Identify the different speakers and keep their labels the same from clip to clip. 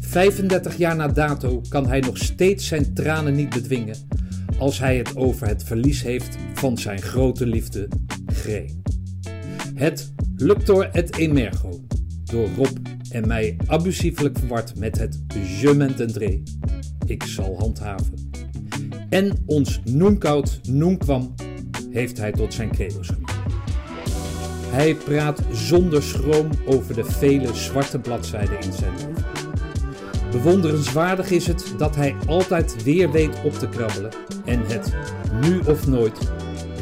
Speaker 1: 35 jaar na dato kan hij nog steeds zijn tranen niet bedwingen als hij het over het verlies heeft van zijn grote liefde, Gray. Het Luctor et Emergo, door Rob en mij abusieflijk verward met het Je m'entendré, ik zal handhaven. En ons noenkoud noenkwam heeft hij tot zijn credo's gemaakt. Hij praat zonder schroom over de vele zwarte bladzijden in zijn leven. Bewonderenswaardig is het dat hij altijd weer weet op te krabbelen en het nu of nooit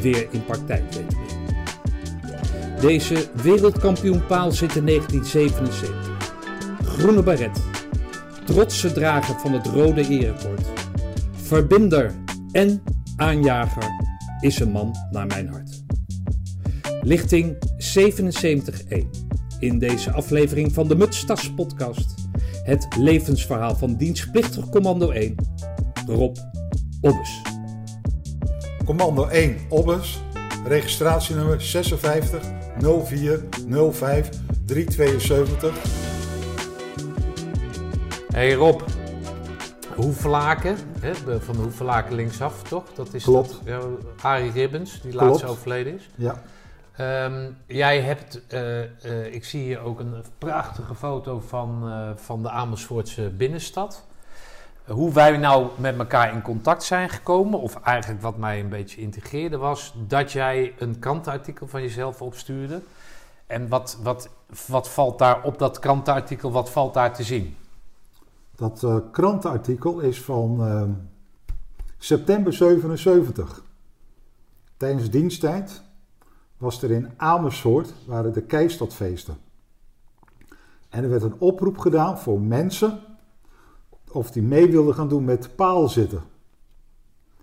Speaker 1: weer in praktijk weet te brengen. Deze wereldkampioen paal zit in 1977. Groene baret, trotse drager van het rode erekord, verbinder en aanjager is een man naar mijn hart. Lichting 77.1. In deze aflevering van de Mutstas podcast het levensverhaal van dienstplichtig commando 1, Rob Obbes.
Speaker 2: Commando 1 Obbes, registratienummer 56 04 05 372.
Speaker 3: Hey Rob, Hoevelaken, hè, de- van de Hoevelaken linksaf, toch? Dat is
Speaker 2: Klopt.
Speaker 3: Dat, ja, Arie Ribbens, die
Speaker 2: Klopt.
Speaker 3: laatst overleden is.
Speaker 2: Ja,
Speaker 3: Ehm, jij hebt, eh, eh, ik zie hier ook een prachtige foto van, eh, van de Amersfoortse binnenstad. Hoe wij nou met elkaar in contact zijn gekomen, of eigenlijk wat mij een beetje integreerde, was dat jij een krantenartikel van jezelf opstuurde. En wat, wat, wat valt daar op dat krantenartikel, wat valt daar te zien?
Speaker 2: dat eh, krantenartikel is van eh, september 77. Tijdens diensttijd was er in Amersfoort waren de Keistadfeesten. En er werd een oproep gedaan voor mensen of die mee wilden gaan doen met paal zitten.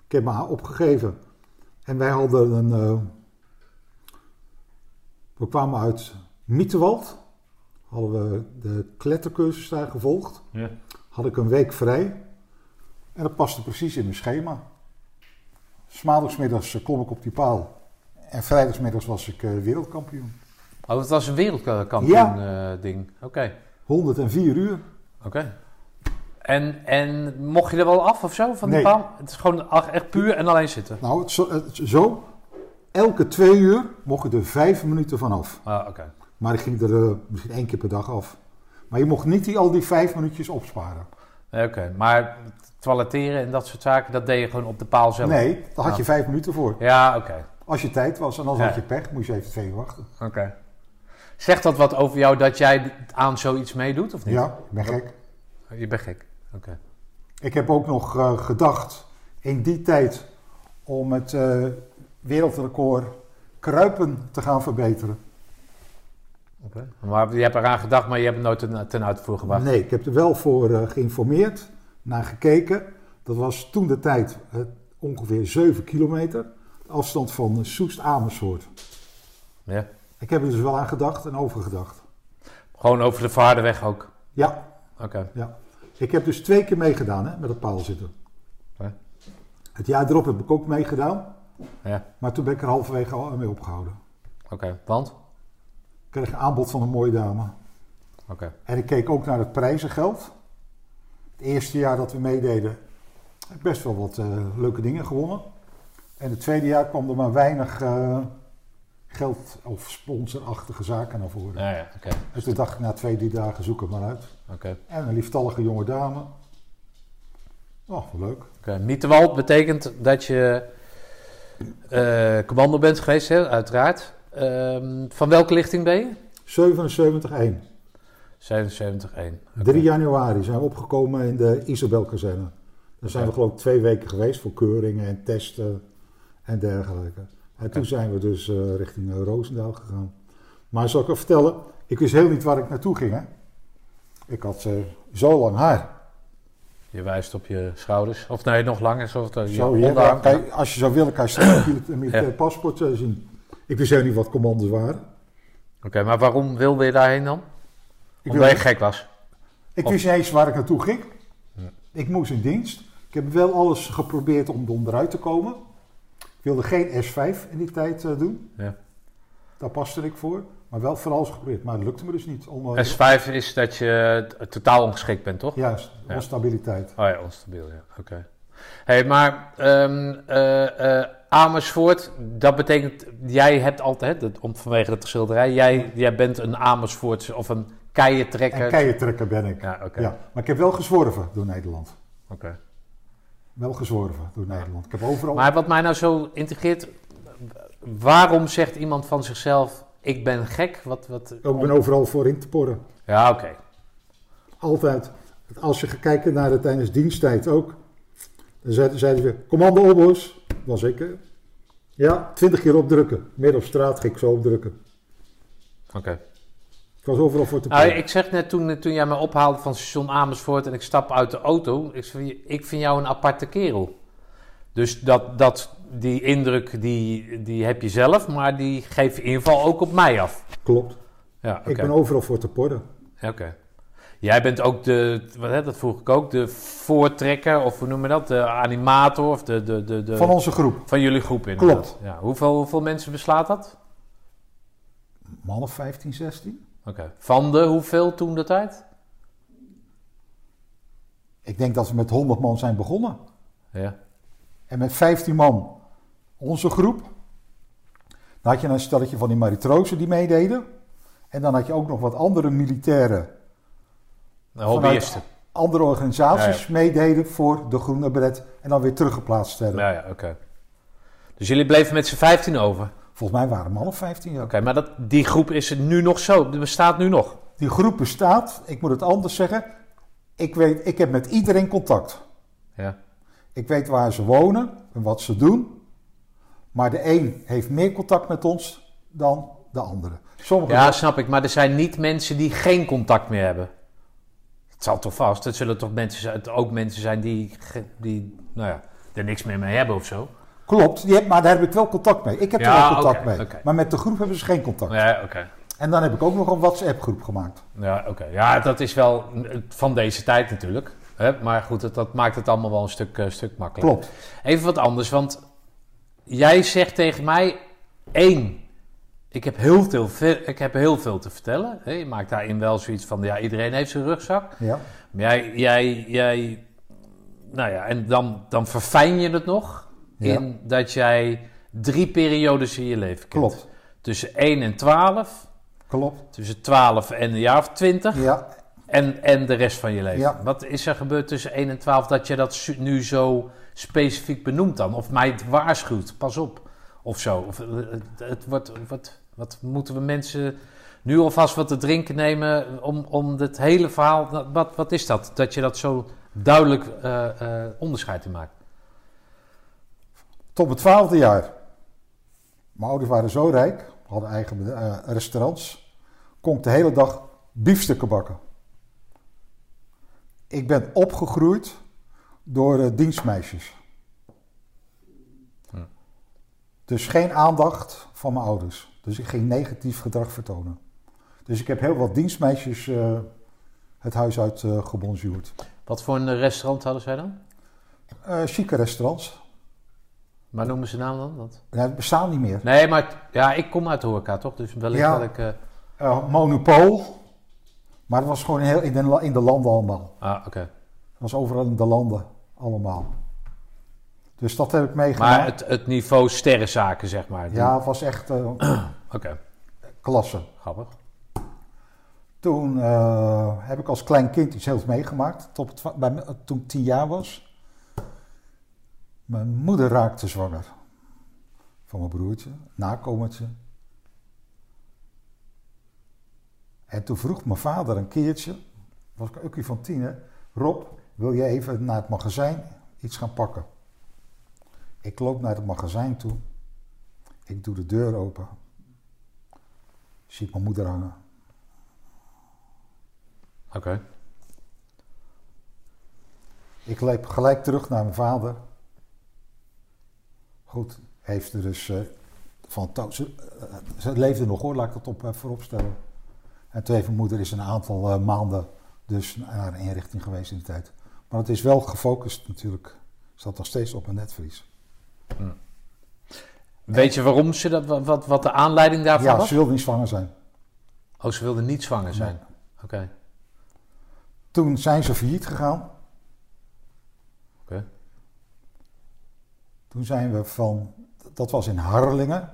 Speaker 2: Ik heb me haar opgegeven. En wij hadden een. eh, we kwamen uit Mietenwald. Hadden we de klettercursus daar gevolgd.
Speaker 3: Ja.
Speaker 2: Had ik een week vrij. En dat paste precies in mijn schema. Smaandagsmiddags eh, klom ik op die paal. En vrijdagsmiddags was ik eh, wereldkampioen.
Speaker 3: Oh, het was een wereldkampioen eh, ding. Oké,
Speaker 2: 104 uur.
Speaker 3: oké. En, en mocht je er wel af of zo van die
Speaker 2: Nee.
Speaker 3: paal? Het is gewoon ach- echt puur en alleen zitten.
Speaker 2: Nou, het zo, het zo. Elke twee uur mocht ik er vijf minuten van af.
Speaker 3: Ah, oké.
Speaker 2: Maar ik ging er eh, misschien één keer per dag af. Maar je mocht niet die, al die vijf minuutjes opsparen.
Speaker 3: Nee, oké. Maar toiletteren en dat soort zaken, dat deed je gewoon op de paal zelf?
Speaker 2: Nee, daar had
Speaker 3: Ah.
Speaker 2: je vijf minuten voor.
Speaker 3: Ja, oké.
Speaker 2: Als je tijd was en als
Speaker 3: Ja.
Speaker 2: had je pech, moest je even twee uur wachten.
Speaker 3: oké. Zegt dat wat over jou dat jij aan zoiets meedoet of niet?
Speaker 2: Ja, ik ben gek.
Speaker 3: Je bent gek. Oké.
Speaker 2: Ik heb ook nog eh, gedacht in die tijd om het eh, wereldrecord kruipen te gaan verbeteren.
Speaker 3: Oké. Maar je hebt eraan gedacht, maar je hebt het nooit ten, ten uitvoer gebracht.
Speaker 2: Nee, ik heb er wel voor eh, geïnformeerd, naar gekeken. Dat was toen de tijd eh, ongeveer 7 kilometer. De afstand van Soest-Amersfoort.
Speaker 3: Ja.
Speaker 2: Ik heb er dus wel aan gedacht en over gedacht.
Speaker 3: Gewoon over de vaarderweg ook.
Speaker 2: Ja,
Speaker 3: Oké.
Speaker 2: Ja. Ik heb dus twee keer meegedaan hè, met het paalzitten.
Speaker 3: Hè?
Speaker 2: Het jaar erop heb ik ook meegedaan,
Speaker 3: Ja.
Speaker 2: maar toen ben ik er halverwege al mee opgehouden.
Speaker 3: Oké. Want? Oké.
Speaker 2: Ik kreeg een aanbod van een mooie dame. En ik keek ook naar het prijzengeld. Het eerste jaar dat we meededen, heb ik best wel wat eh, leuke dingen gewonnen. En het tweede jaar kwam er maar weinig eh, geld of sponsorachtige zaken naar voren.
Speaker 3: Ja, ja. Oké.
Speaker 2: Dus toen dacht ik na twee, drie dagen zoek het maar uit.
Speaker 3: Oké.
Speaker 2: En een lieftallige jonge dame. Oh, wat leuk.
Speaker 3: Oké, Mietenwald betekent dat je eh, commando bent geweest, hè, uiteraard. Ehm, van welke lichting ben je?
Speaker 2: 77-1.
Speaker 3: 77-1.
Speaker 2: 3 januari zijn we opgekomen in de Isabel-kazerne. Daar zijn we geloof ik twee weken geweest voor keuringen en testen en dergelijke. En toen zijn we dus eh, richting eh, Roosendaal gegaan. Maar zal ik wel vertellen, ik wist heel niet waar ik naartoe ging. Hè? Ik had eh, zo lang haar.
Speaker 3: Je wijst op je schouders. Of nee, nog langer. Zoals dat, je
Speaker 2: Zo, hier,
Speaker 3: onderarm.
Speaker 2: kan je- als je zou willen, kan je straks een mili- militair paspoort eh, zien. Ik wist heel niet wat commando's waren.
Speaker 3: Oké, maar waarom wilde je daarheen dan?
Speaker 2: Ik
Speaker 3: Omdat je
Speaker 2: wilde-
Speaker 3: gek was.
Speaker 2: Ik
Speaker 3: Of-
Speaker 2: wist niet eens waar ik naartoe ging. Ik moest in dienst. Ik heb wel alles geprobeerd om onderuit te komen. Ik wilde geen S5 in die tijd eh, doen.
Speaker 3: Ja.
Speaker 2: Daar paste ik voor. Maar wel voor alles geprobeerd. Maar het lukte me dus niet. Om, eh,
Speaker 3: S5 is dat je t- totaal ongeschikt bent, toch?
Speaker 2: juist,
Speaker 3: Ja.
Speaker 2: onstabiliteit.
Speaker 3: Oh ja, onstabiel, ja. Oké. hey, maar ehm, eh, eh, Amersfoort, dat betekent... Jij hebt altijd, dat, om, vanwege dat schilderij... Jij, jij bent een Amersfoortse of een
Speaker 2: En
Speaker 3: keientrekker.
Speaker 2: keientrekker ben ik.
Speaker 3: ja, oké.
Speaker 2: Ja, maar ik heb wel gezworven door Nederland.
Speaker 3: oké.
Speaker 2: Wel gezworven door Nederland. Ik heb overal...
Speaker 3: Maar wat mij nou zo integreert... Waarom zegt iemand van zichzelf... Ik ben gek? Wat, wat,
Speaker 2: Ik ben overal voor in te porren.
Speaker 3: Ja, oké.
Speaker 2: Altijd. Als je gaat kijken naar het tijdens diensttijd ook. Dan zeiden, zeiden ze, commando Obos. Was ik. hè? Ja, twintig keer opdrukken. Midden op straat ging ik zo opdrukken.
Speaker 3: oké.
Speaker 2: Ik was overal voor te
Speaker 3: Nou,
Speaker 2: porren.
Speaker 3: ik zeg net toen, toen jij me ophaalde van station Amersfoort en ik stap uit de auto. Ik, zeg, ik vind jou een aparte kerel. Dus dat, dat, die indruk die, die heb je zelf, maar die geef je in ieder geval ook op mij af.
Speaker 2: Klopt.
Speaker 3: Ja, oké.
Speaker 2: Ik ben overal voor te porren.
Speaker 3: Ja, oké. Jij bent ook de, wat, hè, dat vroeg ik ook, de voortrekker of hoe noem je dat? De animator of de, de, de, de
Speaker 2: Van onze groep.
Speaker 3: van jullie groep inderdaad.
Speaker 2: Klopt.
Speaker 3: Ja, hoeveel, hoeveel mensen beslaat dat?
Speaker 2: Man of 15, 16?
Speaker 3: Oké. Van de hoeveel toen de tijd?
Speaker 2: Ik denk dat we met 100 man zijn begonnen.
Speaker 3: Ja.
Speaker 2: En met 15 man, onze groep. Dan had je een stelletje van die matrozen die meededen. En dan had je ook nog wat andere militairen,
Speaker 3: Hobbyisten.
Speaker 2: andere organisaties meededen voor de Groene Beret. En dan weer teruggeplaatst werden.
Speaker 3: Ja, ja, oké. Dus jullie bleven met z'n 15 over. Oké,
Speaker 2: Volgens mij waren het man of 15 jaar.
Speaker 3: maar dat, die groep is er nu nog zo. Die bestaat nu nog.
Speaker 2: Die groep bestaat, ik moet het anders zeggen. Ik, weet, ik heb met iedereen contact.
Speaker 3: Ja.
Speaker 2: Ik weet waar ze wonen en wat ze doen. Maar de een heeft meer contact met ons dan de andere. Sommigen
Speaker 3: ja, snap ik. Maar er zijn niet mensen die geen contact meer hebben. Het zal toch vast. Het zullen toch mensen zijn, het ook mensen zijn die, ge- die nou ja, er niks meer mee hebben of zo.
Speaker 2: Klopt, die heb- maar daar heb ik wel contact mee. Ik heb
Speaker 3: Ja,
Speaker 2: er wel contact
Speaker 3: oké,
Speaker 2: mee.
Speaker 3: oké.
Speaker 2: Maar met de groep hebben ze geen contact.
Speaker 3: Ja, oké.
Speaker 2: En dan heb ik ook nog een WhatsApp-groep gemaakt.
Speaker 3: Ja, oké. ja, dat is wel eh, van deze tijd natuurlijk. Hè? Maar goed, dat, dat maakt het allemaal wel een stuk, eh, stuk makkelijker.
Speaker 2: Klopt.
Speaker 3: Even wat anders, want jij zegt tegen mij: één, ik heb heel veel, ve- ik heb heel veel te vertellen. hè. Je maakt daarin wel zoiets van: ja, iedereen heeft zijn rugzak.
Speaker 2: Ja.
Speaker 3: Maar jij, jij, jij nou ja, en dan, dan verfijn je het nog
Speaker 2: Ja.
Speaker 3: in dat jij drie periodes in je leven kent.
Speaker 2: Klopt.
Speaker 3: Tussen 1 en 12,
Speaker 2: Klopt.
Speaker 3: tussen 12 en een jaar of 20
Speaker 2: Ja.
Speaker 3: en, en de rest van je leven.
Speaker 2: Ja.
Speaker 3: Wat is er gebeurd tussen 1 en 12 dat je dat su- nu zo specifiek benoemt dan? Of mij het waarschuwt, pas op, of zo. Of, eh, het, het wordt, wat, wat moeten we mensen nu alvast wat te drinken nemen om, om dit hele verhaal... dat- Wat, wat is dat, dat je dat zo duidelijk eh, eh, onderscheid in maakt?
Speaker 2: Tot mijn twaalfde jaar. Mijn ouders waren zo rijk, hadden eigen eh, restaurants. Kon ik de hele dag biefstukken bakken. Ik ben opgegroeid door eh, dienstmeisjes.
Speaker 3: Hm.
Speaker 2: Dus geen aandacht van mijn ouders. Dus ik ging negatief gedrag vertonen. Dus ik heb heel wat dienstmeisjes eh, het huis uit eh gebonjourd.
Speaker 3: Wat voor een restaurant hadden zij dan?
Speaker 2: Eh chique restaurants.
Speaker 3: Maar noemen ze naam dan? Want...
Speaker 2: Ja, die bestaan niet meer.
Speaker 3: Nee, maar t- ja, ik kom uit de horeca, toch? Dus wellicht
Speaker 2: Ja.
Speaker 3: dat ik... eh,
Speaker 2: eh, monopool. Maar dat was gewoon heel in de, la- in de landen allemaal.
Speaker 3: ah, oké.
Speaker 2: Dat was overal in de landen allemaal. Dus dat heb ik meegemaakt.
Speaker 3: Maar het, het niveau sterrenzaken, zeg maar.
Speaker 2: Ja, het was echt eh,
Speaker 3: Oké,
Speaker 2: klasse.
Speaker 3: grappig.
Speaker 2: Toen eh, heb ik als klein kind iets heel veel meegemaakt. Tot het, bij, me- toen ik tien jaar was. Mijn moeder raakte zwanger. Van mijn broertje, nakomertje. En toen vroeg mijn vader een keertje, was ik ook van tien, hè, Rob, wil je even naar het magazijn iets gaan pakken? Ik loop naar het magazijn toe. Ik doe de deur open. Zie ik mijn moeder hangen.
Speaker 3: Oké.
Speaker 2: Ik liep gelijk terug naar mijn vader. Goed, heeft er dus eh, van to- ze, eh, ze leefde nog hoor, laat ik dat op, eh, vooropstellen. En toen heeft mijn moeder is een aantal eh, maanden dus naar een inrichting geweest in die tijd. Maar het is wel gefocust natuurlijk. Zat nog steeds op een netvlies.
Speaker 3: Weet je waarom ze dat, wa- wat, wat de aanleiding daarvan
Speaker 2: ja,
Speaker 3: was?
Speaker 2: ze wilde niet zwanger zijn.
Speaker 3: Oh, ze wilde niet zwanger zijn? Oké.
Speaker 2: Toen zijn ze failliet gegaan.
Speaker 3: Oké.
Speaker 2: Toen zijn we van, dat was in Harlingen.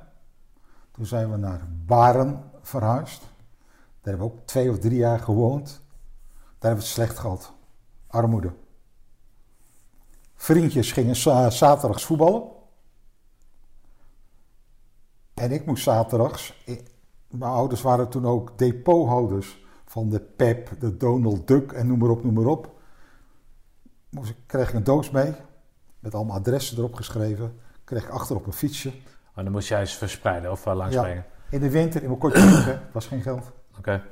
Speaker 2: Toen zijn we naar Baren verhuisd. Daar hebben we ook twee of drie jaar gewoond. Daar hebben we het slecht gehad. Armoede. Vriendjes gingen za- zaterdags voetballen. En ik moest zaterdags. ik- mijn ouders waren toen ook depothouders van de Pep, de Donald Duck en noem maar op, noem maar op. Moest, ik- kreeg ik een doos mee met allemaal adressen erop geschreven. Kreeg ik achter op een fietsje.
Speaker 3: Maar Oh, dan moest jij eens verspreiden of eh, wel langs
Speaker 2: Ja.
Speaker 3: brengen.
Speaker 2: In de winter in mijn korte broek, hè, was geen geld.
Speaker 3: Oké.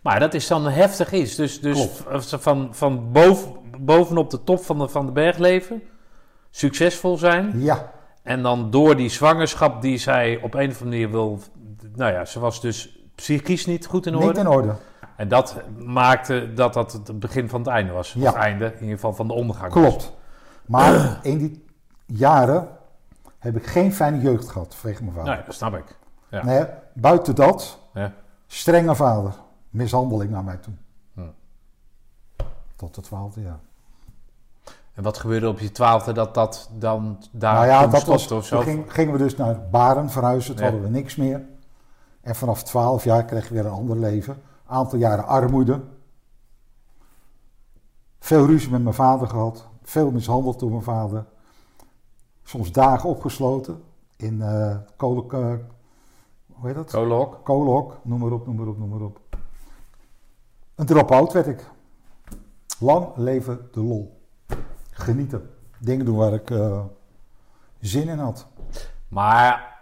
Speaker 3: Maar dat is dan heftig iets. Dus, dus
Speaker 2: Klopt.
Speaker 3: als ze van, van boven, bovenop de top van de, van de berg leven, succesvol zijn.
Speaker 2: Ja,
Speaker 3: En dan door die zwangerschap die zij op een of andere manier wil. Nou ja, ze was dus psychisch niet goed in orde.
Speaker 2: niet in orde.
Speaker 3: En dat maakte dat dat het begin van het einde was.
Speaker 2: Ja.
Speaker 3: Of het einde, in ieder geval van de ondergang. was.
Speaker 2: Klopt. Maar in die jaren heb ik geen fijne jeugd gehad, vanwege mijn vader.
Speaker 3: Nou ja, dat snap ik. ja.
Speaker 2: Nee, buiten dat,
Speaker 3: Ja.
Speaker 2: strenge vader. Mishandeling naar mij toe.
Speaker 3: Hm.
Speaker 2: Tot de twaalfde jaar.
Speaker 3: En wat gebeurde op je twaalfde dat dat dan daar
Speaker 2: nou ja,
Speaker 3: toen
Speaker 2: dat was,
Speaker 3: stopte
Speaker 2: toen
Speaker 3: of zo?
Speaker 2: ging, gingen we dus naar Baren verhuizen. Toen
Speaker 3: Ja.
Speaker 2: hadden we niks meer. En vanaf 12 jaar kreeg je weer een ander leven. Aantal jaren armoede. Veel ruzie met mijn vader gehad. Veel mishandeld door mijn vader. Soms dagen opgesloten in eh kolen, eh, hoe heet dat?
Speaker 3: Kolenhok?
Speaker 2: kolenhok, noem maar op, noem maar op, noem maar op. Een drop-out werd ik. Lang leven de lol. Genieten. Dingen doen waar ik eh, zin in had.
Speaker 3: Maar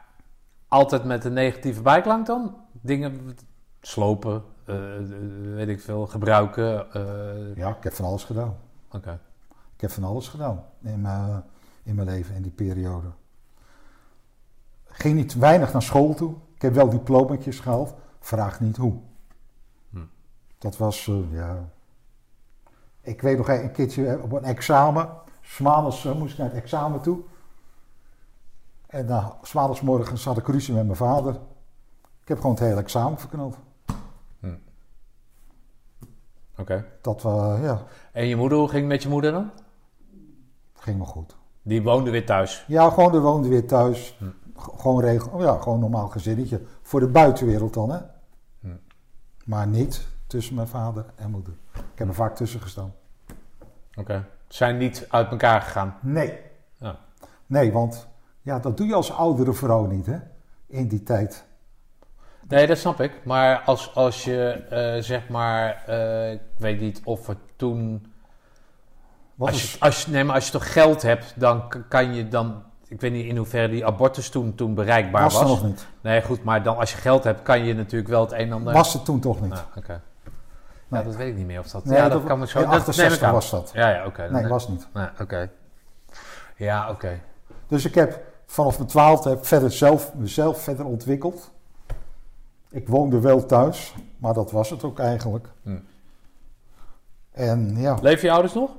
Speaker 3: altijd met een negatieve bijklank dan? Dingen slopen, eh, eh, weet ik veel, gebruiken. eh,
Speaker 2: Ja, ik heb van alles gedaan.
Speaker 3: Oké.
Speaker 2: Ik heb van alles gedaan in mijn, in mijn leven, in die periode. Ging niet weinig naar school toe. Ik heb wel diplomaatjes gehaald. Vraag niet hoe.
Speaker 3: Hm.
Speaker 2: Dat was, eh, ja... Ik weet nog een keertje eh, op een examen. Smaandags eh, moest ik naar het examen toe. En na smaandagsmorgen zat ik ruzie met mijn vader. Ik heb gewoon het hele examen verknald.
Speaker 3: Oké.
Speaker 2: Dat was, ja,
Speaker 3: En je moeder, hoe ging het met je moeder dan?
Speaker 2: ging me goed.
Speaker 3: Die woonde weer thuis.
Speaker 2: Ja, gewoon, we woonden weer thuis. G- Gewoon regel, oh ja, gewoon normaal gezinnetje. Voor de buitenwereld dan, hè.
Speaker 3: Hm.
Speaker 2: Maar niet tussen mijn vader en moeder. Ik
Speaker 3: Hm.
Speaker 2: heb er vaak tussen gestaan.
Speaker 3: Oké. Zijn niet uit elkaar gegaan.
Speaker 2: Nee.
Speaker 3: Ja.
Speaker 2: Nee, want ja, dat doe je als oudere vrouw niet, hè. In die tijd.
Speaker 3: Nee, dat snap ik. Maar als, als je, eh, zeg maar, eh, ik weet niet of het toen...
Speaker 2: Wat
Speaker 3: als,
Speaker 2: is-
Speaker 3: je, als, je- nee, maar als je toch geld hebt, dan k- kan je dan... Ik weet niet in hoeverre die abortus toen, toen bereikbaar was.
Speaker 2: was er nog niet.
Speaker 3: Nee, goed, maar dan, als je geld hebt, kan je natuurlijk wel het een en ander...
Speaker 2: Was het toen toch niet.
Speaker 3: Ah, oké.
Speaker 2: Nee.
Speaker 3: Nou, dat weet ik niet meer of dat...
Speaker 2: Nee,
Speaker 3: ja, dat,
Speaker 2: wa-
Speaker 3: kan me zo...
Speaker 2: in
Speaker 3: dat neem ik
Speaker 2: 68
Speaker 3: aan.
Speaker 2: was dat.
Speaker 3: Ja, ja, oké. dan
Speaker 2: Nee,
Speaker 3: neem-
Speaker 2: was niet.
Speaker 3: Ja, oké. Ja, oké.
Speaker 2: Dus ik heb vanaf mijn twaalfde heb verder zelf, mezelf verder ontwikkeld. Ik woonde wel thuis, maar dat was het ook eigenlijk.
Speaker 3: Hm.
Speaker 2: En ja,
Speaker 3: Leven je ouders nog?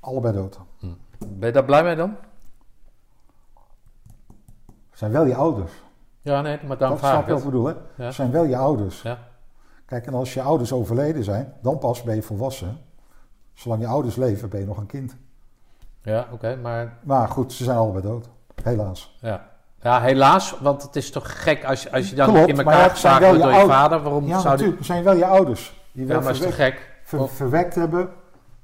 Speaker 2: allebei dood.
Speaker 3: Ben je daar blij mee dan?
Speaker 2: Zijn wel je ouders.
Speaker 3: Ja, nee, maar daarom
Speaker 2: dat snap
Speaker 3: vraag
Speaker 2: je
Speaker 3: ik
Speaker 2: wat
Speaker 3: het.
Speaker 2: ik bedoel, hè?
Speaker 3: Ja.
Speaker 2: Zijn wel je ouders.
Speaker 3: Ja.
Speaker 2: Kijk, en als je ouders overleden zijn, dan pas ben je volwassen. Zolang je ouders leven, ben je nog een kind.
Speaker 3: Ja, oké, maar
Speaker 2: Maar goed, ze zijn allebei dood. Helaas.
Speaker 3: Ja. ja, helaas, want het is toch gek als je, als je dan
Speaker 2: Klopt,
Speaker 3: in
Speaker 2: maar ja,
Speaker 3: elkaar
Speaker 2: het zijn
Speaker 3: geslagen
Speaker 2: wel
Speaker 3: wordt door
Speaker 2: je
Speaker 3: je
Speaker 2: ouders.
Speaker 3: vader. Waarom
Speaker 2: Ja,
Speaker 3: zou die...
Speaker 2: natuurlijk. Zijn wel je ouders. Die
Speaker 3: Ja,
Speaker 2: wel
Speaker 3: maar is toch
Speaker 2: verwekt,
Speaker 3: gek?
Speaker 2: ver-
Speaker 3: Of-
Speaker 2: verwekt hebben.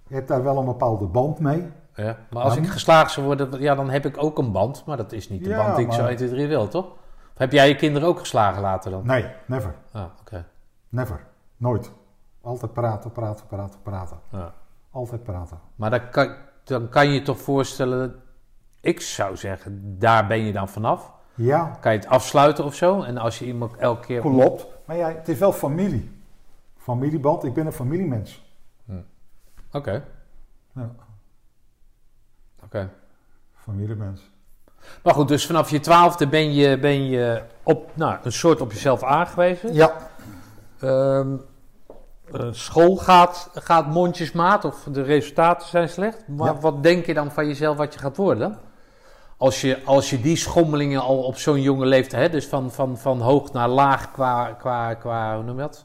Speaker 2: Je hebt daar wel een bepaalde band mee.
Speaker 3: Ja. Maar als
Speaker 2: Ja.
Speaker 3: ik geslaagd zou worden, ja, dan heb ik ook een band. Maar dat is niet de
Speaker 2: Ja,
Speaker 3: band die ik zo
Speaker 2: maar-
Speaker 3: 1, 2, 3 wil, toch? Of heb jij je kinderen ook geslagen later dan?
Speaker 2: Nee, never.
Speaker 3: Ah, oké.
Speaker 2: Never. Nooit. Altijd praten, praten, praten, praten.
Speaker 3: Ja.
Speaker 2: Altijd praten.
Speaker 3: Maar dan kan, dan kan je toch voorstellen... Ik zou zeggen, daar ben je dan vanaf.
Speaker 2: Ja,
Speaker 3: Kan je het afsluiten of zo? En als je iemand elke keer...
Speaker 2: klopt. Maar ja, het is wel familie. Familieband. Ik ben een familiemens.
Speaker 3: Oké,
Speaker 2: Ja,
Speaker 3: oké.
Speaker 2: familiemens.
Speaker 3: Maar goed, dus vanaf je twaalfde ben je, ben je op, nou, een soort op jezelf aangewezen.
Speaker 2: Ja,
Speaker 3: Ehm, eh, school gaat, gaat mondjesmaat of de resultaten zijn slecht. Maar
Speaker 2: Ja.
Speaker 3: wat denk je dan van jezelf wat je gaat worden? als je, als je die schommelingen al op zo'n jonge leeftijd, hè, dus van, van, van hoog naar laag qua, qua, qua, hoe noem je dat?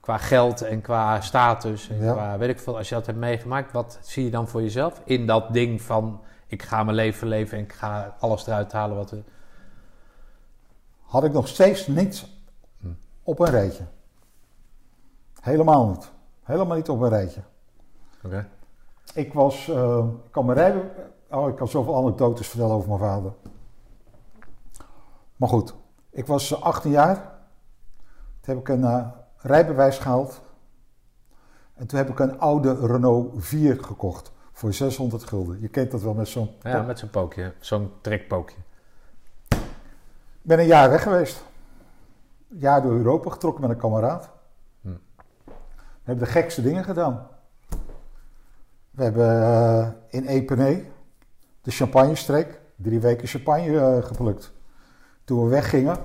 Speaker 3: Qua geld en qua status en
Speaker 2: Ja.
Speaker 3: qua weet ik veel, als je dat hebt meegemaakt, wat zie je dan voor jezelf in dat ding van ik ga mijn leven leven en ik ga alles eruit halen wat er.
Speaker 2: Had ik nog steeds niets op een rijtje. Helemaal niet. Helemaal niet op een rijtje.
Speaker 3: Oké.
Speaker 2: Ik was, eh, ik kan mijn rijbe- oh, ik kan zoveel anekdotes vertellen over mijn vader. Maar goed, ik was eh, 18 jaar. Toen heb ik een eh, rijbewijs gehaald. En toen heb ik een oude Renault 4 gekocht voor 600 gulden. Je kent dat wel met zo'n...
Speaker 3: Ja, met zo'n pookje, zo'n trekpookje.
Speaker 2: Ik ben een jaar weg geweest. Een jaar door Europa getrokken met een kameraad.
Speaker 3: Hm.
Speaker 2: We hebben de gekste dingen gedaan. We hebben eh, in Epenay de champagnestreek, drie weken champagne eh, geplukt. Toen we weggingen, ik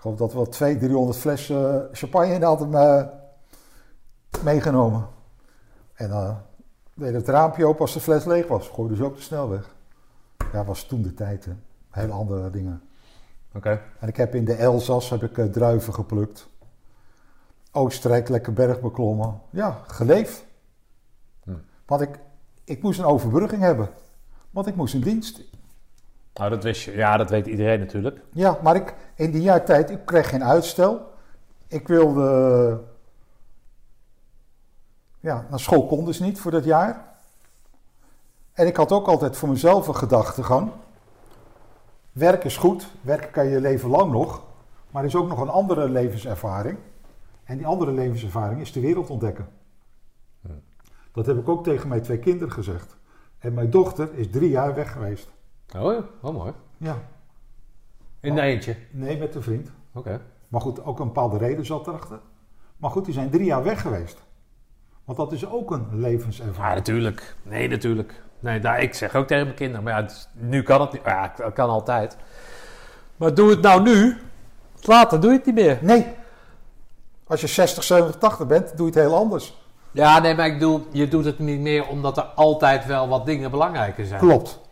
Speaker 2: geloof dat we wel 200, 300 flessen champagne in hadden eh, meegenomen. En eh deden het raampje open als de fles leeg was. Gooiden ze ook de snelweg. Ja, was toen de tijd, hè. Hele andere dingen.
Speaker 3: Oké.
Speaker 2: En ik heb in de Elzas heb ik eh, druiven geplukt. Oostenrijk, lekker berg beklommen. Ja, geleefd.
Speaker 3: Hm.
Speaker 2: Want ik, ik moest een overbrugging hebben. Want ik moest in dienst.
Speaker 3: Nou, dat wist je. Ja, dat weet iedereen natuurlijk.
Speaker 2: Ja, maar ik, in die jaar tijd, ik kreeg geen uitstel. Ik wilde... Ja, naar school kon dus niet voor dat jaar. En ik had ook altijd voor mezelf een gedachtegang. Werk is goed, werken kan je leven lang nog. Maar er is ook nog een andere levenservaring. En die andere levenservaring is de wereld ontdekken. Dat heb ik ook tegen mijn twee kinderen gezegd. En mijn dochter is drie jaar weg geweest.
Speaker 3: Oh ja, wel mooi.
Speaker 2: Ja,
Speaker 3: In
Speaker 2: Oh.
Speaker 3: een eentje.
Speaker 2: nee met een vriend.
Speaker 3: Oké.
Speaker 2: Maar goed, ook een bepaalde reden zat erachter. Maar goed, die zijn drie jaar weg geweest. Want dat is ook een
Speaker 3: Ja,
Speaker 2: levenservaring.
Speaker 3: natuurlijk. Nee, natuurlijk. Nee, daar, ik zeg ook tegen mijn kinderen, maar ja, het is- nu kan het niet. Ja, het kan altijd. Maar doe het nou nu, later doe je het niet meer.
Speaker 2: Nee. Als je 60, 70, 80 bent, doe je het heel anders.
Speaker 3: Ja, nee, maar ik bedoel, je doet het niet meer omdat er altijd wel wat dingen belangrijker zijn.
Speaker 2: Klopt.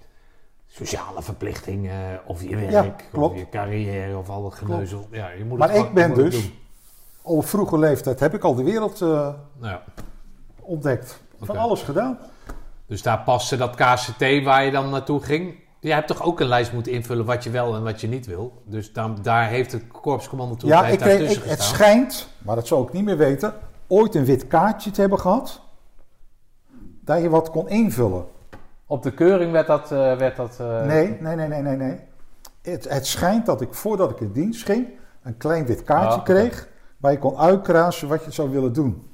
Speaker 3: Sociale verplichtingen, eh, of je
Speaker 2: Ja,
Speaker 3: werk, of
Speaker 2: klopt.
Speaker 3: je carrière, of al dat geneuzel. Ja, je moet het
Speaker 2: Maar
Speaker 3: gewoon-
Speaker 2: ik ben
Speaker 3: je moet het
Speaker 2: dus,
Speaker 3: doen.
Speaker 2: op vroege leeftijd heb ik al de wereld eh,
Speaker 3: Nou ja,
Speaker 2: ontdekt. Van
Speaker 3: Oké.
Speaker 2: alles gedaan.
Speaker 3: dus daar paste dat KCT waar je dan naartoe ging. Jij hebt toch ook een lijst moeten invullen wat je wel en wat je niet wil. Dus dan, daar heeft het korpscommando toen
Speaker 2: ja,
Speaker 3: heeft
Speaker 2: ik
Speaker 3: daar
Speaker 2: kreeg,
Speaker 3: tussen
Speaker 2: ik- het
Speaker 3: gestaan.
Speaker 2: schijnt, maar dat zou ik niet meer weten, ooit een wit kaartje te hebben gehad. Dat je wat kon invullen.
Speaker 3: Op de keuring werd dat. eh, werd dat eh,
Speaker 2: Nee, nee, nee, nee, nee, nee. Het, het schijnt dat ik voordat ik in dienst ging, een klein wit kaartje
Speaker 3: Ah, oké.
Speaker 2: kreeg. Waar je kon uitkrazen wat je zou willen doen.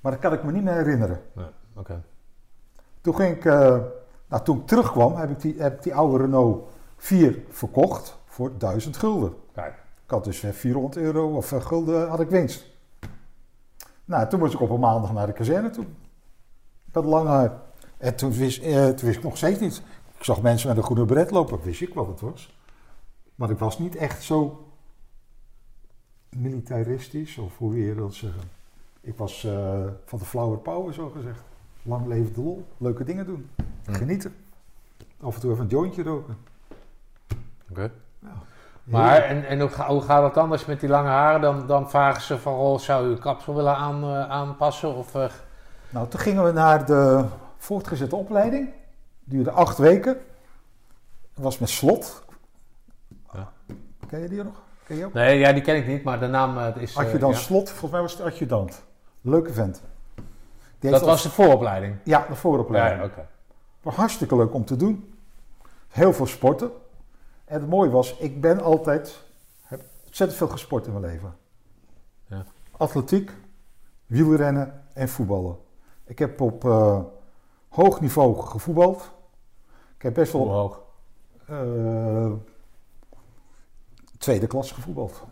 Speaker 2: Maar dat kan ik me niet meer herinneren.
Speaker 3: nee, Oké.
Speaker 2: Toen ging ik, eh, nou toen ik terugkwam, heb ik die, heb ik die oude Renault 4 verkocht voor 1000 gulden.
Speaker 3: Kijk.
Speaker 2: Ik had dus eh, 400 euro of eh, gulden had ik winst. Nou, toen moest ik op een maandag naar de kazerne toe. Ik had lang haar. En toen wist, eh, toen wist ik nog steeds niet. Ik zag mensen met een groene beret lopen. Wist ik wat het was. Maar ik was niet echt zo militaristisch, of hoe wil je dat zeggen. Ik was eh, van de flower power, zo gezegd. Lang leven de lol. Leuke dingen doen.
Speaker 3: Mm.
Speaker 2: Genieten. Af en toe even een jointje roken.
Speaker 3: Oké.
Speaker 2: Ja.
Speaker 3: Maar en, en hoe, ga- hoe gaat dat anders met die lange haren? Dan, dan vragen ze van, oh, zou u uw kapsel willen aan, eh, aanpassen? Of, eh,
Speaker 2: Nou, toen gingen we naar de voortgezette opleiding. Duurde acht weken. Dat was met slot.
Speaker 3: Ja.
Speaker 2: Ken je die nog? Ken je ook?
Speaker 3: Nee, ja, die ken ik niet, maar de naam eh, is... eh,
Speaker 2: Adjudant
Speaker 3: ja.
Speaker 2: slot, volgens mij was het adjudant. Leuke vent. Die heeft
Speaker 3: Dat
Speaker 2: al-
Speaker 3: was de vooropleiding?
Speaker 2: Ja, de vooropleiding.
Speaker 3: Ja, oké.
Speaker 2: Maar hartstikke leuk om te doen. Heel veel sporten. En het mooie was, ik ben altijd... heb ontzettend veel gesport in mijn leven.
Speaker 3: Ja.
Speaker 2: Atletiek, wielrennen en voetballen. Ik heb op eh, hoog niveau gevoetbald. Ik heb best wel
Speaker 3: Hoe hoog? Oké.
Speaker 2: eh, tweede klas gevoetbald.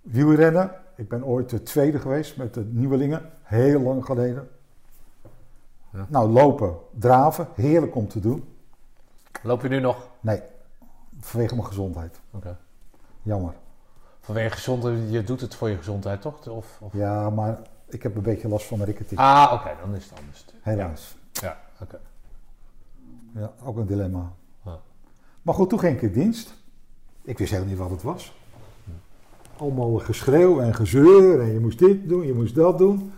Speaker 2: Wielrennen. Ik ben ooit de tweede geweest met de nieuwelingen. Heel lang geleden.
Speaker 3: Ja.
Speaker 2: Nou, lopen, draven. Heerlijk om te doen.
Speaker 3: Loop je nu nog? Oké.
Speaker 2: Nee, vanwege mijn gezondheid. Jammer.
Speaker 3: Vanwege gezondheid, je doet het voor je gezondheid, toch? Of, of...
Speaker 2: Ja, maar ik heb een beetje last van mijn rikketiek.
Speaker 3: Ah, oké, dan is het anders.
Speaker 2: Helaas.
Speaker 3: Ja, oké.
Speaker 2: Ja, ook een dilemma.
Speaker 3: Ja.
Speaker 2: Maar goed, toen ging ik in dienst. Ik wist helemaal niet wat het was. Allemaal geschreeuw en gezeur en je moest dit doen, je moest dat doen.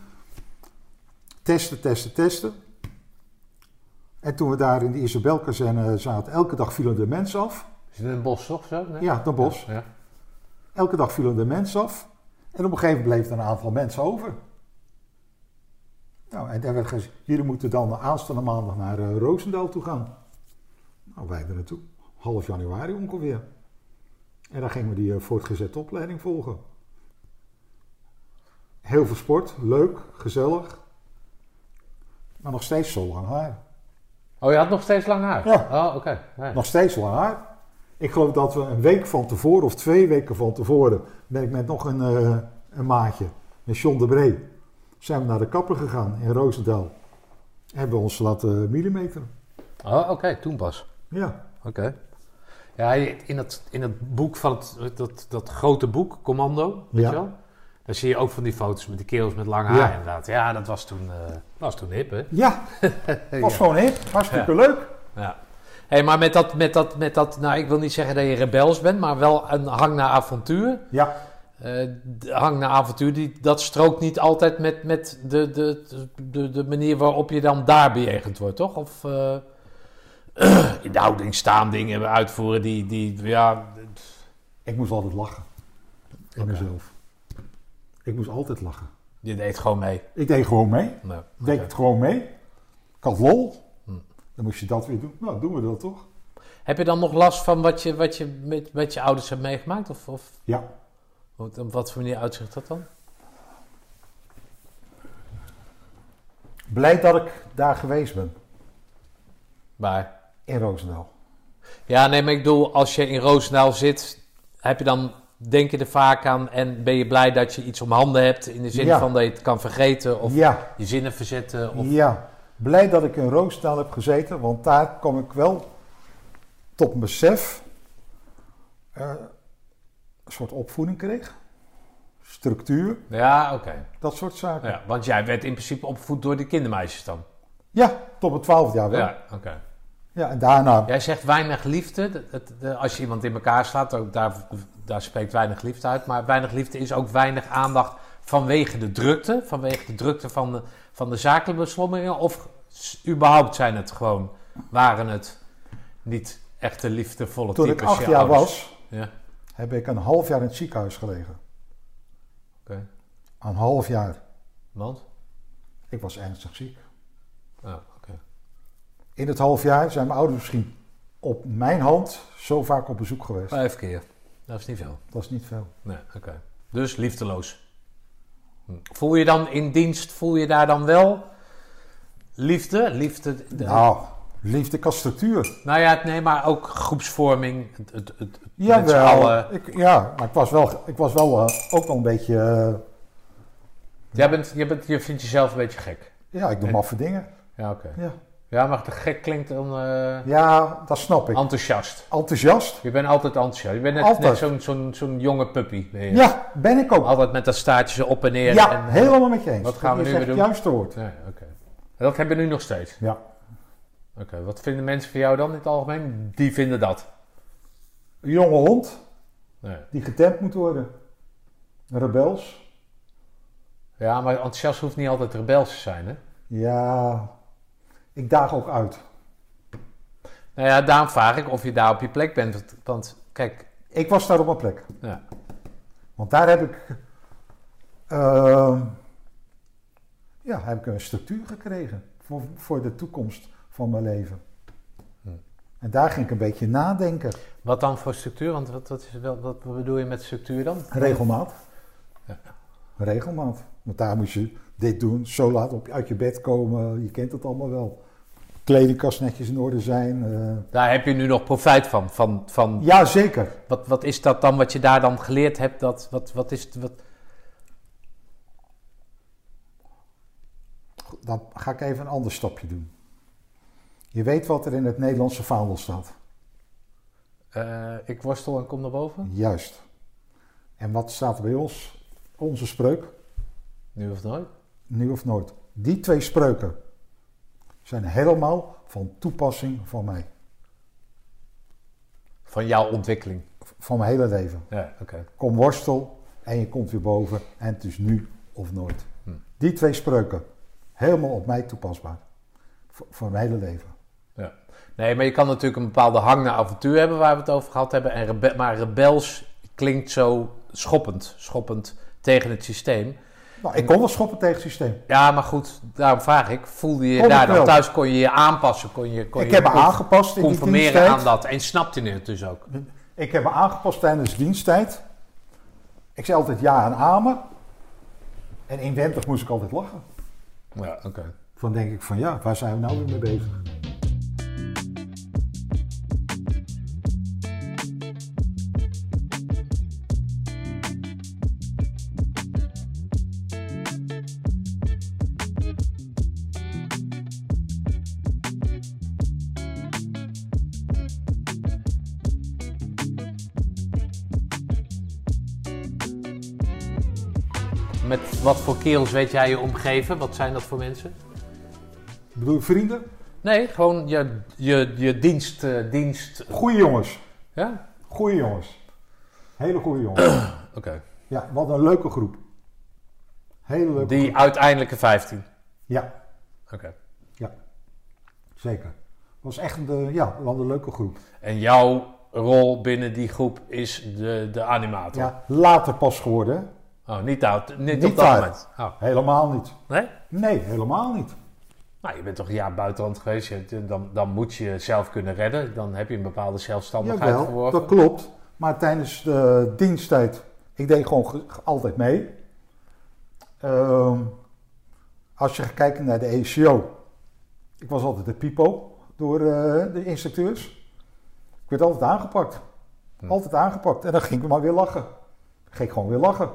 Speaker 2: Testen, testen, testen. En toen we daar in de Isabelkazerne zaten, elke dag vielen er mensen af.
Speaker 3: Is het een bos toch zo? Nee?
Speaker 2: Ja, Den Bosch.
Speaker 3: Ja.
Speaker 2: Elke dag vielen er mensen af. En op een gegeven moment bleef er een aantal mensen over. Nou, en daar werd gezegd, jullie moeten dan de aanstaande maandag naar eh, Roosendaal toe gaan. Nou, wij er naartoe. Half januari ongeveer. En dan gingen we die eh, voortgezette opleiding volgen. Heel veel sport, leuk, gezellig. Maar nog steeds zo lang haar.
Speaker 3: Oh, je had nog steeds lang haar?
Speaker 2: Ja.
Speaker 3: Oh, oké. Nee.
Speaker 2: Nog steeds lang haar. Ik geloof dat we een week van tevoren of twee weken van tevoren ben ik met nog een, eh, een maatje, met John de Bree, zijn we naar de kapper gegaan in Roosendaal. Hebben we ons laten millimeteren.
Speaker 3: Oh, oké. Toen pas.
Speaker 2: Ja,
Speaker 3: Oké. Ja, in dat, in dat boek van het, dat, dat grote boek, Commando, weet
Speaker 2: Ja.
Speaker 3: je wel? Daar zie je ook van die foto's met die kerels met lang haar
Speaker 2: Ja.
Speaker 3: inderdaad. Ja, dat was toen, eh, was toen hip, hè?
Speaker 2: ja was gewoon hip. Hartstikke leuk.
Speaker 3: Ja. Hey, maar met dat, met, dat, met dat, nou ik wil niet zeggen dat je rebels bent, maar wel een hang naar avontuur.
Speaker 2: Ja,
Speaker 3: Eh, de hang naar avontuur, die, dat strookt niet altijd met, met de, de, de, de manier waarop je dan daar bejegend wordt, toch? Of eh, in de houding staan, dingen uitvoeren die, die ja...
Speaker 2: ik moest altijd lachen. Aan mezelf. Ik moest altijd lachen.
Speaker 3: Je deed gewoon mee.
Speaker 2: Ik deed gewoon mee.
Speaker 3: Nou,
Speaker 2: Ik deed
Speaker 3: oké.
Speaker 2: het gewoon mee. Ik had lol.
Speaker 3: Hm.
Speaker 2: Dan moest je dat weer doen. Nou, doen we dat toch?
Speaker 3: Heb je dan nog last van wat je, wat je met, met je ouders hebt meegemaakt? Of, of
Speaker 2: Ja.
Speaker 3: wat- op wat voor manier uitzicht dat dan?
Speaker 2: Blij dat ik daar geweest ben.
Speaker 3: Maar...
Speaker 2: In Roosendaal.
Speaker 3: Ja, nee, maar ik bedoel, als je in Roosendaal zit, heb je dan, denk je er vaak aan en ben je blij dat je iets om handen hebt in de zin
Speaker 2: Ja.
Speaker 3: van dat je het kan vergeten of
Speaker 2: Ja,
Speaker 3: je zinnen verzetten. Of...
Speaker 2: ja. Blij dat ik in Roosendaal heb gezeten, want daar kom ik wel tot een besef. eh, een soort opvoeding kreeg. Structuur,
Speaker 3: Ja, oké.
Speaker 2: dat soort zaken. Ja,
Speaker 3: Ja, want jij werd in principe opgevoed door de kindermeisjes dan.
Speaker 2: tot mijn twaalfde jaar wel. Ja.
Speaker 3: Ja, oké.
Speaker 2: en daarna.
Speaker 3: Jij zegt weinig liefde. Dat- dat- dat- als je iemand in elkaar slaat, ook daar, daar spreekt weinig liefde uit. Maar weinig liefde is ook weinig aandacht vanwege de drukte. Vanwege de drukte van de, van de zakelijke beslommeringen. Of s- überhaupt zijn het gewoon, waren het niet echte liefdevolle
Speaker 2: Toen ik
Speaker 3: types.
Speaker 2: acht
Speaker 3: je
Speaker 2: jaar
Speaker 3: ouders.
Speaker 2: was,
Speaker 3: Ja,
Speaker 2: heb ik een half jaar in het ziekenhuis gelegen.
Speaker 3: oké.
Speaker 2: Een half jaar.
Speaker 3: Want?
Speaker 2: Ik was ernstig ziek.
Speaker 3: Oh, oké.
Speaker 2: In het half jaar zijn mijn ouders misschien op mijn hand zo vaak op bezoek geweest.
Speaker 3: Vijf keer. Dat is niet veel.
Speaker 2: Dat is niet veel.
Speaker 3: Nee, oké. Dus liefdeloos. Hm. Voel je dan in dienst, voel je daar dan wel liefde? Liefde... de-
Speaker 2: Nou, liefde kan structuur.
Speaker 3: Nou ja, nee, maar ook groepsvorming. Het, het, het, het met z'n
Speaker 2: Jawel.
Speaker 3: allen.
Speaker 2: Ik, ja, maar ik was wel, ik was wel eh, ook wel een beetje. eh,
Speaker 3: Jij bent, je, bent, je vindt jezelf een beetje gek.
Speaker 2: ja, ik doe maffe dingen.
Speaker 3: Ja, oké.
Speaker 2: Ja.
Speaker 3: Ja, maar de gek klinkt dan eh,
Speaker 2: ja, dat snap ik.
Speaker 3: enthousiast.
Speaker 2: Enthousiast?
Speaker 3: Je bent altijd enthousiast. Je bent net,
Speaker 2: Altijd.
Speaker 3: net zo'n zo'n zo'n jonge puppy. ben je.
Speaker 2: Ja, ben ik ook.
Speaker 3: Altijd met dat staartje zo op en neer.
Speaker 2: ja,
Speaker 3: en, eh,
Speaker 2: helemaal met je eens.
Speaker 3: wat gaan we
Speaker 2: Dat
Speaker 3: nu
Speaker 2: is
Speaker 3: weer
Speaker 2: echt
Speaker 3: doen?
Speaker 2: het juiste woord.
Speaker 3: Nee, oké. Dat hebben we nu nog steeds.
Speaker 2: Ja.
Speaker 3: Oké, wat vinden mensen van jou dan in het algemeen? Die vinden dat.
Speaker 2: Een jonge hond
Speaker 3: Nee.
Speaker 2: die getemd moet worden. Rebels.
Speaker 3: Ja, maar enthousiast hoeft niet altijd rebels te zijn, hè?
Speaker 2: Ja, ik daag ook uit.
Speaker 3: Nou ja, daarom vraag ik of je daar op je plek bent. Want, want kijk,
Speaker 2: Ik was daar op mijn plek.
Speaker 3: ja.
Speaker 2: Want daar heb ik. ehm, ja, heb ik een structuur gekregen. Voor, voor de toekomst van mijn leven.
Speaker 3: Hm.
Speaker 2: En daar ging ik een beetje nadenken.
Speaker 3: Wat dan voor structuur? Want wat, wat, is, wel- wat bedoel je met structuur dan?
Speaker 2: Regelmaat.
Speaker 3: Ja.
Speaker 2: Regelmaat. Want daar moet je dit doen, zo laat op, uit je bed komen. Je kent het allemaal wel. Kledingkast netjes in orde zijn. eh.
Speaker 3: Daar heb je nu nog profijt van. van, van
Speaker 2: ja, zeker.
Speaker 3: wat, wat is dat dan wat je daar dan geleerd hebt? Dat, wat, wat is, het- wat,
Speaker 2: Dan ga ik even een ander stapje doen. Je weet wat er in het Nederlandse vaandel staat.
Speaker 3: eh, ik worstel en kom naar boven?
Speaker 2: Juist. En wat staat er bij ons? Onze spreuk,
Speaker 3: Nu of nooit?
Speaker 2: nu of nooit. Die twee spreuken zijn helemaal van toepassing voor mij.
Speaker 3: Van jouw ontwikkeling.
Speaker 2: Van mijn hele leven.
Speaker 3: Ja, oké.
Speaker 2: Kom worstel en je komt weer boven en het is nu of nooit.
Speaker 3: Hm.
Speaker 2: Die twee spreuken, helemaal op mij toepasbaar. Voor, voor mijn hele leven.
Speaker 3: Ja. Nee, maar je kan natuurlijk een bepaalde hang naar avontuur hebben waar we het over gehad hebben. En rebe- maar rebels klinkt zo schoppend, schoppend tegen het systeem.
Speaker 2: Nou, ik kon wel schoppen tegen het systeem.
Speaker 3: Ja, maar goed, daarom vraag ik. Voelde je je
Speaker 2: Kon ik
Speaker 3: daar dan
Speaker 2: wel.
Speaker 3: thuis? Kon je je aanpassen? Kon je, kon
Speaker 2: Ik
Speaker 3: je
Speaker 2: heb me
Speaker 3: conf-
Speaker 2: aangepast in die
Speaker 3: conformeren
Speaker 2: diensttijd.
Speaker 3: aan dat? En snapte je het dus ook?
Speaker 2: Ik heb me aangepast tijdens diensttijd. Ik zei altijd ja en amen. En inwendig moest ik altijd lachen.
Speaker 3: Ja, oké.
Speaker 2: Dan denk ik van ja, waar zijn we nou weer mee bezig?
Speaker 3: Met wat voor kerels weet jij je omgeven? Wat zijn dat voor mensen?
Speaker 2: Ik bedoel, vrienden,
Speaker 3: Nee, gewoon je, je, je dienst, eh, dienst.
Speaker 2: goede jongens.
Speaker 3: Ja?
Speaker 2: Goede jongens. Hele goede jongens.
Speaker 3: Oké.
Speaker 2: Ja, wat een leuke groep. Hele leuke groep.
Speaker 3: Die uiteindelijke 15.
Speaker 2: Ja,
Speaker 3: Oké.
Speaker 2: ja. Zeker. Was echt een, eh, ja, wel een leuke groep.
Speaker 3: En jouw rol binnen die groep is de, de animator.
Speaker 2: Ja, later pas geworden. hè?
Speaker 3: Oh, niet, oud, niet,
Speaker 2: Niet
Speaker 3: op dat
Speaker 2: daar.
Speaker 3: moment. Oh,
Speaker 2: Helemaal niet.
Speaker 3: nee?
Speaker 2: Nee, helemaal niet.
Speaker 3: Nou, je bent toch een jaar buitenland geweest. Je hebt- Dan, dan moet je jezelf kunnen redden. Dan heb je een bepaalde zelfstandigheid
Speaker 2: Jawel,
Speaker 3: verworven.
Speaker 2: dat klopt. Maar tijdens de diensttijd, ik deed gewoon ge- ge- altijd mee. Ehm, als je gaat kijken naar de E ECO, ik was altijd de pipo door eh, de instructeurs. Ik werd altijd aangepakt.
Speaker 3: Hm.
Speaker 2: Altijd aangepakt. En dan ging ik maar weer lachen. Dan ging ik gewoon weer lachen.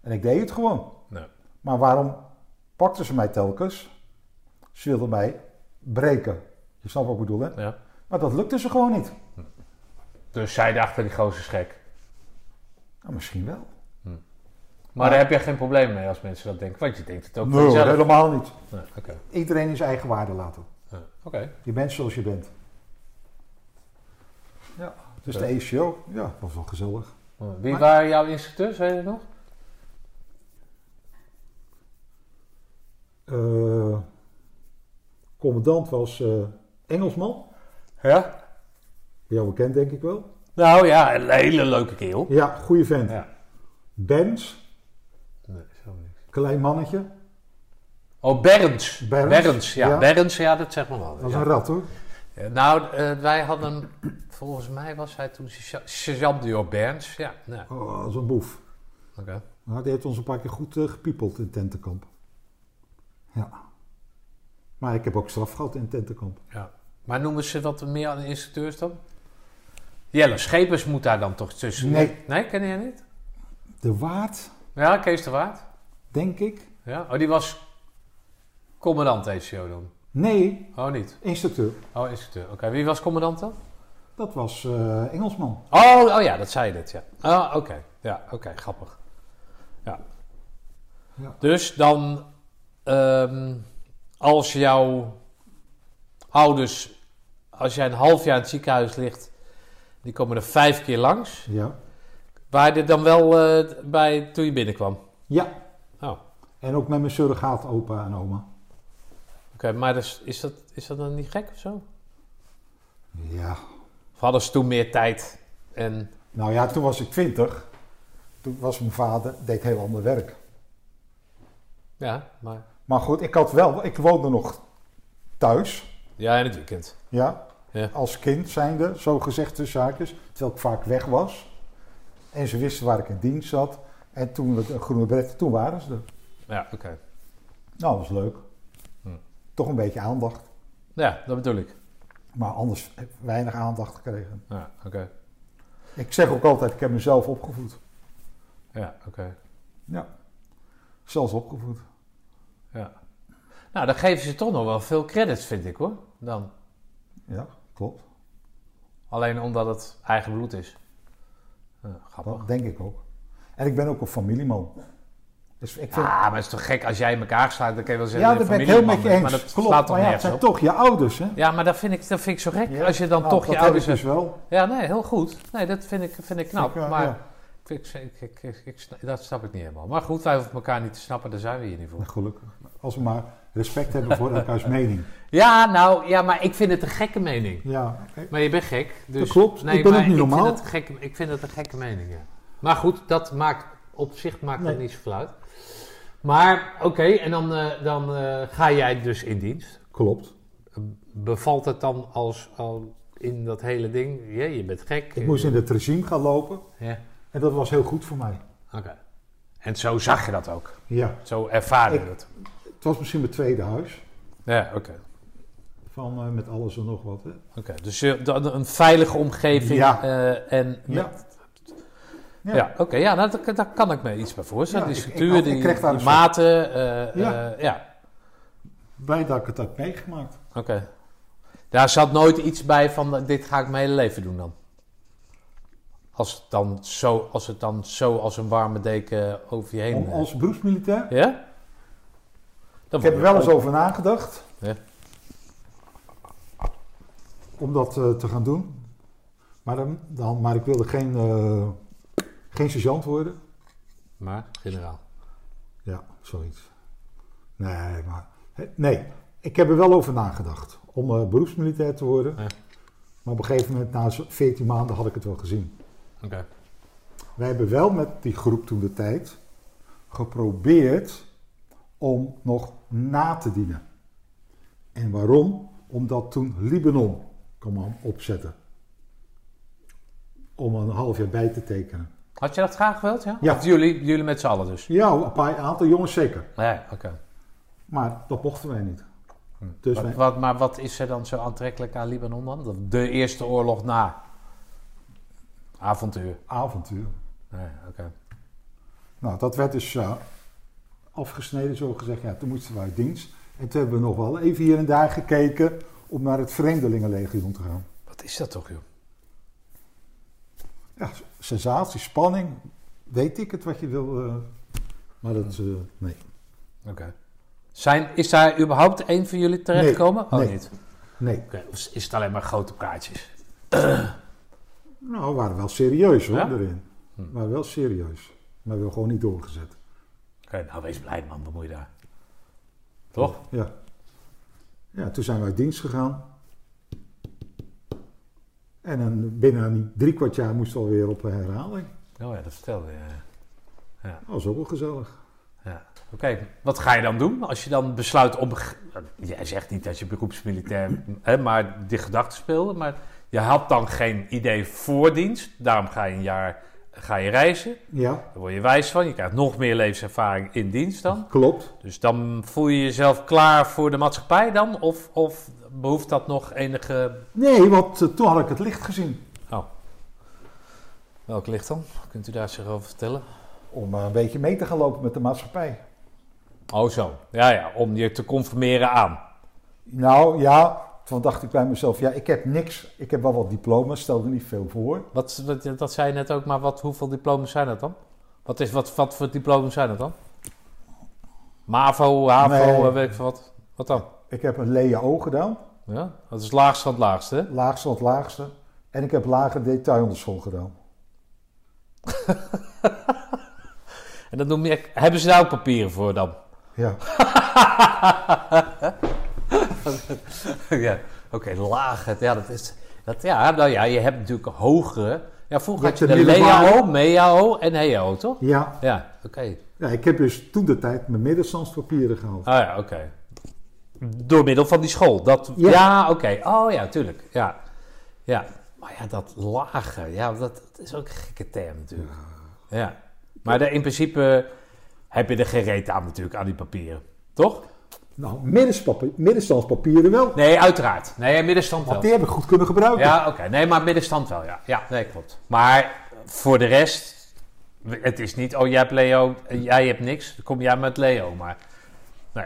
Speaker 2: En ik deed het gewoon.
Speaker 3: Nee.
Speaker 2: Maar waarom pakten ze mij telkens? Ze wilden mij breken. Je snapt wat ik bedoel, hè?
Speaker 3: Ja.
Speaker 2: Maar dat lukte ze gewoon niet.
Speaker 3: Dus zij dachten, die gozer is gek.
Speaker 2: Nou, misschien wel.
Speaker 3: Maar daar heb je geen probleem mee als mensen dat denken. Want je denkt het ook
Speaker 2: Nee,
Speaker 3: voor jezelf.
Speaker 2: helemaal niet.
Speaker 3: Nee, Oké.
Speaker 2: Iedereen is eigen waarde laten.
Speaker 3: Ja, Oké.
Speaker 2: Je bent zoals je bent. Ja. Dus de ACO, ja, dat was wel gezellig.
Speaker 3: Wie
Speaker 2: Maar-
Speaker 3: waren jouw instructeurs, weet je dat nog?
Speaker 2: Eh, commandant was eh, Engelsman.
Speaker 3: Ja?
Speaker 2: Jou bekend, denk ik wel.
Speaker 3: Nou ja, een hele leuke keel.
Speaker 2: Ja, goede vent.
Speaker 3: Ja.
Speaker 2: Benz,
Speaker 3: Nee, zo niks.
Speaker 2: klein mannetje.
Speaker 3: Oh, Berends.
Speaker 2: Berends,
Speaker 3: ja.
Speaker 2: ja.
Speaker 3: Berends, ja, dat zeg maar wel.
Speaker 2: Dat is
Speaker 3: Ja.
Speaker 2: een rat hoor.
Speaker 3: Ja, Nou, eh, wij hadden, volgens mij was hij toen sergeant- sergeant Dior Berns. Ja, nou,
Speaker 2: Oh, dat is een boef.
Speaker 3: oké.
Speaker 2: Nou, die heeft ons een paar keer goed eh, gepiepeld in tentenkamp. Ja. Maar ik heb ook straf gehad in tentenkamp.
Speaker 3: Ja. Maar noemen ze dat meer aan de instructeurs dan? Jelle Schepers moet daar dan toch tussen?
Speaker 2: Nee.
Speaker 3: Nee, ken jij niet?
Speaker 2: De waard,
Speaker 3: Ja, Kees de Waard.
Speaker 2: denk ik.
Speaker 3: Ja. Oh, die was commandant TCO dan?
Speaker 2: Nee,
Speaker 3: Oh, niet.
Speaker 2: instructeur.
Speaker 3: Oh, instructeur. Oké, wie was commandant dan?
Speaker 2: Dat was eh, Engelsman.
Speaker 3: Oh, oh ja, dat zei je dit, ja. Ah, oké. Ja, oké, grappig. Ja.
Speaker 2: Ja.
Speaker 3: Dus dan, ehm, als jouw ouders, als jij een half jaar in het ziekenhuis ligt, die komen er vijf keer langs.
Speaker 2: Ja.
Speaker 3: Waar dit dan wel eh, bij toen je binnenkwam?
Speaker 2: Ja.
Speaker 3: Oh, oké.
Speaker 2: En ook met mijn surrogaat opa en oma.
Speaker 3: Maar dus, is, dat, is dat dan niet gek of zo?
Speaker 2: Ja.
Speaker 3: Of hadden ze toen meer tijd? En,
Speaker 2: Nou ja, toen was ik twintig. Toen was mijn vader, deed heel ander werk.
Speaker 3: ja, maar...
Speaker 2: Maar goed, ik had wel, ik woonde nog thuis.
Speaker 3: Ja, in het weekend.
Speaker 2: Ja.
Speaker 3: Ja.
Speaker 2: Als kind zijnde, zo gezegd de zaakjes. Terwijl ik vaak weg was. En ze wisten waar ik in dienst zat. En toen het een groene bret, toen waren ze er.
Speaker 3: Ja, oké.
Speaker 2: Nou, dat was leuk.
Speaker 3: Hm.
Speaker 2: Toch een beetje aandacht.
Speaker 3: Ja, dat bedoel ik.
Speaker 2: Maar anders heb ik weinig aandacht gekregen.
Speaker 3: Ja, oké.
Speaker 2: Ik zeg ook altijd, ik heb mezelf opgevoed.
Speaker 3: Ja, oké.
Speaker 2: Ja. Zelfs opgevoed.
Speaker 3: Ja. Nou, dan geven ze toch nog wel veel credits, vind ik hoor. Dan.
Speaker 2: Ja, klopt.
Speaker 3: Alleen omdat het eigen bloed is. Ja, grappig.
Speaker 2: Dat denk ik ook. En ik ben ook een familieman. Dus ik vind,
Speaker 3: Ja, maar het is toch gek als jij in elkaar slaat, dan kan je wel zeggen... je
Speaker 2: ja, daar ben ik
Speaker 3: familieman
Speaker 2: heel met je
Speaker 3: bent,
Speaker 2: eens.
Speaker 3: Maar dat
Speaker 2: Klopt,
Speaker 3: slaat toch
Speaker 2: maar ja,
Speaker 3: nergens
Speaker 2: het zijn
Speaker 3: op?
Speaker 2: toch je ouders, hè?
Speaker 3: Ja, maar dat vind ik, dat vind ik zo gek.
Speaker 2: Ja.
Speaker 3: Als je dan
Speaker 2: Nou,
Speaker 3: toch
Speaker 2: dat
Speaker 3: je
Speaker 2: heb
Speaker 3: ouders...
Speaker 2: ik dus wel.
Speaker 3: Ja, nee, heel goed. Nee, dat vind ik, vind ik knap.
Speaker 2: Ik, eh,
Speaker 3: maar
Speaker 2: ja.
Speaker 3: ik, ik, ik, ik- ik sna- dat snap ik niet helemaal. Maar goed, wij hoeven elkaar niet te snappen, daar zijn we hier niet voor.
Speaker 2: Nou, Gelukkig. Als we maar respect hebben voor elkaars mening.
Speaker 3: Ja, nou, ja, maar ik vind het een gekke mening.
Speaker 2: Ja, oké.
Speaker 3: Maar je bent gek. Dus,
Speaker 2: Dat klopt. Ik ben
Speaker 3: maar
Speaker 2: ook niet normaal.
Speaker 3: Vind het een gekke, ik vind het een gekke mening, ja. Maar goed, dat maakt, op zich maakt
Speaker 2: Nee.
Speaker 3: dat niet zoveel uit. Maar, oké, en dan, eh, dan eh, ga jij dus in dienst.
Speaker 2: klopt.
Speaker 3: Bevalt het dan als, al in dat hele ding? Ja, je bent gek.
Speaker 2: Ik moest in het regime gaan lopen
Speaker 3: Ja,
Speaker 2: en dat was heel goed voor mij.
Speaker 3: oké. En zo zag je dat ook.
Speaker 2: Ja,
Speaker 3: Zo ervaarde je
Speaker 2: Ik-
Speaker 3: dat.
Speaker 2: het was misschien mijn tweede huis,
Speaker 3: Ja, oké.
Speaker 2: van, eh, met alles en nog wat. Hè.
Speaker 3: Oké, Dus je- dat- een veilige omgeving.
Speaker 2: Ja.
Speaker 3: eh, en
Speaker 2: Ja.
Speaker 3: Ja,
Speaker 2: Ja.
Speaker 3: oké, ja, nou, daar, daar kan ik me iets bij voorstellen.
Speaker 2: Ja,
Speaker 3: die
Speaker 2: ik- ik
Speaker 3: structuur,
Speaker 2: had- ik
Speaker 3: die,
Speaker 2: kreeg daar
Speaker 3: die
Speaker 2: een soort-
Speaker 3: maten, eh,
Speaker 2: Ja.
Speaker 3: eh, ja,
Speaker 2: Blij dat ik het heb meegemaakt.
Speaker 3: oké. Daar zat nooit iets bij van, eh, dit ga ik mijn hele leven doen dan. Als het dan zo als, het dan zo als een warme deken over je heen...
Speaker 2: Om,
Speaker 3: eh,
Speaker 2: als beroepsmilitair.
Speaker 3: Ja? Dan word
Speaker 2: Ik heb er
Speaker 3: je
Speaker 2: wel eens
Speaker 3: ook-
Speaker 2: over nagedacht.
Speaker 3: Ja.
Speaker 2: Om dat eh, te gaan doen. Maar, dan, dan, maar ik wilde geen, eh, geen sergeant worden.
Speaker 3: Maar, generaal.
Speaker 2: Ja, zoiets. Nee, maar. hè, Nee, ik heb er wel over nagedacht. Om eh, beroepsmilitair te worden.
Speaker 3: Ja.
Speaker 2: Maar op een gegeven moment, na zo- 14 maanden, had ik het wel gezien.
Speaker 3: Oké.
Speaker 2: Wij hebben wel met die groep toen de tijd geprobeerd om nog na te dienen. En waarom? Omdat toen Libanon kwam opzetten. Om een half jaar bij te tekenen.
Speaker 3: Had je dat graag gewild, ja?
Speaker 2: Ja.
Speaker 3: Of jullie, jullie met z'n allen dus?
Speaker 2: Ja, een paar aantal jongens zeker.
Speaker 3: Ja, oké.
Speaker 2: Maar dat mochten wij niet. Dus
Speaker 3: Wat-
Speaker 2: wij,
Speaker 3: wat- maar wat is er dan zo aantrekkelijk aan Libanon dan? Dat- De eerste oorlog na. Avontuur.
Speaker 2: avontuur.
Speaker 3: Ja, oké.
Speaker 2: Nou, dat werd dus eh, afgesneden, zo gezegd. Ja, toen moesten we uit dienst. En toen hebben we nog wel even hier en daar gekeken om naar het Vreemdelingenlegioen te gaan.
Speaker 3: Wat is dat toch, joh?
Speaker 2: Ja, sensatie, spanning. Weet ik het wat je wil. eh, maar dat is. eh, nee.
Speaker 3: Oké. Zijn, is daar überhaupt één van jullie terechtgekomen?
Speaker 2: Nee,
Speaker 3: oh,
Speaker 2: nee.
Speaker 3: niet.
Speaker 2: Nee.
Speaker 3: Oké, Of is het alleen maar grote praatjes?
Speaker 2: Nou, we waren wel serieus hoor,
Speaker 3: Ja?
Speaker 2: daarin.
Speaker 3: Hm.
Speaker 2: We waren wel serieus. Maar we hebben gewoon niet doorgezet.
Speaker 3: Oké, nou wees blij, man. Bemoei je daar. Toch?
Speaker 2: Ja. Ja, toen zijn we uit dienst gegaan. En dan binnen een drie kwart jaar moesten we alweer op herhaling.
Speaker 3: Oh ja, dat vertelde je.
Speaker 2: Dat was ook wel gezellig.
Speaker 3: Ja. Oké, wat ga je dan doen als je dan besluit om... Jij zegt niet dat je beroepsmilitair, hè, maar die gedachte speelde. Maar je had dan geen idee voor dienst. Daarom ga je een jaar ga je reizen.
Speaker 2: Ja,
Speaker 3: Daar word je wijs van. Je krijgt nog meer levenservaring in dienst dan.
Speaker 2: klopt.
Speaker 3: Dus dan voel je jezelf klaar voor de maatschappij dan? Of, of behoeft dat nog enige...
Speaker 2: Nee, want eh, toen had ik het licht gezien.
Speaker 3: Welk licht dan? Kunt u daar zich over vertellen?
Speaker 2: Om eh, een beetje mee te gaan lopen met de maatschappij.
Speaker 3: Oh zo. Ja, ja. Om je te conformeren aan.
Speaker 2: Nou ja, toen dacht ik bij mezelf, ja, ik heb niks. Ik heb wel wat diploma's, stel er niet veel voor.
Speaker 3: Wat, wat- dat zei je net ook, maar wat, hoeveel diplomas zijn dat dan? Wat, is, wat, wat voor diplomas zijn dat dan? MAVO, HAVO,
Speaker 2: Nee.
Speaker 3: eh, weet ik veel wat. Wat dan?
Speaker 2: Ik heb een LEAO gedaan,
Speaker 3: Ja? Dat is het laagste van het laagste, hè?
Speaker 2: laagste van het laagste. En ik heb lager detailhandelschool gedaan.
Speaker 3: En dat noem je... Hebben ze daar ook papieren voor dan?
Speaker 2: Ja,
Speaker 3: ja, oké, lage. Ja, dat is. Dat, ja, nou ja, je hebt natuurlijk een hogere. Ja, vroeger
Speaker 2: Je
Speaker 3: had je
Speaker 2: hebt
Speaker 3: de
Speaker 2: de middelbare.
Speaker 3: LEAO, MEAO en HEAO, toch?
Speaker 2: ja.
Speaker 3: Ja, oké.
Speaker 2: ja ik heb dus toen de tijd mijn middenstandspapieren gehaald.
Speaker 3: Ah ja, oké. Door middel van die school. Dat, ja,
Speaker 2: Ja.
Speaker 3: oké. Oh ja, tuurlijk. Ja. ja. Maar ja, dat lager, ja, dat, dat is ook een gekke term natuurlijk. Ja. Maar daar- in principe heb je er geen reet aan natuurlijk, aan die papieren. Toch?
Speaker 2: Nou, middenspapie- middenstandspapieren wel.
Speaker 3: Nee, uiteraard. Nee, middenstand wel.
Speaker 2: Want die heb ik goed kunnen gebruiken.
Speaker 3: Ja, oké. Nee, maar middenstand wel, ja. Ja, nee, klopt. Maar voor de rest, het is niet, oh, jij hebt Leo, eh, jij hebt niks, dan kom jij met Leo, maar... Nee.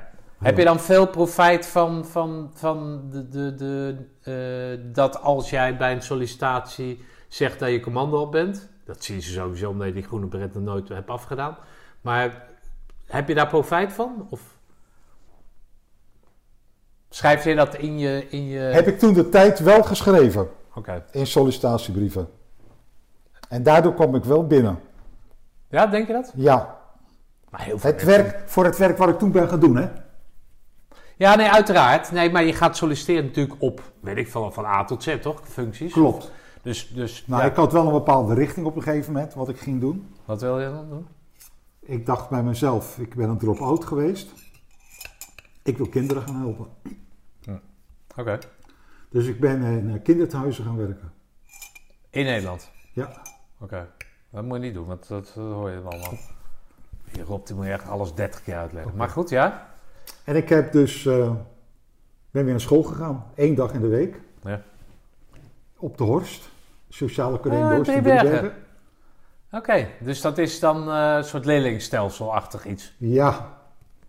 Speaker 3: Heb je dan veel profijt van, van, van de, de, de, eh, dat als jij bij een sollicitatie zegt dat je commando op bent? Dat zien ze sowieso omdat je die groene beret nog nooit hebt afgedaan. Maar Heb je daar profijt van? Of schrijf je dat in je... In je...
Speaker 2: Heb ik toen de tijd wel geschreven
Speaker 3: Oké.
Speaker 2: in sollicitatiebrieven. En daardoor kwam ik wel binnen.
Speaker 3: Ja, denk je dat?
Speaker 2: Ja,
Speaker 3: Maar heel veel
Speaker 2: het werk, voor het werk wat ik toen ben gaan doen, hè?
Speaker 3: Ja, nee, uiteraard. Nee, maar je gaat solliciteren natuurlijk op, weet ik van, van A tot Z, toch? Functies.
Speaker 2: Klopt.
Speaker 3: Dus, dus
Speaker 2: Nou,
Speaker 3: ja.
Speaker 2: ik had wel een bepaalde richting op een gegeven moment wat ik ging doen.
Speaker 3: wat wil je dan doen?
Speaker 2: Ik dacht bij mezelf, ik ben een drop-out geweest. Ik wil kinderen gaan helpen.
Speaker 3: Oké.
Speaker 2: Dus ik ben in eh, kinderthuizen gaan werken.
Speaker 3: In Nederland.
Speaker 2: Ja,
Speaker 3: Oké. Dat moet je niet doen, want dat, dat hoor je dan allemaal. Je Rob, die moet je echt alles 30 keer uitleggen. Maar goed, ja.
Speaker 2: En ik heb dus, eh, ben weer naar school gegaan, één dag in de week.
Speaker 3: Ja.
Speaker 2: Op de Horst, sociale
Speaker 3: Ah,
Speaker 2: Correen Dorst in
Speaker 3: Driebergen.
Speaker 2: Driebergen.
Speaker 3: Oké, dus dat is dan eh, een soort leerlingstelselachtig iets.
Speaker 2: Ja,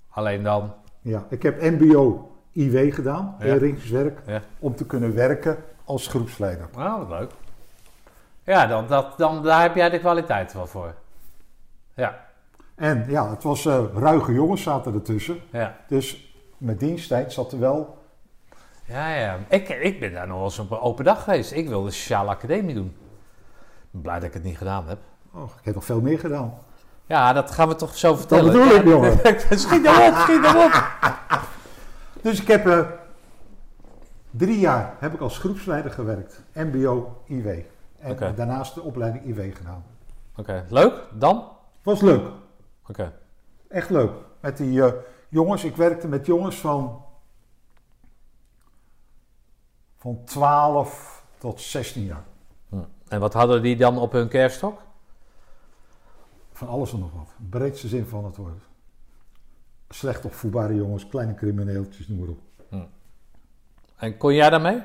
Speaker 3: Alleen dan.
Speaker 2: ja, ik heb MBO IW gedaan,
Speaker 3: Ja.
Speaker 2: heringswerk,
Speaker 3: Ja.
Speaker 2: om te kunnen werken als groepsleider.
Speaker 3: Nou, wat leuk. Ja, dan, dat, dan, daar heb jij de kwaliteit wel voor. Ja,
Speaker 2: En ja, het was eh, ruige jongens zaten ertussen.
Speaker 3: ja.
Speaker 2: Dus met diensttijd zat er wel.
Speaker 3: Ja, ja. Ik, ik ben daar nog wel eens op een open dag geweest. Ik wilde sociale academie doen. Ik ben blij dat ik het niet gedaan heb.
Speaker 2: Oh, ik heb nog veel meer gedaan.
Speaker 3: Ja, dat gaan we toch zo vertellen.
Speaker 2: bedoel ik, jongen.
Speaker 3: schiet erop, schiet erop.
Speaker 2: Dus ik heb eh, drie jaar heb ik als groepsleider gewerkt, MBO IW. En
Speaker 3: Oké.
Speaker 2: daarnaast de opleiding IW gedaan.
Speaker 3: Oké, leuk. Dan? Oké.
Speaker 2: Was leuk. Echt leuk. Met die eh, jongens, ik werkte met jongens van, van 12 tot 16 jaar.
Speaker 3: En wat hadden die dan op hun kerststok?
Speaker 2: Van alles en nog wat. In de breedste zin van het woord. Slecht opvoedbare jongens, kleine crimineeltjes, noem maar op.
Speaker 3: En kon jij daarmee?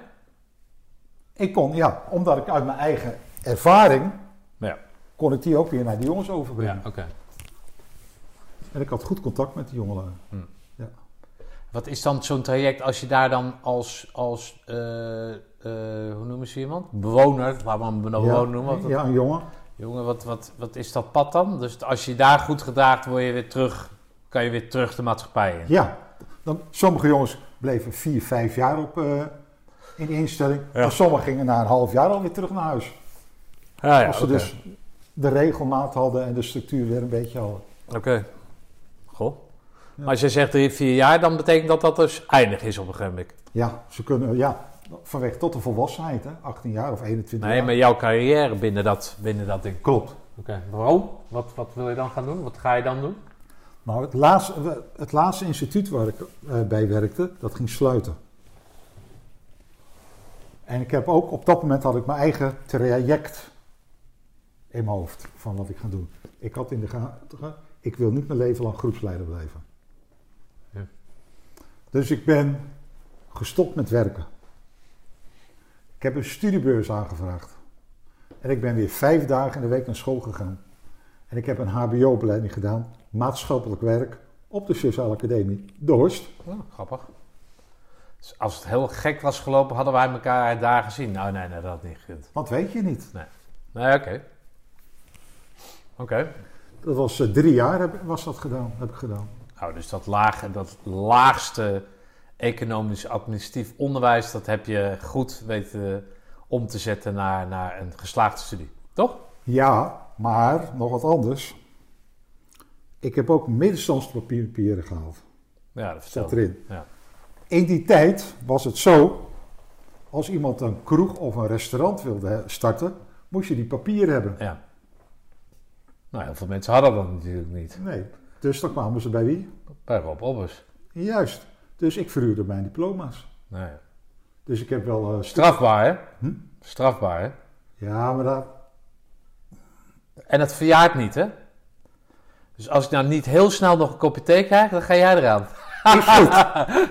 Speaker 2: Ik kon, ja, omdat ik uit mijn eigen ervaring,
Speaker 3: Ja.
Speaker 2: kon ik die ook weer naar die jongens overbrengen.
Speaker 3: Ja, oké.
Speaker 2: En ik had goed contact met die jongeren.
Speaker 3: Wat is dan zo'n traject als je daar dan als, als eh, eh, hoe noemen ze iemand? Bewoner, laten we hem bewoner noemen. Wat,
Speaker 2: ja, een jongen.
Speaker 3: Jongen, wat, wat, wat is dat pad dan? Dus als je daar goed gedraagt, word je weer terug, kan je weer terug de maatschappij in.
Speaker 2: Ja, dan, sommige jongens bleven vier, vijf jaar op eh, in de instelling.
Speaker 3: Ja.
Speaker 2: Maar sommigen gingen na een half jaar alweer terug naar huis.
Speaker 3: Ja, ja,
Speaker 2: als ze
Speaker 3: oké.
Speaker 2: dus de regelmaat hadden en de structuur weer een beetje hadden.
Speaker 3: Oké. Goh. Maar als je zegt drie, vier jaar, dan betekent dat dat dus eindig is op een gegeven moment.
Speaker 2: Ja, ze kunnen, ja, vanwege tot de volwassenheid, hè, 18 jaar of 21
Speaker 3: Nee,
Speaker 2: jaar.
Speaker 3: maar jouw carrière binnen dat, binnen dat ding.
Speaker 2: Klopt.
Speaker 3: Oké. Waarom? Wat, wat wil je dan gaan doen? Wat ga je dan doen?
Speaker 2: Nou, het laatste, het laatste instituut waar ik eh, bij werkte, dat ging sluiten. En ik heb ook, op dat moment had ik mijn eigen traject in mijn hoofd van wat ik ga doen. Ik had in de gaten, ik wil niet mijn leven lang groepsleider blijven.
Speaker 3: Ja.
Speaker 2: Dus ik ben gestopt met werken. Ik heb een studiebeurs aangevraagd. En ik ben weer vijf dagen in de week naar school gegaan. En ik heb een HBO-opleiding gedaan, maatschappelijk werk, op de Sociale Academie, de Horst.
Speaker 3: Nou, grappig. Dus als het heel gek was gelopen, hadden wij elkaar daar gezien. Nou, nee, nee, dat had niet gekund.
Speaker 2: Want weet je niet.
Speaker 3: Nee, oké. Oké.
Speaker 2: Dat was eh, drie jaar heb, was dat gedaan, heb ik gedaan.
Speaker 3: Nou, dus dat, lage, dat laagste economisch-administratief onderwijs, dat heb je goed weten om te zetten naar, naar een geslaagde studie. Toch?
Speaker 2: Ja, maar nog wat anders. Ik heb ook middenstandspapieren gehaald.
Speaker 3: Ja, dat vertel
Speaker 2: Zat erin.
Speaker 3: Ja.
Speaker 2: In die tijd was het zo, als iemand een kroeg of een restaurant wilde hè, starten, moest je die papieren hebben.
Speaker 3: Ja. Nou, heel veel mensen hadden dat natuurlijk niet.
Speaker 2: Nee, dus dan kwamen ze bij wie?
Speaker 3: Bij Rob Obbers.
Speaker 2: Juist. Dus ik verhuurde mijn diploma's.
Speaker 3: Nee.
Speaker 2: Dus ik heb wel eh, stu-
Speaker 3: Nou Strafbaar, hè?
Speaker 2: Hm?
Speaker 3: Strafbaar, hè?
Speaker 2: Ja, maar daar,
Speaker 3: En dat verjaart niet, hè? Dus als ik nou niet heel snel nog een kopje thee krijg, dan ga jij eraan.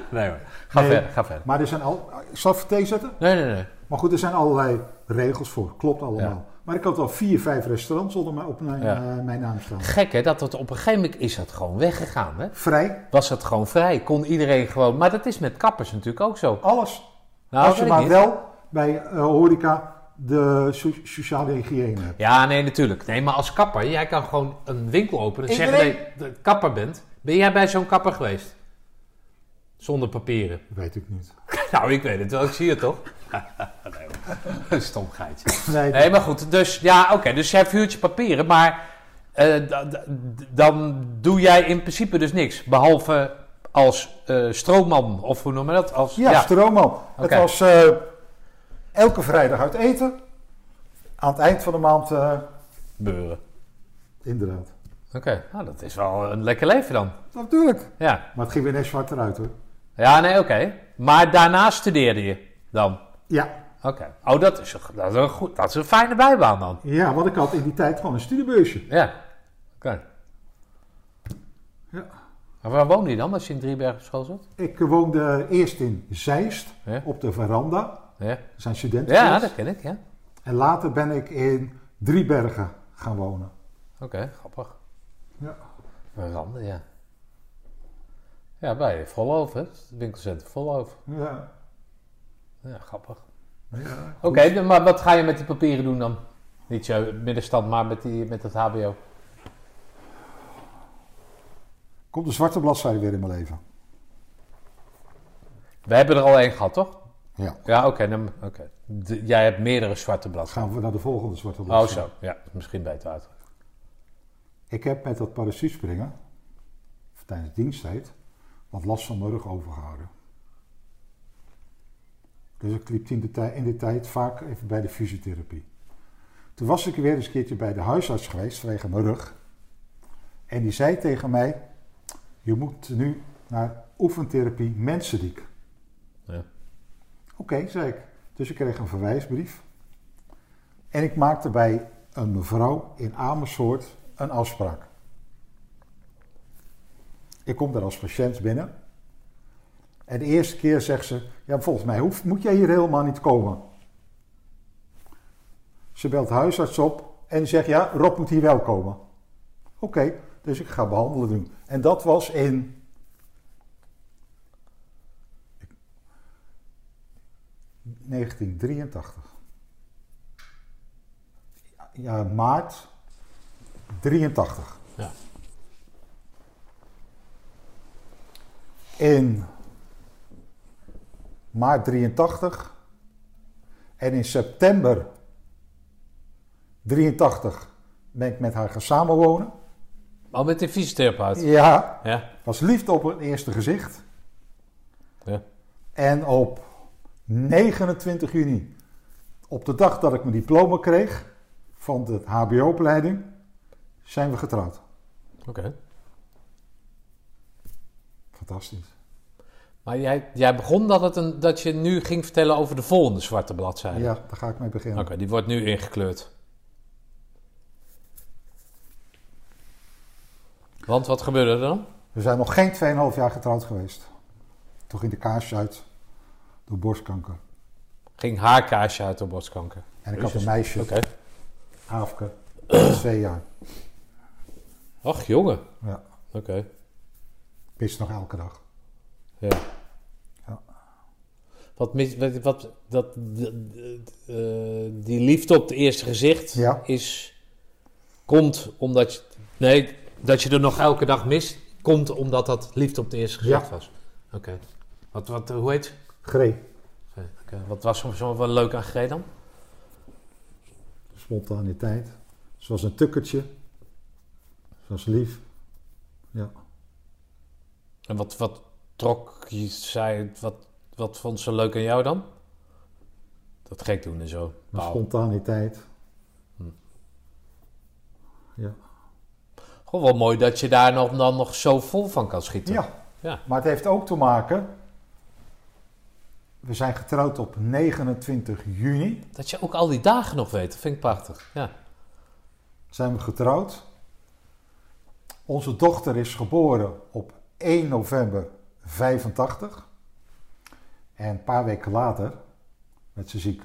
Speaker 3: nee hoor. Ga
Speaker 2: Nee.
Speaker 3: verder, ga verder.
Speaker 2: Maar er zijn al. Ik zal het voor thee zetten.
Speaker 3: Nee, nee, nee.
Speaker 2: Maar goed, er zijn allerlei regels voor. Klopt allemaal. Maar ik had al vier, vijf restaurants onder mij, op mijn,
Speaker 3: Ja.
Speaker 2: eh, mijn naam staan.
Speaker 3: Gek, hè? Dat het op een gegeven moment is dat gewoon weggegaan, hè?
Speaker 2: Vrij.
Speaker 3: was het gewoon vrij. Kon iedereen gewoon. Maar dat is met kappers natuurlijk ook zo.
Speaker 2: Alles.
Speaker 3: Nou,
Speaker 2: als je
Speaker 3: weet ik
Speaker 2: maar
Speaker 3: niet.
Speaker 2: wel bij eh, horeca de so- sociale hygiëne hebt.
Speaker 3: Ja, nee, natuurlijk. Nee, maar als kapper, jij kan gewoon een winkel openen. en Zeggen
Speaker 2: Iedereen-
Speaker 3: dat je de kapper bent. Ben jij bij zo'n kapper geweest? Zonder papieren.
Speaker 2: Weet ik niet.
Speaker 3: Nou, ik weet het wel, ik zie het toch? nee, stom geitje.
Speaker 2: Nee,
Speaker 3: Nee, maar goed, dus ja, oké, dus jij vuurt je papieren, maar eh, da- da- dan doe jij in principe dus niks. Behalve als eh, stroomman, of hoe noem je dat? Als,
Speaker 2: Ja, stroomman. Het
Speaker 3: Oké.
Speaker 2: was eh, elke vrijdag uit eten. Aan het eind van de maand, eh,
Speaker 3: beuren.
Speaker 2: inderdaad.
Speaker 3: Oké, nou dat is wel een lekker leven dan.
Speaker 2: Natuurlijk.
Speaker 3: Ja,
Speaker 2: Maar het ging weer net zwart eruit hoor.
Speaker 3: ja nee, oké. Maar daarna studeerde je dan?
Speaker 2: Ja.
Speaker 3: Oké. Oh, dat is, een, dat, is een goed, dat is een fijne bijbaan dan.
Speaker 2: ja, want ik had in die tijd gewoon een studiebeursje.
Speaker 3: Ja, oké.
Speaker 2: Ja.
Speaker 3: Maar waar woonde je dan als je in Driebergen op school zat?
Speaker 2: Ik woonde eerst in Zeist,
Speaker 3: Ja.
Speaker 2: op de veranda.
Speaker 3: Ja,
Speaker 2: Er zijn studenten.
Speaker 3: ja dat ken ik, ja.
Speaker 2: En later ben ik in Driebergen gaan wonen.
Speaker 3: Oké, grappig.
Speaker 2: Ja.
Speaker 3: Veranda, ja. Ja, bij Volhoven, hè? het winkelcentrum Volhoven.
Speaker 2: Ja.
Speaker 3: Ja, grappig.
Speaker 2: Ja.
Speaker 3: Oké, dan- maar wat ga je met die papieren doen dan? Niet zo middenstand, maar met, die, met dat hbo.
Speaker 2: Komt de zwarte bladzijde weer in mijn leven.
Speaker 3: We hebben er al één gehad, toch?
Speaker 2: Ja.
Speaker 3: Ja, oké. dan- oké. De- jij hebt meerdere zwarte bladzijden.
Speaker 2: Gaan we naar de volgende zwarte
Speaker 3: Oh,
Speaker 2: bladzijde.
Speaker 3: zo. Ja, misschien beter uit.
Speaker 2: Ik heb met dat parachutespringen, of tijdens diensttijd, wat last van mijn rug overgehouden. Dus ik liep in de, tij- in de tijd vaak even bij de fysiotherapie. Toen was ik weer eens een keertje bij de huisarts geweest vanwege mijn rug. En die zei tegen mij, je moet nu naar oefentherapie Mensendiek.
Speaker 3: Ja.
Speaker 2: Oké, zei ik. Dus ik kreeg een verwijsbrief. En ik maakte bij een mevrouw in Amersfoort een afspraak. Ik kom daar als patiënt binnen. En de eerste keer zegt ze: Ja, volgens mij hoef, moet jij hier helemaal niet komen. Ze belt de huisarts op en zegt: Ja, Rob moet hier wel komen. Oké, dus ik ga behandelen doen. En dat was in ik- 1983. Ja, maart 83.
Speaker 3: Ja.
Speaker 2: In maart 83 en in september 83 ben ik met haar gaan samenwonen.
Speaker 3: Al met de fysiotherapeut.
Speaker 2: Ja,
Speaker 3: Ja.
Speaker 2: was liefde op het eerste gezicht.
Speaker 3: Ja.
Speaker 2: En op 29 juni, op de dag dat ik mijn diploma kreeg van de HBO-opleiding, zijn we getrouwd.
Speaker 3: Oké.
Speaker 2: Fantastisch.
Speaker 3: Maar jij, jij begon dat, het een, dat je nu ging vertellen over de volgende zwarte bladzijde.
Speaker 2: Ja, daar ga ik mee beginnen.
Speaker 3: Oké, die wordt nu ingekleurd. Want wat gebeurde er dan?
Speaker 2: We zijn nog geen 2,5 jaar getrouwd geweest. Toen ging de kaarsjes uit door borstkanker.
Speaker 3: Ging haar kaarsje uit door borstkanker.
Speaker 2: En ik had een meisje,
Speaker 3: Oké.
Speaker 2: Aafke, van twee jaar.
Speaker 3: Ach, jongen.
Speaker 2: Ja,
Speaker 3: Oké.
Speaker 2: pist nog elke dag.
Speaker 3: Ja.
Speaker 2: Ja.
Speaker 3: Wat, mis- wat, wat dat, d- d- eh, die liefde op het eerste gezicht
Speaker 2: Ja.
Speaker 3: is, komt omdat je, nee, dat je er nog elke dag mist, komt omdat dat liefde op het eerste gezicht
Speaker 2: Ja.
Speaker 3: was. Oké. Wat, wat, eh, hoe heet? ze?
Speaker 2: Gree,
Speaker 3: Oké, oké. Wat was er zo wel leuk aan Gree dan?
Speaker 2: spontaniteit. Ze was een tukkertje. Ze was lief. Ja.
Speaker 3: En wat, wat trok je, zei, wat, wat vond ze leuk aan jou dan? Dat gek doen en zo.
Speaker 2: Maar
Speaker 3: Wauw.
Speaker 2: spontaniteit. Ja.
Speaker 3: Gewoon wel mooi dat je daar nog, dan nog zo vol van kan schieten.
Speaker 2: ja,
Speaker 3: Ja.
Speaker 2: maar het heeft ook te maken. We zijn getrouwd op 29 juni.
Speaker 3: Dat je ook al die dagen nog weet, dat vind ik prachtig. Ja.
Speaker 2: Zijn we getrouwd. Onze dochter is geboren op 1 november 85. En een paar weken later werd ze ziek.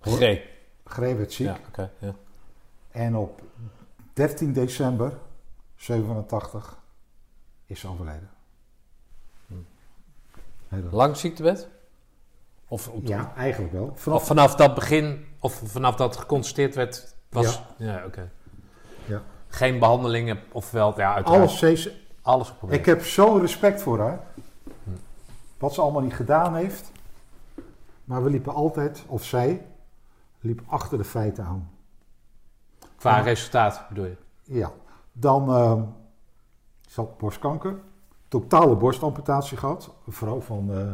Speaker 2: Hoor.
Speaker 3: Gree.
Speaker 2: Gree werd ziek.
Speaker 3: Ja, oké. ja.
Speaker 2: En op 13 december 87 is ze overleden. Helaas.
Speaker 3: Lang ziektebed? Of op-
Speaker 2: Ja, eigenlijk wel.
Speaker 3: of vanaf dat begin, of vanaf dat geconstateerd werd, was... Ja, oké.
Speaker 2: Ja.
Speaker 3: Geen behandelingen of wel, ja, uiteraard.
Speaker 2: Alles steeds.
Speaker 3: Alles geprobeerd.
Speaker 2: Ik heb zo'n respect voor haar. Wat ze allemaal niet gedaan heeft. Maar we liepen altijd, of zij, liep achter de feiten aan.
Speaker 3: Qua resultaat bedoel je?
Speaker 2: Ja, dan ehm ze had borstkanker. Totale borstamputatie gehad. Een vrouw van, eh,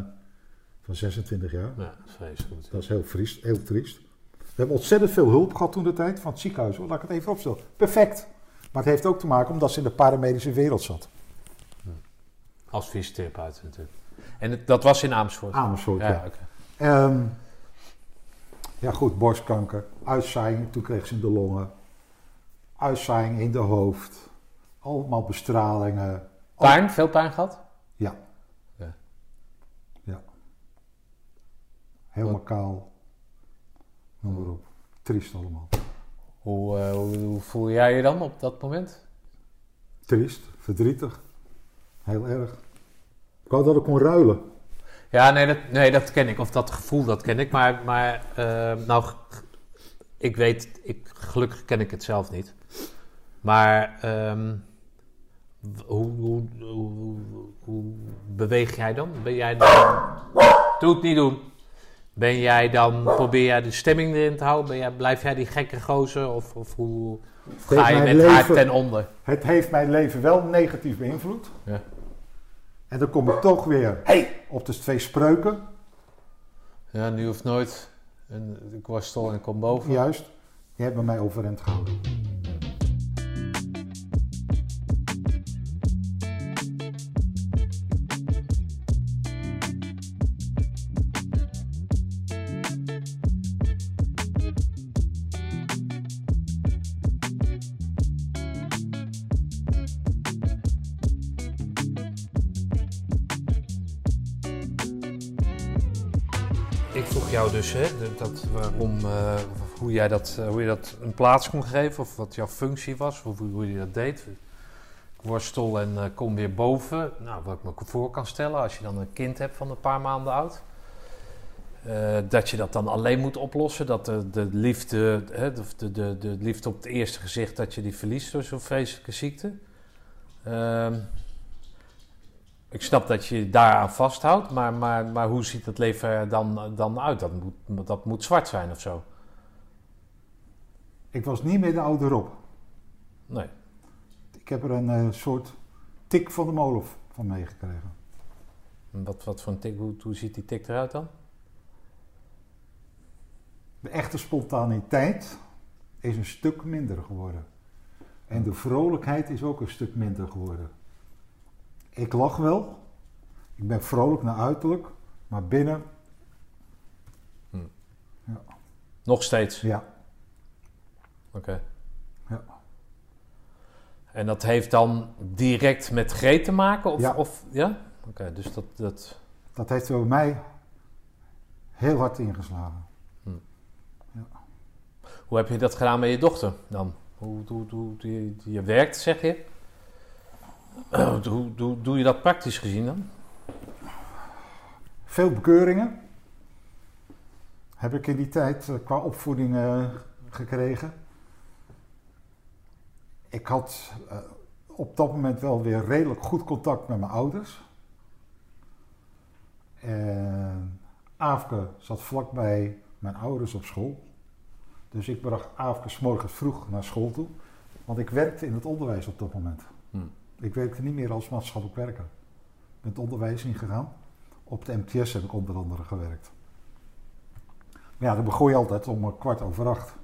Speaker 2: van 26 jaar.
Speaker 3: Ja, vreselijk.
Speaker 2: Dat is heel, triest, heel triest. We hebben ontzettend veel hulp gehad toen de tijd van het ziekenhuis. Hoor. Laat ik het even opstellen. Perfect. Maar het heeft ook te maken omdat ze in de paramedische wereld zat.
Speaker 3: Als fysiotherapeut natuurlijk. En het- dat was in Amersfoort?
Speaker 2: Amersfoort, Ah, ja.
Speaker 3: ja. oké.
Speaker 2: Ehm, ja goed, borstkanker, uitzaaiing, toen kreeg ze in de longen. Uitzaaiing in de hoofd. Allemaal bestralingen.
Speaker 3: Pijn? Veel pijn gehad?
Speaker 2: Ja.
Speaker 3: Ja.
Speaker 2: Ja. Helemaal kaal. Noem maar op. Triest allemaal.
Speaker 3: Hoe, eh, hoe, hoe voel jij je dan op dat moment?
Speaker 2: Triest, verdrietig. Heel erg. Ik wou dat ik kon ruilen.
Speaker 3: Ja, nee dat, nee, dat ken ik. Of dat gevoel, dat ken ik. Maar, maar eh, nou, g- g- ik weet, ik, gelukkig ken ik het zelf niet. Maar ehm, w- hoe, hoe, hoe, hoe- hoe beweeg jij dan? Ben jij dan... Doe het niet doen. Ben jij dan, probeer jij de stemming erin te houden? Ben jij, blijf jij die gekke gozer? Of, of hoe of ga
Speaker 2: Tegen
Speaker 3: je met
Speaker 2: mijn
Speaker 3: haar
Speaker 2: leven.
Speaker 3: ten onder?
Speaker 2: Het heeft mijn leven wel negatief beïnvloed.
Speaker 3: Ja.
Speaker 2: En dan kom ik toch weer op de twee spreuken.
Speaker 3: Ja, nu of nooit. En ik worstel en kom boven.
Speaker 2: Juist, je hebt me mij overeind gehouden.
Speaker 3: Ik vroeg jou dus hè, dat- dat, waarom, eh, of hoe, jij dat, eh, hoe je dat een plaats kon geven, of wat jouw functie was, of hoe, hoe je dat deed. Ik worstel en eh, kom weer boven. Nou, wat ik me voor kan stellen, als je dan een kind hebt van een paar maanden oud, eh, dat je dat dan alleen moet oplossen. Dat de, de, liefde, hè, de, de, de, de liefde op het eerste gezicht, dat je die verliest door zo'n vreselijke ziekte. Ehm, ik snap dat je je daaraan vasthoudt, maar, maar, maar hoe ziet het leven er dan, dan uit? Dat moet, dat moet zwart zijn of zo.
Speaker 2: Ik was niet meer de oude Rob.
Speaker 3: Nee.
Speaker 2: Ik heb er een eh, soort tik van de molen van meegekregen.
Speaker 3: Wat, wat voor een tik, hoe, hoe ziet die tik eruit dan?
Speaker 2: De echte spontaniteit is een stuk minder geworden. En de vrolijkheid is ook een stuk minder geworden. Ik lach wel. Ik ben vrolijk naar uiterlijk. Maar binnen,
Speaker 3: Nog steeds.
Speaker 2: ja,
Speaker 3: Oké.
Speaker 2: Ja.
Speaker 3: En dat heeft dan direct met G te maken? Of,
Speaker 2: Ja.
Speaker 3: Of, ja? Oké, dus dat, dat...
Speaker 2: dat heeft er bij mij heel hard ingeslagen.
Speaker 3: Hoe heb je dat gedaan met je dochter dan? Hoe, hoe, hoe, je, je werkt, zeg je? Hoe, hoe, hoe doe je dat praktisch gezien dan?
Speaker 2: Veel bekeuringen heb ik in die tijd eh, qua opvoeding eh, gekregen. Ik had eh, op dat moment wel weer redelijk goed contact met mijn ouders. En Aafke zat vlakbij mijn ouders op school. Dus ik bracht Aafke 's morgens vroeg naar school toe. Want ik werkte in het onderwijs op dat moment.
Speaker 3: Hmm.
Speaker 2: Ik werkte niet meer als maatschappelijk werker. Ik ben het onderwijs ingegaan. Op de MTS heb ik onder andere gewerkt. Maar ja, dan begon je altijd om eh, kwart over acht.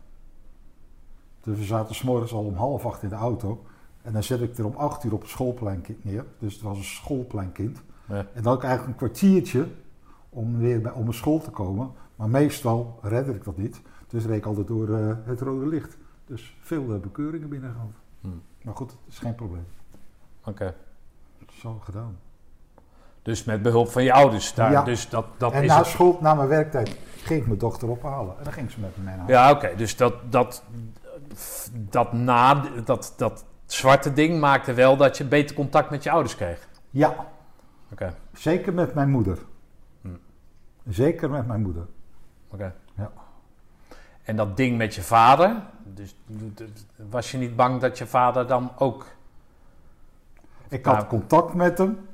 Speaker 2: Dus we zaten s'morgens al om half acht in de auto. En dan zet ik er om acht uur op het schoolplein ki- neer. Dus het was een schoolpleinkind.
Speaker 3: Ja.
Speaker 2: En dan had ik eigenlijk een kwartiertje om weer bij, om mijn school te komen. Maar meestal redde ik dat niet. Dus reed ik altijd door eh, het rode licht. Dus veel eh, bekeuringen binnen gehad.
Speaker 3: Hmm.
Speaker 2: Maar goed, het is geen probleem.
Speaker 3: Oké.
Speaker 2: Zo gedaan.
Speaker 3: Dus met behulp van je ouders daar.
Speaker 2: Ja.
Speaker 3: Dus dat, dat
Speaker 2: en nou,
Speaker 3: is
Speaker 2: na
Speaker 3: het.
Speaker 2: school, na mijn werktijd, ging ik mijn dochter ophalen. En dan ging ze met me mee naar huis.
Speaker 3: Ja, oké. Dus dat, dat, dat, na, dat, dat zwarte ding maakte wel dat je beter contact met je ouders kreeg.
Speaker 2: ja.
Speaker 3: Oké,
Speaker 2: Zeker met mijn moeder.
Speaker 3: Hm.
Speaker 2: Zeker met mijn moeder.
Speaker 3: oké.
Speaker 2: Ja.
Speaker 3: En dat ding met je vader. Dus d- d- was je niet bang dat je vader dan ook.
Speaker 2: Ik had
Speaker 3: Nou.
Speaker 2: contact met hem,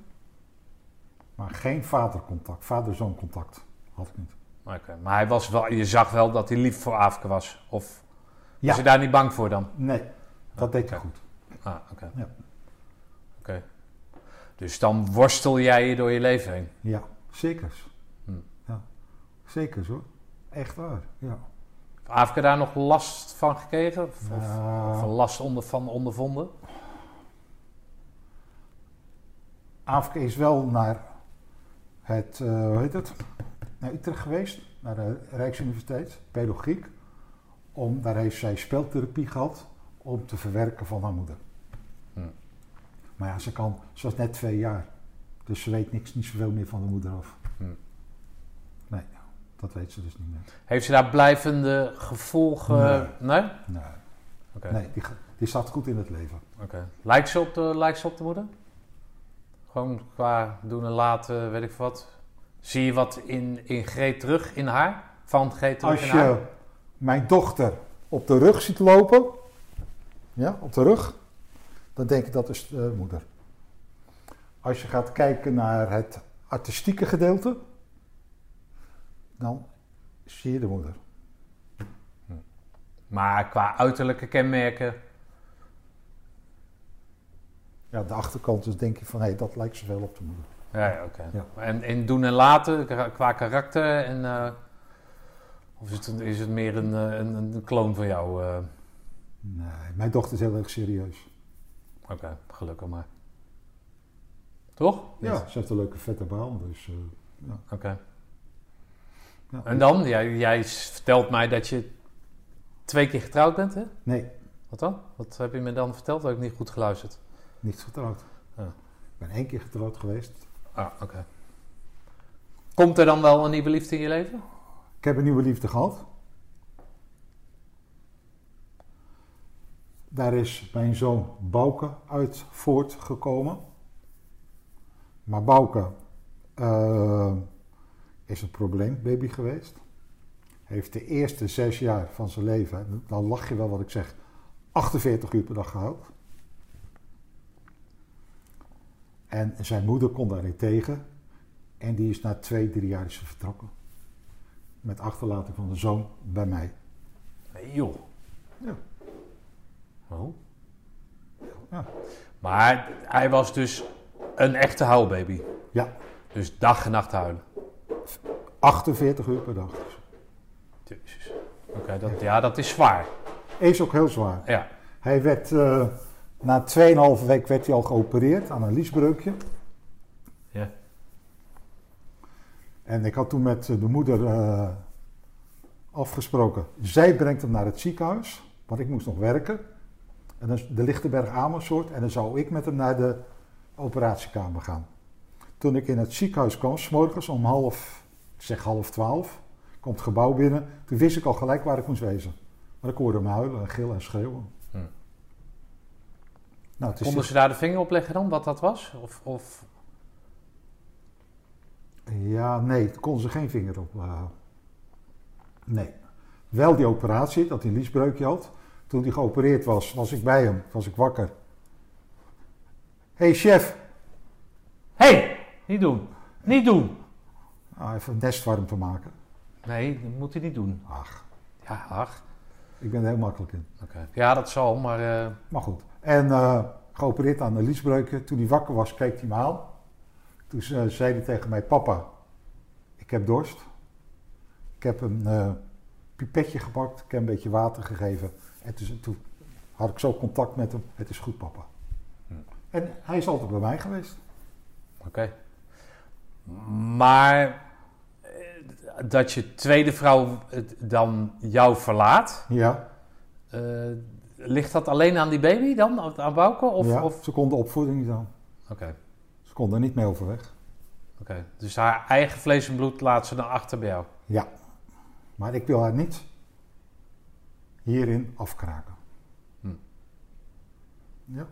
Speaker 2: maar geen vadercontact, vader-zoon contact had ik niet.
Speaker 3: Oké, Maar hij was wel, je zag wel dat hij lief voor Afke was. Of
Speaker 2: Ja.
Speaker 3: was je daar niet bang voor dan?
Speaker 2: Nee, dat deed ik goed.
Speaker 3: Ah, oké.
Speaker 2: Ja.
Speaker 3: Oké. Dus dan worstel jij je door je leven heen.
Speaker 2: Ja, zeker.
Speaker 3: Hm.
Speaker 2: Ja, zeker hoor. Echt waar, ja.
Speaker 3: Heeft Afke daar nog last van gekregen? Of, of-
Speaker 2: Nou,
Speaker 3: of last onder, van ondervonden?
Speaker 2: Afrika is wel naar het, eh, hoe heet het, naar Utrecht geweest, naar de Rijksuniversiteit, pedagogiek. Om, daar heeft zij speltherapie gehad om te verwerken van haar moeder.
Speaker 3: Hm.
Speaker 2: Maar ja, ze kan, ze was net twee jaar, dus ze weet niks, niet zoveel meer van de moeder af.
Speaker 3: Hm.
Speaker 2: Nee, dat weet ze dus niet meer.
Speaker 3: Heeft ze daar blijvende gevolgen? Nee. Oké.
Speaker 2: Nee,
Speaker 3: Oké.
Speaker 2: nee die, ge- die staat goed in het leven.
Speaker 3: Lijkt, ze op de, lijkt ze op de moeder? Gewoon qua doen en laten, weet ik veel wat. Zie je wat in, in Greet terug in haar? Van Greet terug
Speaker 2: Als
Speaker 3: in haar?
Speaker 2: je mijn dochter op de rug ziet lopen, ja, op de rug, dan denk ik dat is eh, moeder. Als je gaat kijken naar het artistieke gedeelte, dan zie je de moeder.
Speaker 3: Maar qua uiterlijke kenmerken...
Speaker 2: Ja, de achterkant dus denk je van, hé, dat lijkt zoveel op de moeder.
Speaker 3: Ja, ja, oké.
Speaker 2: Ja.
Speaker 3: En in doen en laten, ka- qua karakter en... eh, of is het, is het meer een, eh, een, een kloon van jou? eh?
Speaker 2: Nee, mijn dochter is heel erg serieus.
Speaker 3: Oké, gelukkig maar. Toch?
Speaker 2: Ja. Ze heeft een leuke vette baan, dus... eh,
Speaker 3: Oké.
Speaker 2: ja.
Speaker 3: En dan? Jij, jij s- vertelt mij dat je twee keer getrouwd bent, hè?
Speaker 2: Nee,
Speaker 3: Wat dan? Wat heb je me dan verteld? Heb ik niet goed geluisterd?
Speaker 2: niet getrouwd.
Speaker 3: Ja.
Speaker 2: Ik ben één keer getrouwd geweest.
Speaker 3: Ah, oké. Komt er dan wel een nieuwe liefde in je leven?
Speaker 2: Ik heb een nieuwe liefde gehad. Daar is mijn zoon Bouke uit voortgekomen. Maar Bouke eh, is een probleembaby geweest. Heeft de eerste zes jaar van zijn leven, en dan lach je wel wat ik zeg, 48 uur per dag gehuild. En zijn moeder kon daarin tegen. En die is na twee, drie jaar is ze vertrokken met achterlating van de zoon bij mij.
Speaker 3: Nee, joh.
Speaker 2: Ja.
Speaker 3: Oh.
Speaker 2: Ja.
Speaker 3: Maar hij was dus een echte huilbaby.
Speaker 2: Ja,
Speaker 3: Dus dag en nacht huilen.
Speaker 2: 48 uur per dag.
Speaker 3: Jezus. Oké, dat, ja, dat is zwaar.
Speaker 2: Is ook heel zwaar.
Speaker 3: Ja.
Speaker 2: Hij werd eh, na 2,5 week werd hij al geopereerd aan een liesbreukje.
Speaker 3: Ja.
Speaker 2: En ik had toen met de moeder eh, afgesproken. Zij brengt hem naar het ziekenhuis, want ik moest nog werken. En dan is de Lichtenberg Amersfoort. En dan zou ik met hem naar de operatiekamer gaan. Toen ik in het ziekenhuis kwam, s'morgens om half, ik zeg half twaalf, komt het gebouw binnen. Toen wist ik al gelijk waar ik moest wezen. Maar ik hoorde hem huilen en gillen en schreeuwen.
Speaker 3: Hm.
Speaker 2: Nou, het is
Speaker 3: Konden ze daar de vinger op leggen dan, wat dat was? Of, of...
Speaker 2: Ja, nee, daar kon ze geen vinger op. eh, nee. Wel die operatie, dat hij een liesbreukje had. Toen hij geopereerd was, was ik bij hem, was ik wakker. Hé hey chef,
Speaker 3: Hé, hey, niet doen. Niet doen.
Speaker 2: nou, even een nest warm te maken.
Speaker 3: Nee, dat moet hij niet doen.
Speaker 2: Ach,
Speaker 3: Ja, ach.
Speaker 2: ik ben er heel makkelijk in.
Speaker 3: Oké. Ja, dat zal, maar... eh,
Speaker 2: Maar goed. En eh, geopereerd aan een liesbreukje. Toen hij wakker was, keek hij me aan. Toen eh, zei hij tegen mij, papa, ik heb dorst. Ik heb een eh, pipetje gepakt, ik heb een beetje water gegeven. En toen, toen had ik zo contact met hem, het is goed papa.
Speaker 3: Hm.
Speaker 2: En hij is altijd bij mij geweest.
Speaker 3: Oké. Maar eh, dat je tweede vrouw het dan jou verlaat,
Speaker 2: Ja,
Speaker 3: eh, ligt dat alleen aan die baby dan, aan- aan Bouke? Of,
Speaker 2: ja.
Speaker 3: of...
Speaker 2: ze kon de opvoeding niet aan.
Speaker 3: Oké,
Speaker 2: Ze kon er niet mee overweg.
Speaker 3: oké. dus haar eigen vlees en bloed laat ze dan achter bij jou.
Speaker 2: Ja, maar ik wil haar niet hierin afkraken.
Speaker 3: Hm.
Speaker 2: Ja.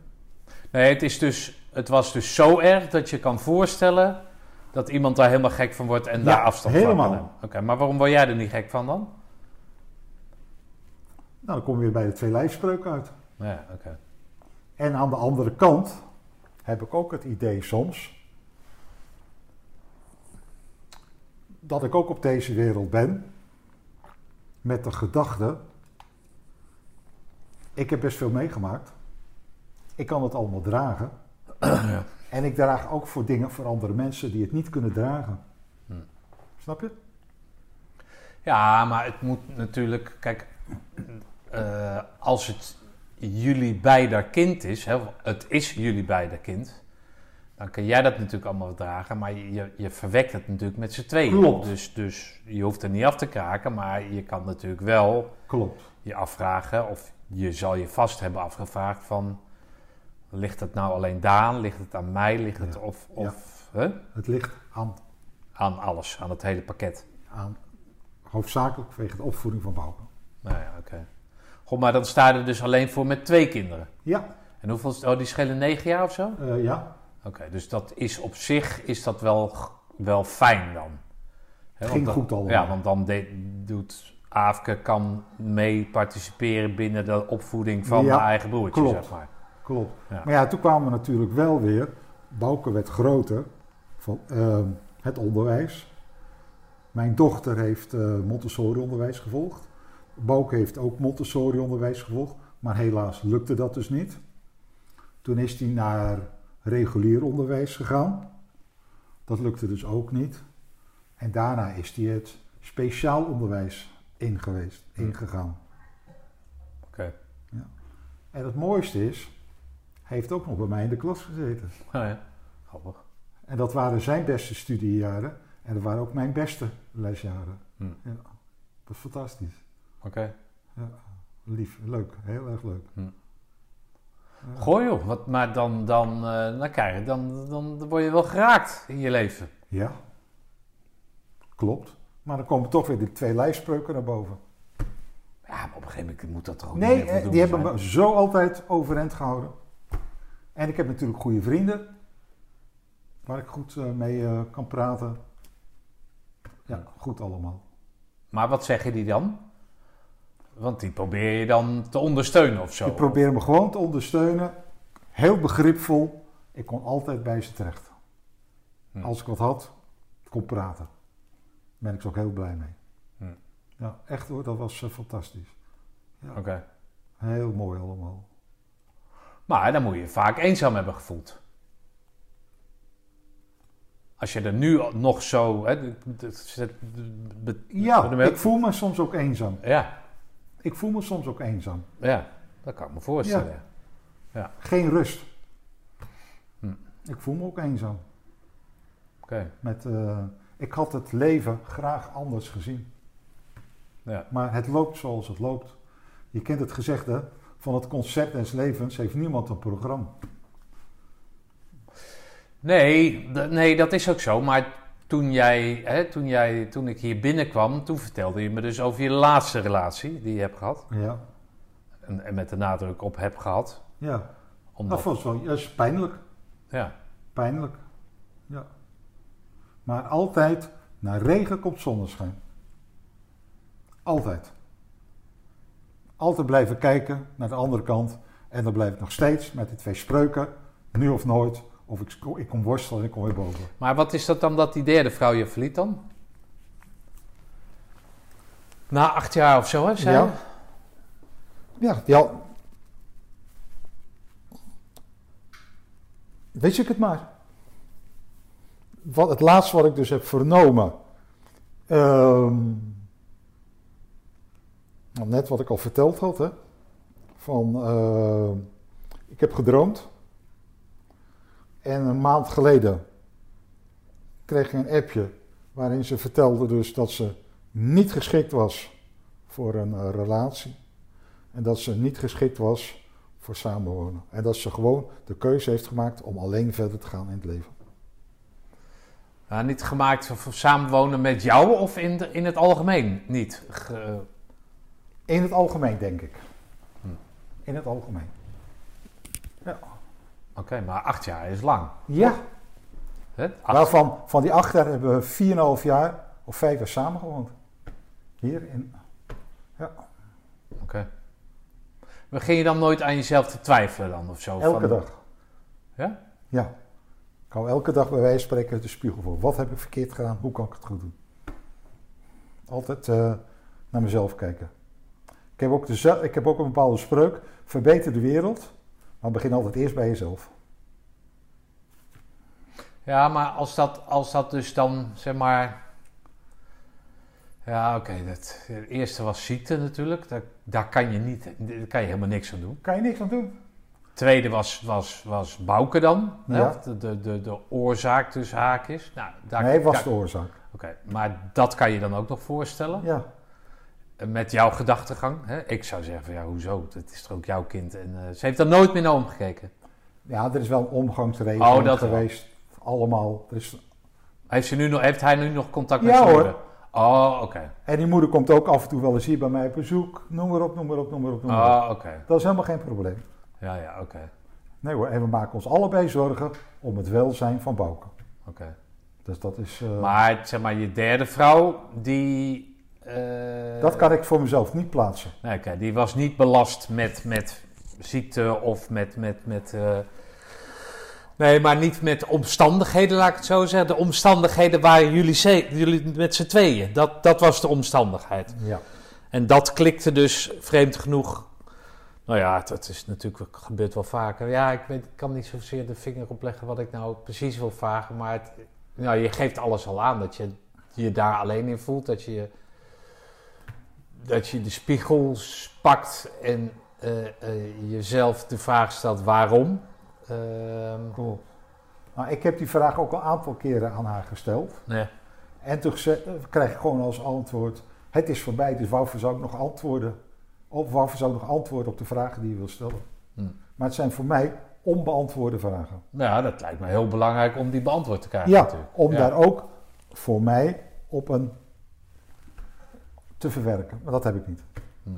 Speaker 3: Nee, het, is dus, het was dus zo erg dat je kan voorstellen dat iemand daar helemaal gek van wordt en
Speaker 2: Ja,
Speaker 3: daar afstand van
Speaker 2: helemaal.
Speaker 3: kan nemen. Oké, maar waarom word jij er niet gek van dan?
Speaker 2: Nou, dan kom je weer bij de twee lijfspreuk uit.
Speaker 3: Ja, oké.
Speaker 2: En aan de andere kant heb ik ook het idee soms dat ik ook op deze wereld ben met de gedachte: ik heb best veel meegemaakt, ik kan het allemaal dragen.
Speaker 3: Ja.
Speaker 2: En ik draag ook voor dingen voor andere mensen die het niet kunnen dragen.
Speaker 3: Hmm.
Speaker 2: Snap je?
Speaker 3: Ja, maar het moet natuurlijk. Kijk, eh, als het jullie beider kind is, hè, het is jullie beider kind, dan kun jij dat natuurlijk allemaal dragen, maar je, je verwekt het natuurlijk met z'n tweeën.
Speaker 2: Klopt.
Speaker 3: Dus, dus je hoeft er niet af te kraken, maar je kan natuurlijk wel
Speaker 2: Klopt.
Speaker 3: je afvragen, of je zal je vast hebben afgevraagd van. Ligt het nou alleen daar? Ligt het aan mij? Ligt het
Speaker 2: Ja.
Speaker 3: of, of hè?
Speaker 2: Het ligt aan,
Speaker 3: aan alles, aan het hele pakket?
Speaker 2: aan hoofdzakelijk vanwege de opvoeding van Bouke.
Speaker 3: Nou ja, oké. Goh, maar dan sta je er dus alleen voor met twee kinderen.
Speaker 2: Ja,
Speaker 3: En hoeveel is Oh, die schelen negen jaar of zo? Oké,
Speaker 2: eh, ja.
Speaker 3: dus dat is op zich is dat wel, wel fijn dan. Hè,
Speaker 2: Het
Speaker 3: want
Speaker 2: ging
Speaker 3: dan-
Speaker 2: goed allemaal.
Speaker 3: Ja, want dan de- doet Aafke kan mee participeren binnen de opvoeding van
Speaker 2: Ja,
Speaker 3: haar eigen broertje,
Speaker 2: klopt.
Speaker 3: zeg maar.
Speaker 2: klopt.
Speaker 3: Ja.
Speaker 2: Maar ja, toen kwamen we natuurlijk wel weer, Bouke werd groter van ehm, het onderwijs. Mijn dochter heeft eh, Montessori-onderwijs gevolgd. Bouke heeft ook Montessori-onderwijs gevolgd, maar helaas lukte dat dus niet. Toen is hij naar regulier onderwijs gegaan. Dat lukte dus ook niet. En daarna is hij het speciaal onderwijs ingeweest, ingegaan.
Speaker 3: Hmm. Oké.
Speaker 2: En het mooiste is, hij heeft ook nog bij mij in de klas gezeten.
Speaker 3: Nou ja, grappig.
Speaker 2: En dat waren zijn beste studiejaren. En dat waren ook mijn beste lesjaren.
Speaker 3: Hmm.
Speaker 2: Ja, dat is fantastisch.
Speaker 3: Oké.
Speaker 2: Lief, leuk, heel erg leuk.
Speaker 3: Goh joh, wat, maar dan, dan, eh, nou kijk, dan, dan, dan word je wel geraakt in je leven.
Speaker 2: Ja, klopt. Maar dan komen toch weer die twee lijfspreuken naar boven.
Speaker 3: Ja, maar op een gegeven moment moet dat toch ook
Speaker 2: nee,
Speaker 3: niet meer
Speaker 2: eh,
Speaker 3: voldoende
Speaker 2: Oh, die hebben
Speaker 3: zijn?
Speaker 2: me zo altijd overeind gehouden. En ik heb natuurlijk goede vrienden. Waar ik goed eh, mee eh, kan praten. Ja, goed allemaal.
Speaker 3: Maar wat zeggen die dan? Want die probeer je dan te ondersteunen of zo.
Speaker 2: Ik probeer me gewoon te ondersteunen. Heel begripvol. Ik kon altijd bij ze terecht.
Speaker 3: Hmm.
Speaker 2: Als ik wat had, kon praten. Daar ben ik ze ook heel blij mee.
Speaker 3: Hmm.
Speaker 2: Ja, echt hoor, dat was eh, fantastisch.
Speaker 3: Oké.
Speaker 2: Heel mooi allemaal.
Speaker 3: Maar dan moet je je vaak eenzaam hebben gevoeld. Als je er nu al- nog zo. Hè, d- d- zet- d- be-
Speaker 2: Ja,
Speaker 3: Wat-
Speaker 2: ik voel me soms ook eenzaam.
Speaker 3: ja,
Speaker 2: Ik voel me soms ook eenzaam.
Speaker 3: ja, dat kan ik me voorstellen. ja.
Speaker 2: Geen rust.
Speaker 3: Hmm.
Speaker 2: Ik voel me ook eenzaam.
Speaker 3: Oké.
Speaker 2: Met, eh, ik had het leven graag anders gezien.
Speaker 3: Ja.
Speaker 2: Maar het loopt zoals het loopt. Je kent het gezegde: van het concept des levens heeft niemand een programma.
Speaker 3: Nee, d- nee, dat is ook zo. Maar toen, jij, hè, toen, jij, toen ik hier binnenkwam, toen vertelde je me dus over je laatste relatie die je hebt gehad.
Speaker 2: Ja,
Speaker 3: En, en met de nadruk op heb gehad.
Speaker 2: ja.
Speaker 3: Omdat,
Speaker 2: dat was wel dat is pijnlijk.
Speaker 3: ja.
Speaker 2: Pijnlijk. Ja. Maar altijd, na regen komt zonneschijn. Altijd. Altijd blijven kijken naar de andere kant. En dan blijf ik nog steeds met die twee spreuken, nu of nooit. Of ik, sco- ik kom worstelen en ik kom weer boven.
Speaker 3: Maar wat is dat dan dat die derde vrouw je verliet dan? Na acht jaar of zo, hè, zei
Speaker 2: Ja.
Speaker 3: je?
Speaker 2: Ja, ja. Weet ik het maar. Wat, het laatste wat ik dus heb vernomen. ehm, nou, net wat ik al verteld had. Hè, van, ehm, ik heb gedroomd. En een maand geleden kreeg ik een appje waarin ze vertelde dus dat ze niet geschikt was voor een eh, relatie. En dat ze niet geschikt was voor samenwonen. En dat ze gewoon de keuze heeft gemaakt om alleen verder te gaan in het leven.
Speaker 3: Nou, niet gemaakt voor voor samenwonen met jou of in, de- in het algemeen niet? Ge- eh,
Speaker 2: In het algemeen, denk ik.
Speaker 3: Hm.
Speaker 2: In het algemeen.
Speaker 3: Oké, maar acht jaar is lang.
Speaker 2: Ja,
Speaker 3: Hè? Acht-
Speaker 2: waarvan van die acht jaar hebben we 4,5 jaar of vijf jaar samengewoond. Hier in.
Speaker 3: Oké. Maar ging je dan nooit aan jezelf te twijfelen dan of zo?
Speaker 2: Elke
Speaker 3: Van-
Speaker 2: dag.
Speaker 3: Ja?
Speaker 2: Ja. Ik hou elke dag bij wijze van spreken uit de spiegel voor. Wat heb ik verkeerd gedaan? Hoe kan ik het goed doen? Altijd eh, naar mezelf kijken. Ik heb, ook de, ik heb ook een bepaalde spreuk. Verbeter de wereld, maar begin altijd eerst bij jezelf.
Speaker 3: Ja, maar als dat, als dat dus dan, zeg maar... Ja, oké. dat het eerste was ziekte natuurlijk. Daar, daar kan je niet, daar kan je helemaal niks aan doen.
Speaker 2: Kan je niks aan doen.
Speaker 3: Tweede was, was, was Bouke dan. hè?
Speaker 2: Ja.
Speaker 3: Of De, de, de, de oorzaak tussen haakjes. Nou, daar,
Speaker 2: nee, was
Speaker 3: daar-
Speaker 2: de oorzaak.
Speaker 3: Oké, maar dat kan je dan ook nog voorstellen.
Speaker 2: Ja,
Speaker 3: En Met jouw gedachtegang. Hè? Ik zou zeggen van ja, hoezo? Dat is toch ook jouw kind. En eh, ze heeft daar nooit meer naar omgekeken.
Speaker 2: ja er is wel een omgangsreden
Speaker 3: Oh, dat wel.
Speaker 2: geweest. Allemaal. Er is-
Speaker 3: Heeft, ze nu nog, heeft hij nu nog contact met
Speaker 2: Ja,
Speaker 3: zijn
Speaker 2: hoor.
Speaker 3: moeder? Oh, oké.
Speaker 2: En die moeder komt ook af en toe wel eens hier bij mij op bezoek. Noem maar op, noem maar op, noem maar op. Noem maar op.
Speaker 3: Oh, oké.
Speaker 2: Dat is helemaal geen probleem.
Speaker 3: Ja, ja, oké.
Speaker 2: Nee hoor, en we maken ons allebei zorgen om het welzijn van Bouke.
Speaker 3: oké.
Speaker 2: Dus dat is. eh,
Speaker 3: Maar zeg maar, je derde vrouw, die... eh,
Speaker 2: dat kan ik voor mezelf niet plaatsen.
Speaker 3: Nee, oké, Nou, die was niet belast met, met ziekte of met... met, met eh, Nee, maar niet met omstandigheden, laat ik het zo zeggen. De omstandigheden waren jullie, ze- jullie met z'n tweeën. Dat, dat was de omstandigheid.
Speaker 2: Ja.
Speaker 3: En dat klikte dus vreemd genoeg. Nou ja, dat is natuurlijk gebeurt wel vaker. Ja, ik, weet, ik kan niet zozeer de vinger op leggen wat ik nou precies wil vragen. Maar het, nou, je geeft alles al aan. Dat je je daar alleen in voelt. Dat je, dat je de spiegels pakt en eh, eh, jezelf de vraag stelt waarom. Ehm,
Speaker 2: Cool. Nou, ik heb die vraag ook een aantal keren aan haar gesteld.
Speaker 3: nee.
Speaker 2: En toen ze- eh, krijg ik gewoon als antwoord: Het is voorbij, dus waarvoor zou ik nog antwoorden? Of waarvoor zou ik nog antwoorden op de vragen die je wil stellen?
Speaker 3: Hm.
Speaker 2: Maar het zijn voor mij onbeantwoorde vragen.
Speaker 3: Nou ja, dat lijkt me heel belangrijk om die beantwoord te krijgen
Speaker 2: Ja,
Speaker 3: natuurlijk.
Speaker 2: om
Speaker 3: Ja.
Speaker 2: daar ook voor mij op een te verwerken. Maar dat heb ik niet.
Speaker 3: Hm.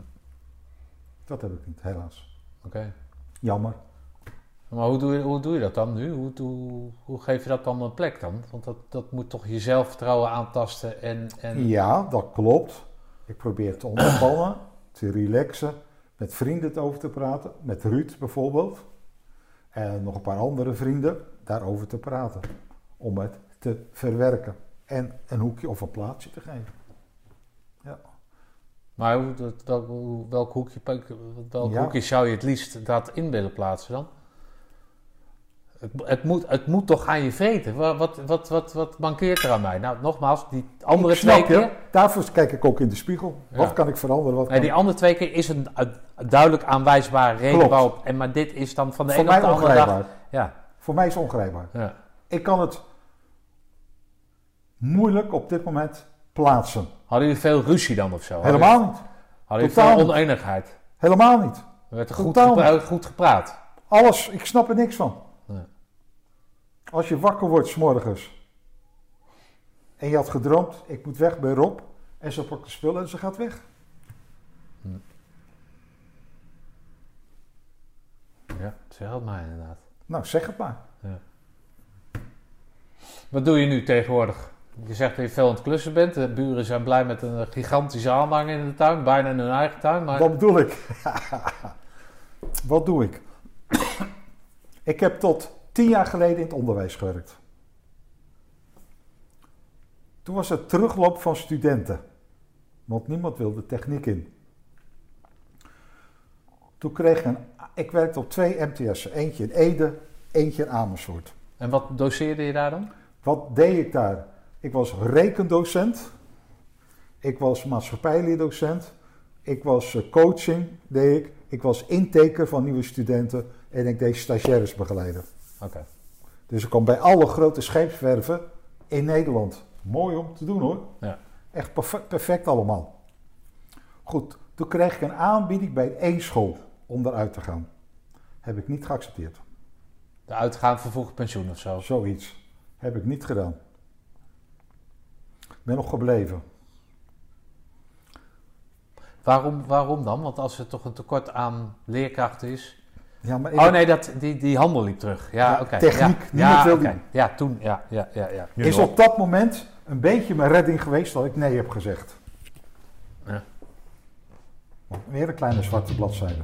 Speaker 2: Dat heb ik niet, helaas.
Speaker 3: Oké.
Speaker 2: Jammer.
Speaker 3: Maar hoe doe, je, hoe doe je dat dan nu? Hoe, hoe, hoe geef je dat dan een plek dan? Want dat, dat moet toch je zelfvertrouwen aantasten en... en...
Speaker 2: Ja, dat klopt. Ik probeer te ontspannen, te relaxen, met vrienden het over te praten, met Ruud bijvoorbeeld. En nog een paar andere vrienden daarover te praten. Om het te verwerken. En een hoekje of een plaatsje te geven.
Speaker 3: Maar hoe, dat, welk, hoe- welk, hoekje, peuk- welk
Speaker 2: Ja.
Speaker 3: hoekje zou je het liefst dat in willen plaatsen dan? Het, het, moet, het moet toch aan je vreten? Wa- Wat, wat, wat, wat mankeert er aan mij? Nou, nogmaals, die andere
Speaker 2: Ik snap
Speaker 3: twee
Speaker 2: je.
Speaker 3: keer...
Speaker 2: Daarvoor kijk ik ook in de spiegel.
Speaker 3: Ja.
Speaker 2: Wat kan ik veranderen? Wat
Speaker 3: Nee,
Speaker 2: kan
Speaker 3: die
Speaker 2: ik-
Speaker 3: andere twee keer is een, een duidelijk aanwijsbare reden
Speaker 2: Klopt.
Speaker 3: waarop... En, maar dit is dan van de
Speaker 2: Voor
Speaker 3: ene op
Speaker 2: mij
Speaker 3: de andere dag...
Speaker 2: ongrijpbaar.
Speaker 3: Ja,
Speaker 2: Voor mij is het ongrijpbaar.
Speaker 3: ja.
Speaker 2: Ik kan het moeilijk op dit moment plaatsen.
Speaker 3: Hadden jullie veel ruzie dan of zo? Hadden jullie-
Speaker 2: Helemaal niet.
Speaker 3: Hadden jullie
Speaker 2: Totaal
Speaker 3: veel
Speaker 2: niet.
Speaker 3: oneenigheid?
Speaker 2: Helemaal niet.
Speaker 3: Er werd goed,
Speaker 2: Totaal
Speaker 3: gepra- goed gepraat.
Speaker 2: Alles, ik snap er niks van.
Speaker 3: Nee.
Speaker 2: Als je wakker wordt s'morgens en je had gedroomd, ik moet weg bij Rob, en ze pakt de spullen en ze gaat weg.
Speaker 3: Ja, zeg het maar inderdaad.
Speaker 2: Nou, zeg het maar.
Speaker 3: Wat doe je nu tegenwoordig? Je zegt dat je veel aan het klussen bent. De buren zijn blij met een gigantische aanhang in de tuin. Bijna in hun eigen tuin. Maar...
Speaker 2: Wat bedoel ik? Wat doe ik? ik heb tot tien jaar geleden in het onderwijs gewerkt. Toen was er terugloop van studenten, want niemand wilde techniek in. Toen kreeg ik een, ik werkte op twee MTS'en, eentje in Ede, eentje in Amersfoort.
Speaker 3: En wat doseerde je daar dan?
Speaker 2: Wat deed ik daar? Ik was rekendocent. Ik was maatschappijleerdocent. Ik was eh, coaching, deed ik. Ik was inteker van nieuwe studenten. En ik deed stagiaires begeleiden.
Speaker 3: Oké.
Speaker 2: Dus ik kwam bij alle grote scheepswerven in Nederland. Mooi om te doen hoor.
Speaker 3: Ja.
Speaker 2: Echt perfe- perfect allemaal. Goed, toen kreeg ik een aanbieding bij één school om eruit te gaan. Heb ik niet geaccepteerd.
Speaker 3: De uitgaan vervroegd pensioen of zo.
Speaker 2: Zoiets. Heb ik niet gedaan. Ik ben nog gebleven.
Speaker 3: Waarom, waarom dan? Want als er toch een tekort aan leerkrachten is.
Speaker 2: Ja, maar ik-
Speaker 3: Oh nee, dat, die, die handel liep terug. Ja,
Speaker 2: Ja,
Speaker 3: oké.
Speaker 2: techniek.
Speaker 3: Ja,
Speaker 2: Niemand
Speaker 3: ja,
Speaker 2: wil
Speaker 3: oké.
Speaker 2: die.
Speaker 3: ja toen. Ja, ja, ja, ja.
Speaker 2: is op dat moment een beetje mijn redding geweest dat ik nee heb gezegd.
Speaker 3: Ja.
Speaker 2: Weer een kleine zwarte bladzijde.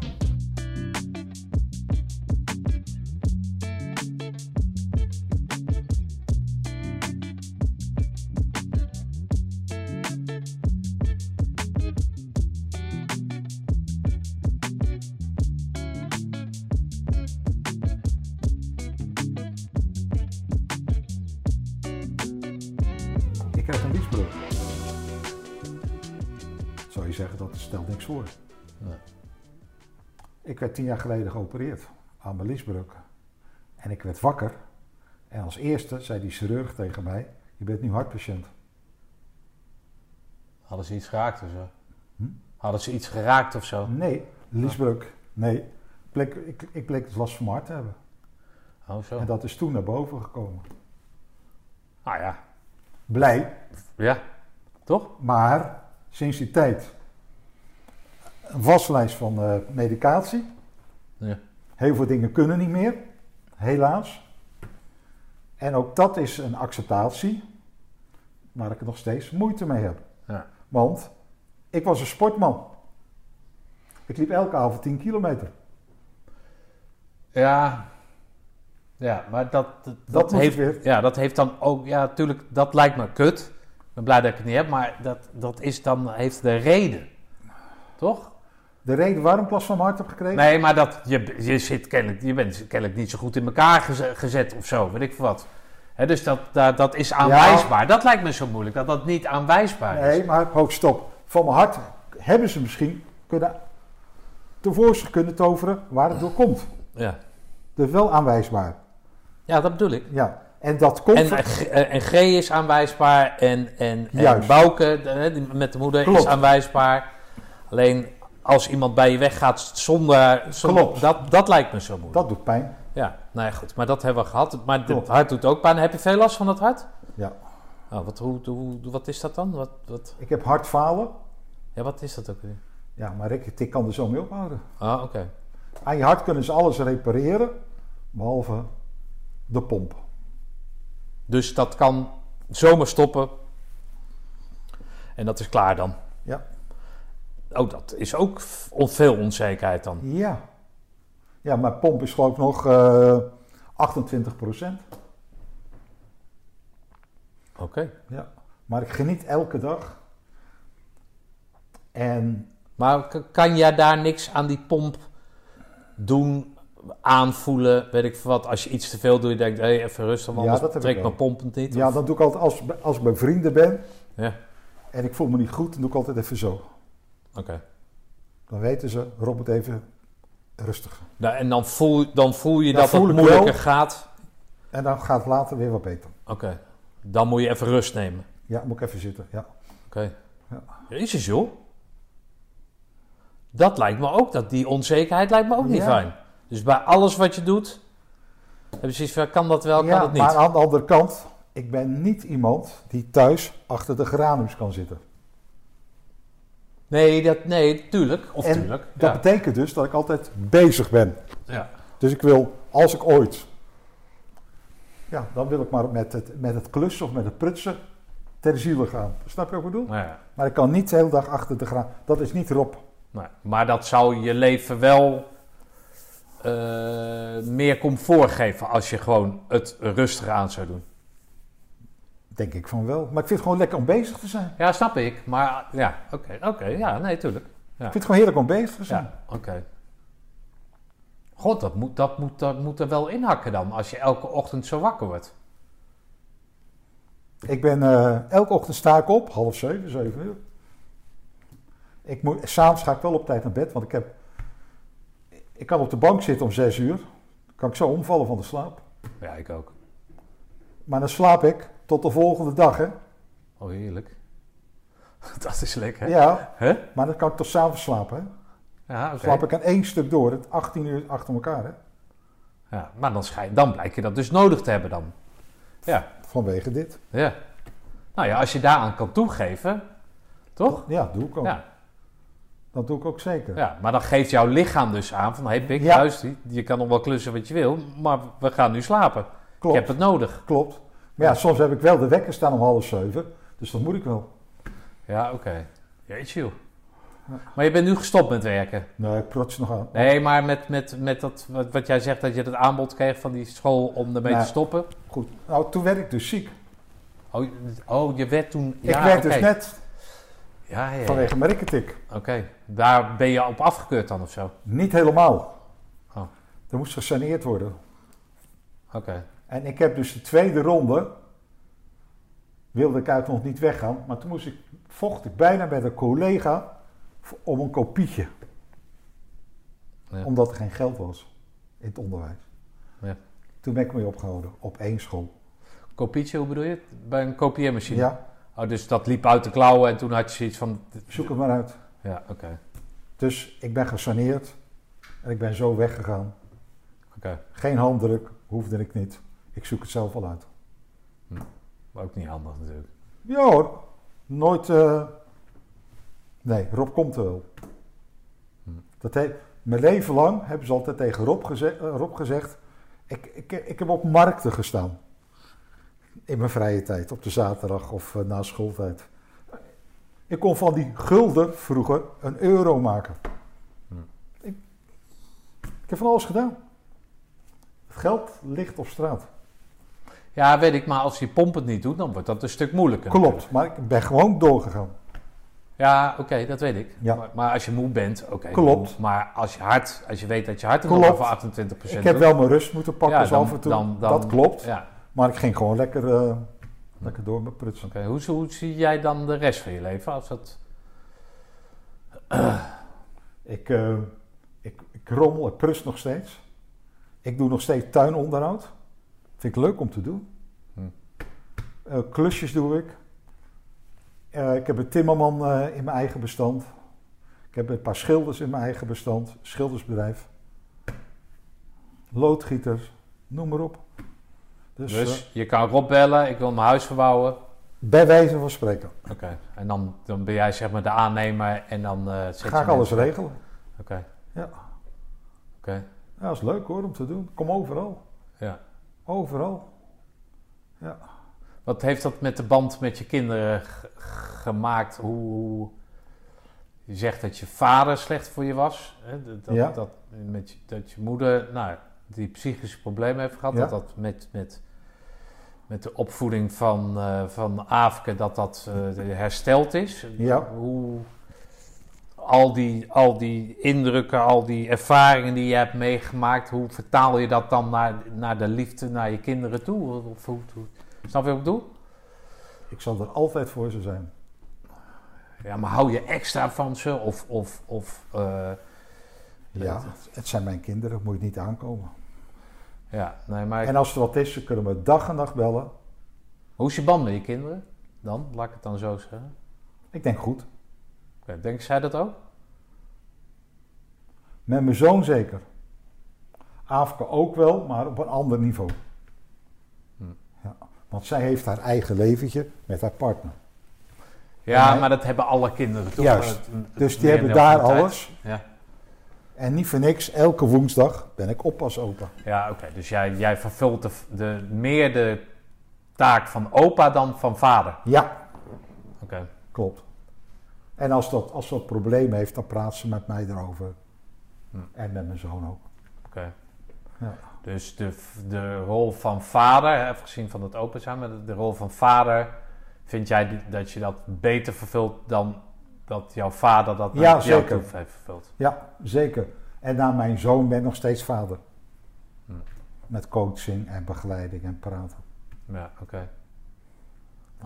Speaker 2: krijgt een biesbrug. Zou je zeggen, dat stelt niks voor.
Speaker 3: Nee.
Speaker 2: Ik werd tien jaar geleden geopereerd aan mijn liesbrug. En ik werd wakker. En als eerste zei die chirurg tegen mij, je bent nu hartpatiënt.
Speaker 3: Hadden ze iets geraakt of zo?
Speaker 2: Hm?
Speaker 3: Hadden ze iets geraakt of zo?
Speaker 2: Nee, liesbrug. Nee, bleek, ik, ik bleek het last van mijn hart te hebben.
Speaker 3: Oh, zo.
Speaker 2: En dat is toen naar boven gekomen.
Speaker 3: Ah ja.
Speaker 2: Blij,
Speaker 3: Ja. Toch?
Speaker 2: Maar sinds die tijd een waslijst van eh, medicatie.
Speaker 3: Ja.
Speaker 2: Heel veel dingen kunnen niet meer, helaas. En ook dat is een acceptatie waar ik er nog steeds moeite mee heb.
Speaker 3: Ja.
Speaker 2: Want ik was een sportman. Ik liep elke avond 10 kilometer.
Speaker 3: Ja. Ja, maar dat, dat,
Speaker 2: Dat moet
Speaker 3: heeft,
Speaker 2: weer.
Speaker 3: ja, dat heeft dan ook, ja, natuurlijk, dat lijkt me kut. Ik ben blij dat ik het niet heb, maar dat, dat is dan, heeft de reden. Toch?
Speaker 2: De reden waarom ik last van mijn hart heb gekregen?
Speaker 3: Nee, maar dat, je, je, zit kennelijk, je bent kennelijk niet zo goed in elkaar geze- gezet of zo, weet ik veel wat. Hè, dus dat, dat, dat is aanwijsbaar. Dat lijkt me zo moeilijk, dat dat niet aanwijsbaar is.
Speaker 2: Nee, maar hoog stop. Van mijn hart hebben ze misschien kunnen tevoorschijn kunnen toveren waar het door komt.
Speaker 3: Ja.
Speaker 2: Dus wel aanwijsbaar.
Speaker 3: ja, dat bedoel ik.
Speaker 2: Ja. En dat komt.
Speaker 3: En, eh, G- eh, en G is aanwijsbaar en, en, en
Speaker 2: Juist.
Speaker 3: Bouke de- hè, die met de moeder is
Speaker 2: Klopt.
Speaker 3: aanwijsbaar. Alleen als iemand bij je weggaat zonder... zonder-
Speaker 2: Klopt.
Speaker 3: Dat, dat lijkt me zo moeilijk.
Speaker 2: dat doet pijn.
Speaker 3: Ja, nou ja, goed. Maar dat hebben we gehad. Maar het
Speaker 2: Klopt.
Speaker 3: hart doet ook pijn. Heb je veel last van het hart?
Speaker 2: Ja.
Speaker 3: Oh, wat, hoe, hoe, wat is dat dan? Wat, wat,
Speaker 2: Ik heb hartfalen.
Speaker 3: ja, wat is dat ook weer?
Speaker 2: Ja, maar ik, ik kan er zo mee ophouden.
Speaker 3: Ah, oké.
Speaker 2: Aan je hart kunnen ze alles repareren, behalve de pomp.
Speaker 3: Dus dat kan zomaar stoppen. En dat is klaar dan.
Speaker 2: Ja.
Speaker 3: Oh, dat is ook f- on- veel onzekerheid dan.
Speaker 2: Ja. Ja, maar pomp is geloof ik nog eh 28
Speaker 3: Oké.
Speaker 2: Ja. Maar ik geniet elke dag. En
Speaker 3: Maar k- kan jij daar niks aan die pomp doen, aanvoelen, weet ik veel wat. Als je iets te veel doet, je denkt, hé, hey, even rustig,
Speaker 2: Ja,
Speaker 3: want anders
Speaker 2: dat heb ik
Speaker 3: trekt
Speaker 2: wel.
Speaker 3: mijn pomp niet.
Speaker 2: ja,
Speaker 3: Of-
Speaker 2: dat doe ik altijd als, als ik bij vrienden ben
Speaker 3: ja.
Speaker 2: en ik voel me niet goed, dan doe ik altijd even zo.
Speaker 3: oké.
Speaker 2: Dan weten ze, Robert, even rustig.
Speaker 3: Nou, en dan voel, dan voel je
Speaker 2: Ja,
Speaker 3: dat
Speaker 2: voel
Speaker 3: het
Speaker 2: ik
Speaker 3: moeilijker
Speaker 2: wel.
Speaker 3: gaat.
Speaker 2: En dan gaat het later weer wat beter.
Speaker 3: Oké. Dan moet je even rust nemen.
Speaker 2: Ja, moet ik even zitten. Ja.
Speaker 3: Oké.
Speaker 2: Ja.
Speaker 3: Jezus joh. Dat lijkt me ook, dat die onzekerheid lijkt me ook niet
Speaker 2: Ja.
Speaker 3: fijn. Dus bij alles wat je doet, heb je zoiets van, kan dat wel, Nou, kan
Speaker 2: ja,
Speaker 3: dat niet?
Speaker 2: maar aan de andere kant, ik ben niet iemand die thuis achter de geraniums kan zitten.
Speaker 3: Nee, dat, nee, tuurlijk. Of
Speaker 2: En
Speaker 3: tuurlijk.
Speaker 2: Dat
Speaker 3: ja.
Speaker 2: betekent dus dat ik altijd bezig ben.
Speaker 3: Ja.
Speaker 2: Dus ik wil, als ik ooit, ja, dan wil ik maar met het, met het klussen of met het prutsen ter ziele gaan. Snap je wat ik bedoel?
Speaker 3: Nou ja.
Speaker 2: Maar ik kan niet de hele dag achter de graan. Dat is niet Rob.
Speaker 3: Nee, maar dat zou je leven wel eh, meer comfort geven als je gewoon het rustig aan zou doen.
Speaker 2: Denk ik van wel. Maar ik vind het gewoon lekker om bezig te zijn.
Speaker 3: Ja, snap ik. Maar ja, oké, oké. ja, nee, tuurlijk.
Speaker 2: Ik vind het gewoon heerlijk om bezig te zijn.
Speaker 3: Ja, oké. God, dat moet, dat, moet, dat moet er wel inhakken dan, als je elke ochtend zo wakker wordt.
Speaker 2: Ik ben eh, elke ochtend sta ik op, half zeven, zeven uur. Ik moet, s'avonds ga ik wel op tijd naar bed, want ik heb. Ik kan op de bank zitten om zes uur. Dan kan ik zo omvallen van de slaap.
Speaker 3: Ja, ik ook.
Speaker 2: Maar dan slaap ik tot de volgende dag, hè?
Speaker 3: Oh, heerlijk. Dat is lekker.
Speaker 2: Ja,
Speaker 3: Hè?
Speaker 2: maar dan kan ik tot s'avonds slapen, hè?
Speaker 3: Ja, oké.
Speaker 2: Slaap ik aan één stuk door, het 18 uur achter elkaar, hè?
Speaker 3: ja, maar dan, schij, dan blijkt je dat dus nodig te hebben dan. Ja,
Speaker 2: Vanwege dit.
Speaker 3: ja. Nou ja, als je daaraan kan toegeven, toch?
Speaker 2: Ja, doe ik ook.
Speaker 3: Ja.
Speaker 2: Dat doe ik ook zeker.
Speaker 3: Ja, maar dan geeft jouw lichaam dus aan van... hé hey Pik,
Speaker 2: Ja.
Speaker 3: luister, je kan nog wel klussen wat je wil... maar we gaan nu slapen.
Speaker 2: Klopt.
Speaker 3: Ik heb het nodig.
Speaker 2: Klopt. Maar ja, soms heb ik wel de wekker staan om half zeven. Dus dat moet ik wel.
Speaker 3: Ja, oké. Jeetje joh. Maar je bent nu gestopt met werken.
Speaker 2: Nee, ik prots nog aan.
Speaker 3: Nee, maar met, met, met dat, wat, wat jij zegt... dat je dat aanbod kreeg van die school om ermee
Speaker 2: Nou.
Speaker 3: te stoppen.
Speaker 2: Goed. Nou, toen werd ik dus ziek.
Speaker 3: Oh, oh je werd toen...
Speaker 2: Ik
Speaker 3: ja,
Speaker 2: werd
Speaker 3: oké.
Speaker 2: dus net
Speaker 3: Ja, ja, ja.
Speaker 2: vanwege mijn rikketik.
Speaker 3: Oké. Daar ben je op afgekeurd dan of zo?
Speaker 2: Niet helemaal.
Speaker 3: Oh.
Speaker 2: Er moest gesaneerd worden.
Speaker 3: Oké.
Speaker 2: En ik heb dus de tweede ronde wilde ik uit nog niet weggaan, maar toen moest ik, vocht ik bijna met een collega v- om een kopietje.
Speaker 3: Ja.
Speaker 2: Omdat er geen geld was in het onderwijs.
Speaker 3: Ja.
Speaker 2: Toen ben ik mee opgehouden op één school.
Speaker 3: Kopietje, hoe bedoel je? het? Bij een kopieermachine?
Speaker 2: Ja,
Speaker 3: Oh, dus dat liep uit de klauwen en toen had je zoiets van...
Speaker 2: zoek het maar uit.
Speaker 3: Ja, oké.
Speaker 2: Dus ik ben gesaneerd en ik ben zo weggegaan.
Speaker 3: Oké.
Speaker 2: Geen handdruk, hoefde ik niet. Ik zoek het zelf wel uit.
Speaker 3: Maar Ook niet handig natuurlijk.
Speaker 2: Ja hoor, nooit. eh, Nee, Rob komt er wel.
Speaker 3: Hm.
Speaker 2: Dat he- Mijn leven lang hebben ze altijd tegen Rob, geze- eh, Rob gezegd. Ik, ik, ik heb op markten gestaan. In mijn vrije tijd, op de zaterdag of eh, na schooltijd. Ik kon van die gulden vroeger een euro maken.
Speaker 3: Hm.
Speaker 2: Ik, ik heb van alles gedaan. Het geld ligt op straat.
Speaker 3: Ja, weet ik, maar als die pomp het niet doet, dan wordt dat een stuk moeilijker.
Speaker 2: Klopt, maar ik ben gewoon doorgegaan.
Speaker 3: Ja, oké, dat weet ik.
Speaker 2: Ja.
Speaker 3: Maar, maar als je moe bent, oké.
Speaker 2: Klopt.
Speaker 3: moe. Maar als je hart, als je weet dat je hart er
Speaker 2: Klopt.
Speaker 3: nog maar voor 28%
Speaker 2: Ik heb wel mijn rust moeten pakken,
Speaker 3: Ja,
Speaker 2: zo
Speaker 3: dan-
Speaker 2: af en toe.
Speaker 3: dan- dan-
Speaker 2: dat klopt.
Speaker 3: Ja,
Speaker 2: Maar ik ging gewoon lekker, eh, lekker door met prutsen.
Speaker 3: oké. Hoe, hoe zie jij dan de rest van je leven? Als dat...
Speaker 2: Ik, eh, ik, ik rommel, ik prust nog steeds. Ik doe nog steeds tuinonderhoud. Vind ik leuk om te doen.
Speaker 3: Hm.
Speaker 2: Eh, klusjes doe ik. Eh, ik heb een timmerman eh, in mijn eigen bestand. Ik heb een paar schilders in mijn eigen bestand. Schildersbedrijf. Loodgieters. Noem maar op. Dus,
Speaker 3: Dus,
Speaker 2: eh,
Speaker 3: je kan Rob bellen, ik wil mijn huis verbouwen. Oké.
Speaker 2: bij wijze van spreken.
Speaker 3: En dan, dan ben jij zeg maar de aannemer en dan eh zet
Speaker 2: Ga
Speaker 3: je
Speaker 2: ik alles
Speaker 3: mensen-
Speaker 2: regelen.
Speaker 3: Oké.
Speaker 2: Ja.
Speaker 3: Oké.
Speaker 2: Ja, dat is leuk hoor om te doen. Kom overal.
Speaker 3: Ja.
Speaker 2: Overal.
Speaker 3: Wat heeft dat met de band met je kinderen g- g- gemaakt? Hoe, hoe- je zegt dat je vader slecht voor je was. Hè? Dat, dat,
Speaker 2: Ja.
Speaker 3: dat, met je, dat je moeder nou, die psychische problemen heeft gehad.
Speaker 2: Ja.
Speaker 3: Dat dat met, met, met de opvoeding van, eh van Aafke dat dat eh, hersteld is.
Speaker 2: Ja.
Speaker 3: Hoe al die, al die indrukken, al die ervaringen die je hebt meegemaakt... hoe vertaal je dat dan naar, naar de liefde, naar je kinderen toe? Of hoe, hoe, snap je wat ik bedoel?
Speaker 2: Ik zal er altijd voor ze zijn.
Speaker 3: Ja, maar hou je extra van ze? Of, of, of eh,
Speaker 2: Ja, het zijn mijn kinderen, moet je niet aankomen.
Speaker 3: ja, nee, maar
Speaker 2: En als er wat is, ze kunnen me dag en nacht bellen.
Speaker 3: hoe is je band met je kinderen? Dan, laat ik het dan zo zeggen.
Speaker 2: Ik denk goed.
Speaker 3: Oké, denken zij dat ook?
Speaker 2: Met mijn zoon zeker. Afke ook wel, maar op een ander niveau.
Speaker 3: Hm.
Speaker 2: Ja, want zij heeft haar eigen leventje met haar partner.
Speaker 3: Ja,
Speaker 2: Nee.
Speaker 3: maar dat hebben alle kinderen toch?
Speaker 2: Juist.
Speaker 3: Het- het
Speaker 2: Dus die
Speaker 3: merendeel
Speaker 2: hebben daar
Speaker 3: van de tijd.
Speaker 2: alles.
Speaker 3: Ja,
Speaker 2: En niet voor niks, elke woensdag ben ik oppasopa.
Speaker 3: ja oké. Dus jij, jij vervult de, de, meer de taak van opa dan van vader.
Speaker 2: Ja,
Speaker 3: Oké.
Speaker 2: klopt. En als dat, als dat probleem heeft, dan praat ze met mij erover.
Speaker 3: Hm.
Speaker 2: En met mijn zoon ook.
Speaker 3: Oké.
Speaker 2: Ja.
Speaker 3: Dus de, de rol van vader, hè, afgezien van het open zijn, maar de, de rol van vader, vind jij die- dat je dat beter vervult dan dat jouw vader dat naar
Speaker 2: Ja,
Speaker 3: jou
Speaker 2: zeker.
Speaker 3: toe heeft vervuld?
Speaker 2: Ja, zeker. En na mijn zoon ben ik nog steeds vader.
Speaker 3: Hm.
Speaker 2: Met coaching en begeleiding en praten.
Speaker 3: Ja, oké.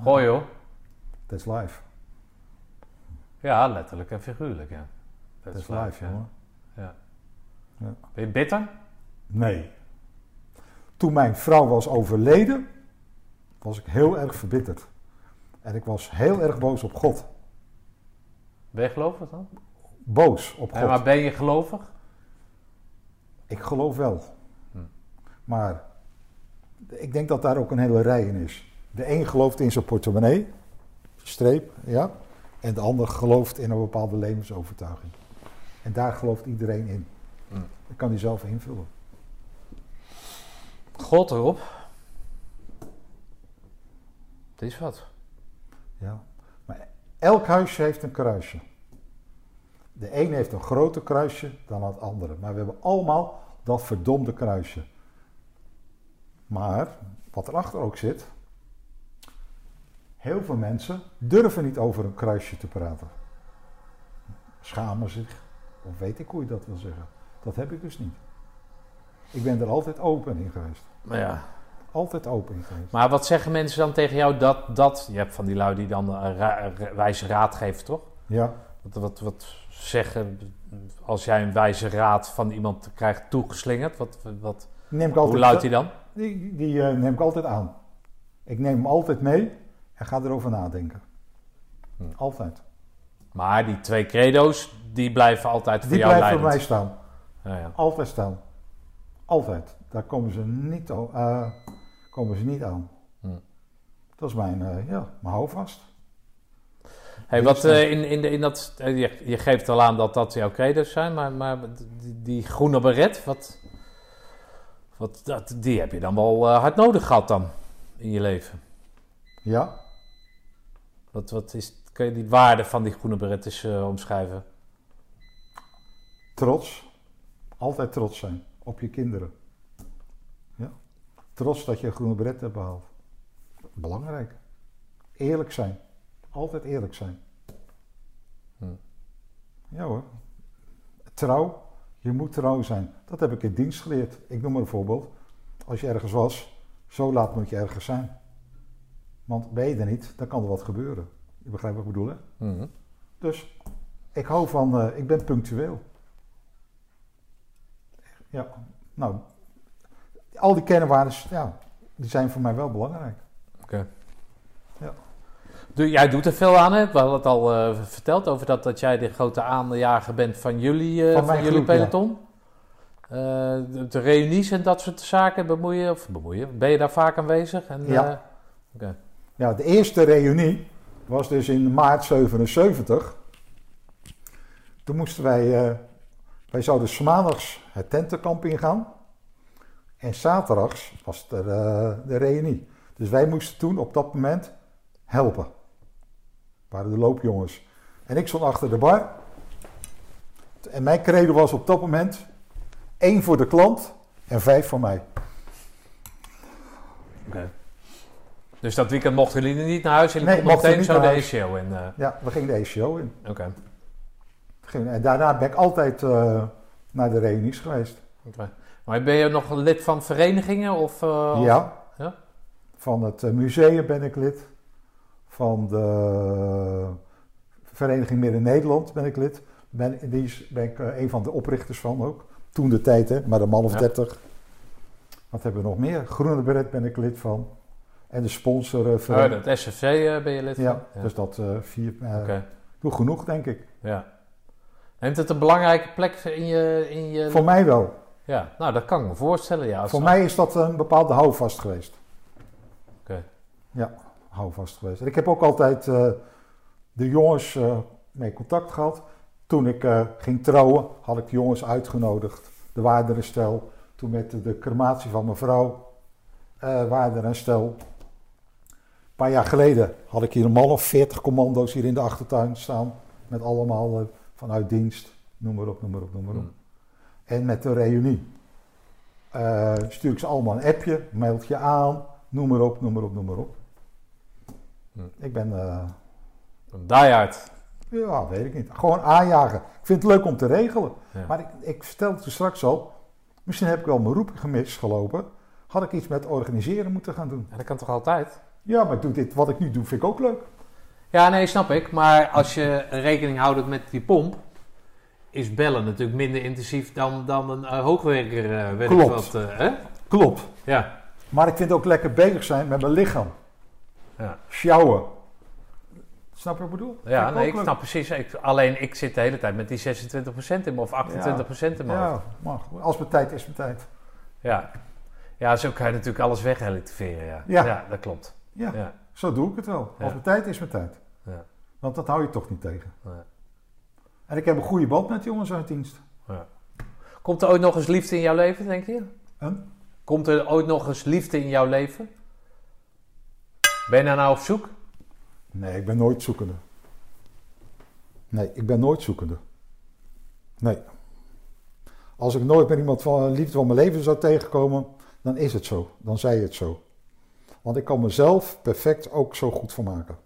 Speaker 3: Gooi hoor.
Speaker 2: That's life.
Speaker 3: Ja, letterlijk en figuurlijk, ja. Dat
Speaker 2: That's life,
Speaker 3: ja.
Speaker 2: jongen.
Speaker 3: Ben je bitter?
Speaker 2: Nee. Toen mijn vrouw was overleden, was ik heel erg verbitterd. En ik was heel erg boos op God.
Speaker 3: Ben je gelovig dan?
Speaker 2: Boos op God.
Speaker 3: Ja, maar ben je gelovig?
Speaker 2: Ik geloof wel.
Speaker 3: Hm.
Speaker 2: Maar ik denk dat daar ook een hele rij in is. De een gelooft in zijn portemonnee, streep, ja. En de ander gelooft in een bepaalde levensovertuiging. En daar gelooft iedereen in.
Speaker 3: Hm.
Speaker 2: Dat kan hij zelf invullen.
Speaker 3: God erop. Het is wat.
Speaker 2: Ja. Maar elk huisje heeft een kruisje. De een heeft een groter kruisje dan het andere. Maar we hebben allemaal dat verdomde kruisje. Maar wat erachter ook zit. Heel veel mensen durven niet over een kruisje te praten. Schamen zich. Of weet ik hoe je dat wil zeggen. Dat heb ik dus niet. Ik ben er altijd open in geweest.
Speaker 3: Maar ja,
Speaker 2: Altijd open in geweest.
Speaker 3: Maar wat zeggen mensen dan tegen jou dat, dat je hebt van die lui die dan eh, ra- ra- wijze raad geven, toch?
Speaker 2: Ja,
Speaker 3: Wat, wat, wat zeggen als jij een wijze raad van iemand krijgt toegeslingerd? Wat, wat,
Speaker 2: neem ik altijd,
Speaker 3: hoe luidt die dan?
Speaker 2: Die, die eh, neem ik altijd aan. Ik neem hem altijd mee en ga erover nadenken.
Speaker 3: Hm.
Speaker 2: Altijd.
Speaker 3: Maar die twee credo's, die blijven altijd voor
Speaker 2: Die
Speaker 3: jou
Speaker 2: blijft voor
Speaker 3: leidend.
Speaker 2: mij staan.
Speaker 3: Ja, ja.
Speaker 2: Altijd staan. Altijd. Daar komen ze niet, o- eh, komen ze niet aan.
Speaker 3: Hm.
Speaker 2: Dat is mijn, eh ja, mijn houvast.
Speaker 3: Hey, wat, eh, in, in, de- in dat, eh, je, je geeft al aan dat dat jouw credo's zijn, maar, maar die, die groene beret, wat, wat, dat, die heb je dan wel eh, hard nodig gehad dan in je leven.
Speaker 2: Ja,
Speaker 3: Wat, wat is, kun je die waarde van die groene beret eens eh, omschrijven?
Speaker 2: trots. Altijd trots zijn op je kinderen. Ja. Trots dat je een groene beret hebt behaald. Belangrijk. Eerlijk zijn. Altijd eerlijk zijn.
Speaker 3: Hm.
Speaker 2: Ja hoor. Trouw. Je moet trouw zijn. Dat heb ik in dienst geleerd. Ik noem maar een voorbeeld. Als je ergens was, zo laat moet je ergens zijn. Want ben je er niet, dan kan er wat gebeuren. Je begrijpt wat ik bedoel, hè?
Speaker 3: Mhm.
Speaker 2: Dus ik hou van, eh, ik ben punctueel. Ja, nou, al die kernwaarden, ja, die zijn voor mij wel belangrijk.
Speaker 3: Doe- Jij doet er veel aan, hè? We hadden het al eh, verteld over dat, dat jij de grote aanjager bent van jullie, eh,
Speaker 2: Van
Speaker 3: van
Speaker 2: mijn
Speaker 3: jullie
Speaker 2: groep, ja.
Speaker 3: peloton. Eh, de, de reunies en dat soort zaken bemoeien, of bemoeien, ben je daar vaak aanwezig? En,
Speaker 2: Ja.
Speaker 3: eh,
Speaker 2: Ja, de eerste reunie was dus in maart 77. Toen moesten wij, eh, wij zouden 's maandags het tentenkamp ingaan. En zaterdags was er eh, de reunie. Dus wij moesten toen op dat moment helpen. We waren de loopjongens. En ik stond achter de bar. En mijn credo was op dat moment: één voor de klant en vijf voor mij.
Speaker 3: Dus dat weekend mochten jullie niet naar huis, jullie
Speaker 2: Nee,
Speaker 3: konden
Speaker 2: mochten
Speaker 3: meteen
Speaker 2: niet
Speaker 3: zo
Speaker 2: naar
Speaker 3: de
Speaker 2: huis.
Speaker 3: ACO in. eh,
Speaker 2: Ja, we gingen de ECO in.
Speaker 3: Oké.
Speaker 2: Geen- En daarna ben ik altijd eh, naar de reunies geweest.
Speaker 3: Oké. Maar ben je nog lid van verenigingen? Of, eh,
Speaker 2: ja.
Speaker 3: ja?
Speaker 2: Van het eh, museum ben ik lid. Van de Vereniging Midden-Nederland ben ik lid. Ben, die is, ben ik eh, een van de oprichters van ook. Toen de tijd, hè, maar een man of
Speaker 3: Ja.
Speaker 2: dertig. Wat hebben we nog meer? Groene Beret ben ik lid van. En de
Speaker 3: Of, eh,
Speaker 2: sponsoren.
Speaker 3: het SFC eh, ben je lid
Speaker 2: ja,
Speaker 3: van? Ja.
Speaker 2: dus dat eh, vier. eh,
Speaker 3: Oké.
Speaker 2: Doe genoeg, denk ik.
Speaker 3: ja. Neemt het een belangrijke plek in je... In je...
Speaker 2: Voor mij wel.
Speaker 3: Ja, nou dat kan ik me voorstellen. Ja, Als-
Speaker 2: Voor mij is dat een bepaalde houvast geweest.
Speaker 3: Oké.
Speaker 2: Ja, houvast geweest. En ik heb ook altijd eh, de jongens eh, mee contact gehad. Toen ik eh, ging trouwen, had ik de jongens uitgenodigd. Er waren er een stel. Toen met de, de crematie van mijn vrouw eh, waren er een stel. Een paar jaar geleden had ik hier een man of 40 commando's hier in de achtertuin staan. Met allemaal eh, vanuit dienst. Noem maar op, noem maar op, noem maar op.
Speaker 3: Hmm.
Speaker 2: En met de reunie. Eh, stuur ik ze allemaal een appje, mailt je aan, noem maar op, noem maar op, noem maar op.
Speaker 3: Hm.
Speaker 2: Ik ben, eh,
Speaker 3: Een diehard.
Speaker 2: ja, weet ik niet, gewoon aanjagen. Ik vind het leuk om te regelen.
Speaker 3: Ja.
Speaker 2: Maar ik, ik vertelde toen straks al, misschien heb ik wel mijn roep gemist gelopen. Had ik iets met organiseren moeten gaan doen.
Speaker 3: Ja, dat kan toch altijd?
Speaker 2: Ja, maar ik doe dit, wat ik nu doe, vind ik ook leuk.
Speaker 3: Ja, nee, snap ik. Maar als je rekening houdt met die pomp, is bellen natuurlijk minder intensief dan, dan een eh, hoogwerker, eh, weet ik
Speaker 2: Klopt.
Speaker 3: wat. eh, hè?
Speaker 2: Klopt.
Speaker 3: Ja.
Speaker 2: Maar ik vind ook lekker bezig zijn met mijn lichaam.
Speaker 3: Ja.
Speaker 2: Sjouwen. Snap je wat ik bedoel? Vind
Speaker 3: Ja,
Speaker 2: ook
Speaker 3: nee, ik
Speaker 2: leuk.
Speaker 3: snap precies. Ik, alleen ik zit de hele tijd met die 26% in me of 28% in me. Ja.
Speaker 2: Ja, maar goed, als mijn tijd is mijn tijd.
Speaker 3: ja. Ja, zo kan je natuurlijk alles wegrelativeren. Ja.
Speaker 2: Ja.
Speaker 3: Ja. dat klopt.
Speaker 2: Ja.
Speaker 3: Ja.
Speaker 2: Zo doe ik het wel.
Speaker 3: Ja.
Speaker 2: Als mijn tijd is mijn tijd.
Speaker 3: Ja.
Speaker 2: Want dat hou je toch niet tegen.
Speaker 3: Ja.
Speaker 2: En ik heb een goede band met die jongens uit dienst.
Speaker 3: Komt er ooit nog eens liefde in jouw leven, denk je?
Speaker 2: Een?
Speaker 3: Komt er ooit nog eens liefde in jouw leven? Ben je daar nou op zoek?
Speaker 2: Nee, ik ben nooit zoekende. Nee, ik ben nooit zoekende. Nee. Als ik nooit meer iemand van liefde van mijn leven zou tegenkomen, dan is het zo. Dan zei je het zo. Want ik kan mezelf perfect ook zo goed van maken.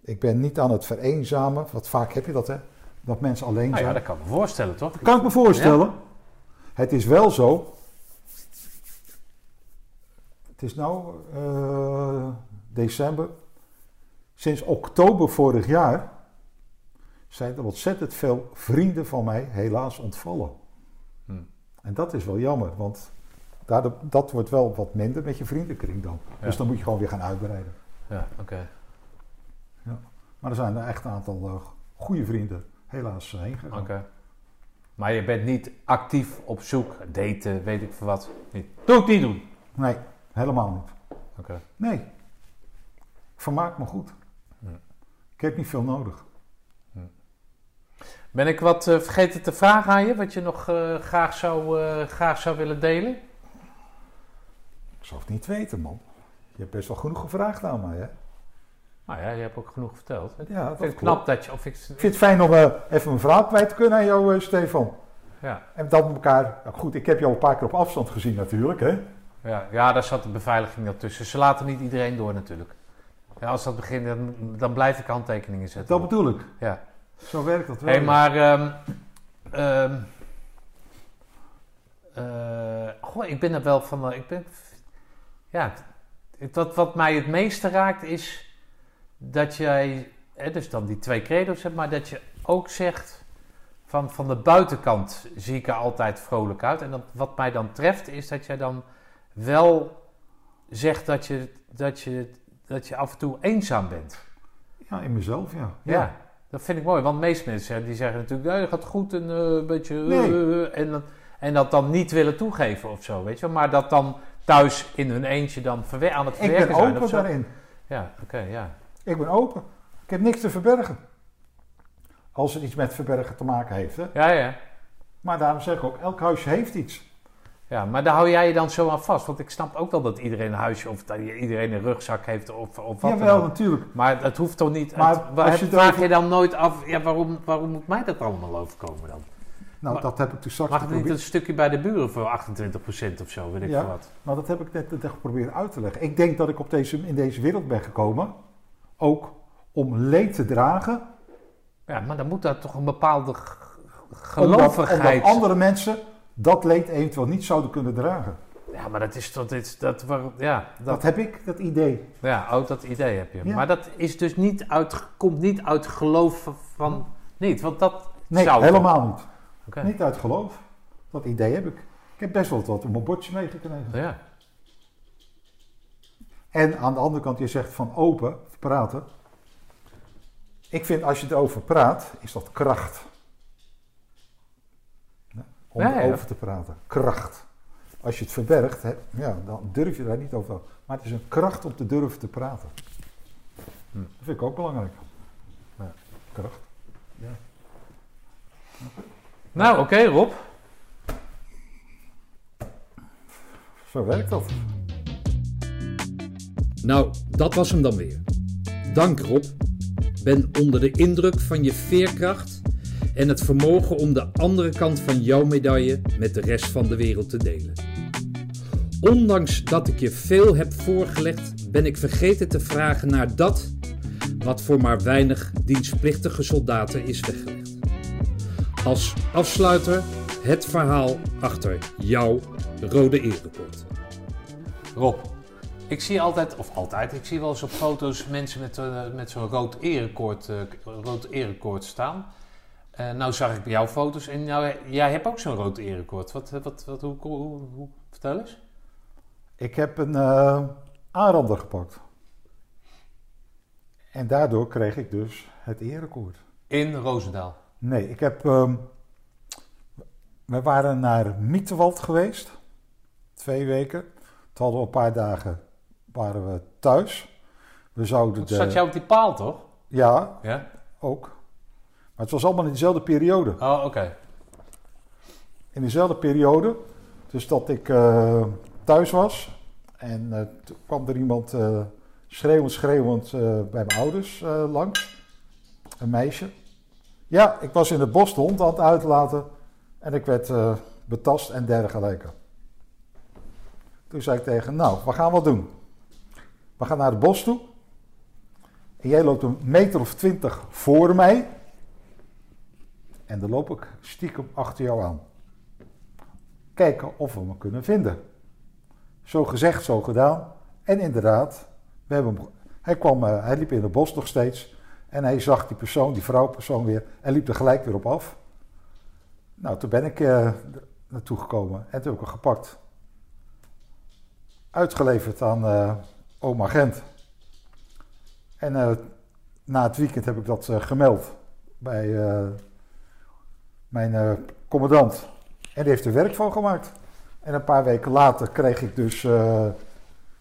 Speaker 2: Ik ben niet aan het vereenzamen, want vaak heb je dat hè, dat mensen alleen
Speaker 3: Nou
Speaker 2: zijn.
Speaker 3: ja, dat kan ik me voorstellen, toch?
Speaker 2: Kan ik me voorstellen. Het is wel zo. Het is nu december. Sinds oktober vorig jaar zijn er ontzettend veel vrienden van mij helaas ontvallen.
Speaker 3: Hmm.
Speaker 2: En dat is wel jammer, want daardoor, dat wordt wel wat minder met je vriendenkring dan.
Speaker 3: Ja.
Speaker 2: Dus dan moet je gewoon weer gaan uitbreiden.
Speaker 3: Ja, oké.
Speaker 2: Maar er zijn er echt een aantal eh, goede vrienden helaas heen gegaan.
Speaker 3: oké. Maar je bent niet actief op zoek, daten, weet ik veel wat. Niet. Doe ik niet doen.
Speaker 2: Nee, helemaal niet.
Speaker 3: Oké.
Speaker 2: Nee. Ik vermaak me goed.
Speaker 3: Ja.
Speaker 2: Ik heb niet veel nodig.
Speaker 3: Ben ik wat eh, vergeten te vragen aan je, wat je nog eh, graag, zou, eh, graag zou willen delen?
Speaker 2: Ik zou het niet weten, man. Je hebt best wel genoeg gevraagd aan mij, hè?
Speaker 3: Nou ja, je hebt ook genoeg verteld. Ik
Speaker 2: Ja, dat
Speaker 3: vind
Speaker 2: klopt.
Speaker 3: het knap dat je... Of ik,
Speaker 2: Ik vind het fijn om eh, even mijn verhaal kwijt te kunnen aan jou, eh, Stefan.
Speaker 3: ja,
Speaker 2: En dat we elkaar... nou goed, ik heb jou een paar keer op afstand gezien natuurlijk, hè?
Speaker 3: ja, ja, daar zat de beveiliging dan tussen. Ze laten niet iedereen door natuurlijk. Ja, als dat begint, dan, dan blijf ik handtekeningen zetten.
Speaker 2: Dat bedoel ik.
Speaker 3: ja.
Speaker 2: Zo werkt dat wel.
Speaker 3: Hé, hey, maar... ehm, ehm, eh, goh, ik ben er wel van... eh, Ik ben, ja, het- wat, wat mij het meeste raakt is dat jij... Hè, dus dan die twee credo's hebt, maar dat je ook zegt... Van, van de buitenkant zie ik er altijd vrolijk uit. En dat, wat mij dan treft is dat jij dan wel zegt dat je, dat je, dat je af en toe eenzaam bent.
Speaker 2: Ja, in mezelf, ja.
Speaker 3: Ja. dat vind ik mooi. Want de meeste mensen hè, die zeggen natuurlijk, nee, dat gaat goed en eh, een beetje... eh,
Speaker 2: Nee.
Speaker 3: eh, eh, en, dan- en dat dan niet willen toegeven of zo, weet je wel. Maar dat dan thuis in hun eentje dan verwe- aan het
Speaker 2: Ik
Speaker 3: verwerken
Speaker 2: ben
Speaker 3: zijn of
Speaker 2: open
Speaker 3: zo.
Speaker 2: daarin.
Speaker 3: Ja, oké, ja.
Speaker 2: Ik ben open. Ik heb niks te verbergen. Als het iets met verbergen te maken heeft, hè?
Speaker 3: Ja, ja.
Speaker 2: Maar daarom zeg ik ook, elk huisje heeft iets.
Speaker 3: Ja, maar daar hou jij je dan zo aan vast. Want ik snap ook wel dat iedereen een huisje of dat iedereen een rugzak heeft of, of wat dan
Speaker 2: Jawel,
Speaker 3: ook.
Speaker 2: natuurlijk.
Speaker 3: Maar dat hoeft toch niet...
Speaker 2: Maar
Speaker 3: het, waar-
Speaker 2: als je
Speaker 3: het
Speaker 2: het
Speaker 3: vraag
Speaker 2: over-
Speaker 3: je dan nooit af, ja, waarom, waarom moet mij dat allemaal overkomen dan?
Speaker 2: Nou,
Speaker 3: Maar-
Speaker 2: dat heb ik toen straks
Speaker 3: Mag het niet
Speaker 2: geprobeerd.
Speaker 3: een stukje bij de buren voor 28% of zo, weet ik
Speaker 2: Ja.
Speaker 3: veel wat.
Speaker 2: Maar dat heb ik net, net geprobeerd uit te leggen. Ik denk dat ik op deze, in deze wereld ben gekomen. Ook om leed te dragen.
Speaker 3: Ja, maar dan moet daar toch een bepaalde g-
Speaker 2: Omdat,
Speaker 3: gelovigheid...
Speaker 2: omdat andere mensen dat leed eventueel niet zouden kunnen dragen.
Speaker 3: Ja, maar dat is toch... dit is- dat, waar- ja,
Speaker 2: Dat,
Speaker 3: dat,
Speaker 2: heb ik, dat idee.
Speaker 3: ja, ook dat idee heb je.
Speaker 2: Ja.
Speaker 3: Maar dat is dus niet uit, komt niet uit geloof van... Niet, want dat
Speaker 2: Nee,
Speaker 3: zou...
Speaker 2: helemaal niet.
Speaker 3: Oké.
Speaker 2: Niet uit geloof. Dat idee heb ik. Ik heb best wel wat op mijn bordje meegekregen.
Speaker 3: Ja,
Speaker 2: En aan de andere kant, je zegt van open, praten. Ik vind als je erover praat, is dat kracht. Ja, Om
Speaker 3: Ja, ja.
Speaker 2: erover te praten. Kracht. Als je het verbergt, hè, ja, dan durf je daar niet over. te praten. Maar het is een kracht om te durven te praten.
Speaker 3: Hm.
Speaker 2: Dat vind ik ook belangrijk. Ja, kracht.
Speaker 3: Nou, oké, Rob.
Speaker 2: Zo werkt dat.
Speaker 1: Nou, dat was hem dan weer. Dank Rob. Ben onder de indruk van je veerkracht en het vermogen om de andere kant van jouw medaille met de rest van de wereld te delen. Ondanks dat ik je veel heb voorgelegd, ben ik vergeten te vragen naar dat wat voor maar weinig dienstplichtige soldaten is weggelegd. Als afsluiter het verhaal achter jouw rode eerrecord.
Speaker 3: Rob, ik zie altijd, of altijd, ik zie wel eens op foto's mensen met, eh, met zo'n rood erekoord, eh, rood erekoord staan. Eh, nou zag ik bij jou foto's en nou, jij hebt ook zo'n rood erekoord. Wat, eh, wat, wat, hoe, hoe, hoe- vertel eens.
Speaker 2: Ik heb een eh aanrander gepakt. En daardoor kreeg ik dus het erekoord.
Speaker 3: In Roosendaal.
Speaker 2: Nee, ik heb. ehm, we waren naar Mietewald geweest. Twee weken. Toen hadden we een paar dagen waren we thuis. We zouden
Speaker 3: Toen
Speaker 2: de.
Speaker 3: zat jij op die paal, toch?
Speaker 2: Ja,
Speaker 3: Ja.
Speaker 2: ook. Maar het was allemaal in dezelfde periode.
Speaker 3: Oh, oké.
Speaker 2: In dezelfde periode. Dus dat ik eh, thuis was. En eh, toen kwam er iemand eh, schreeuwend, schreeuwend eh, bij mijn ouders eh, langs. Een meisje. Ja, ik was in het bos de hond aan het uitlaten. En ik werd eh, betast en dergelijke. Toen zei ik tegen nou, we gaan wat doen. We gaan naar het bos toe. En jij loopt een meter of twintig voor mij. En dan loop ik stiekem achter jou aan kijken of we me kunnen vinden. Zo gezegd, zo gedaan. En inderdaad, we hebben hem, hij, kwam, eh, hij liep in het bos nog steeds. En hij zag die persoon, die vrouwpersoon weer. En liep er gelijk weer op af. Nou, toen ben ik eh, naartoe gekomen. En toen heb ik hem gepakt. Uitgeleverd aan eh oma Gent. En eh, na het weekend heb ik dat eh, gemeld bij eh, mijn eh, commandant. En die heeft er werk van gemaakt. En een paar weken later kreeg ik dus eh,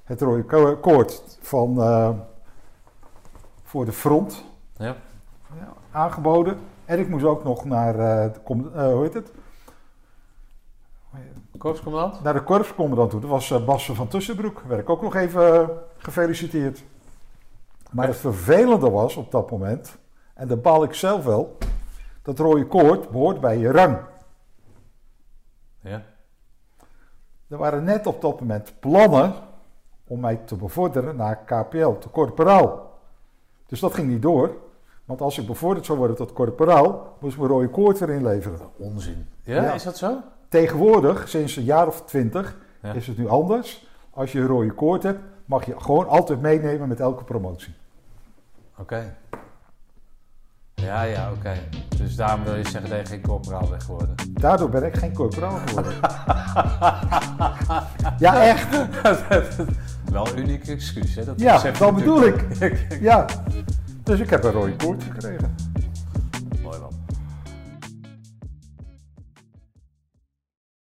Speaker 2: het rode ko- koord van, eh, voor de front
Speaker 3: Ja.
Speaker 2: ja, aangeboden. En ik moest ook nog naar, eh, de, com- eh, hoe heet het?
Speaker 3: Korpscommandant?
Speaker 2: naar de korpscommandant toe. Dat was eh, Basse van Tussenbroek. Werd ik ook nog even eh, gefeliciteerd. Maar het vervelende was op dat moment, en daar baal ik zelf wel, dat rode koord behoort bij je rang.
Speaker 3: Ja.
Speaker 2: Er waren net op dat moment plannen om mij te bevorderen naar KPL, te korporaal. Dus dat ging niet door. Want als ik bevorderd zou worden tot korporaal, moest ik mijn rode koord weer inleveren.
Speaker 3: Onzin. Ja,
Speaker 2: Ja.
Speaker 3: is dat zo?
Speaker 2: Tegenwoordig, sinds een jaar of twintig,
Speaker 3: Ja.
Speaker 2: is het nu anders. Als je een rode koord hebt, mag je gewoon altijd meenemen met elke promotie.
Speaker 3: Oké. Ja, ja, oké. Dus daarom wil je zeggen dat je geen corporaal weg geworden.
Speaker 2: Daardoor ben ik geen corporaal geworden. ja, echt.
Speaker 3: Wel een uniek excuus, hè? Dat
Speaker 2: Ja,
Speaker 3: besef je
Speaker 2: dat bedoel
Speaker 3: natuurlijk.
Speaker 2: Ja. Dus ik heb een rode koord gekregen.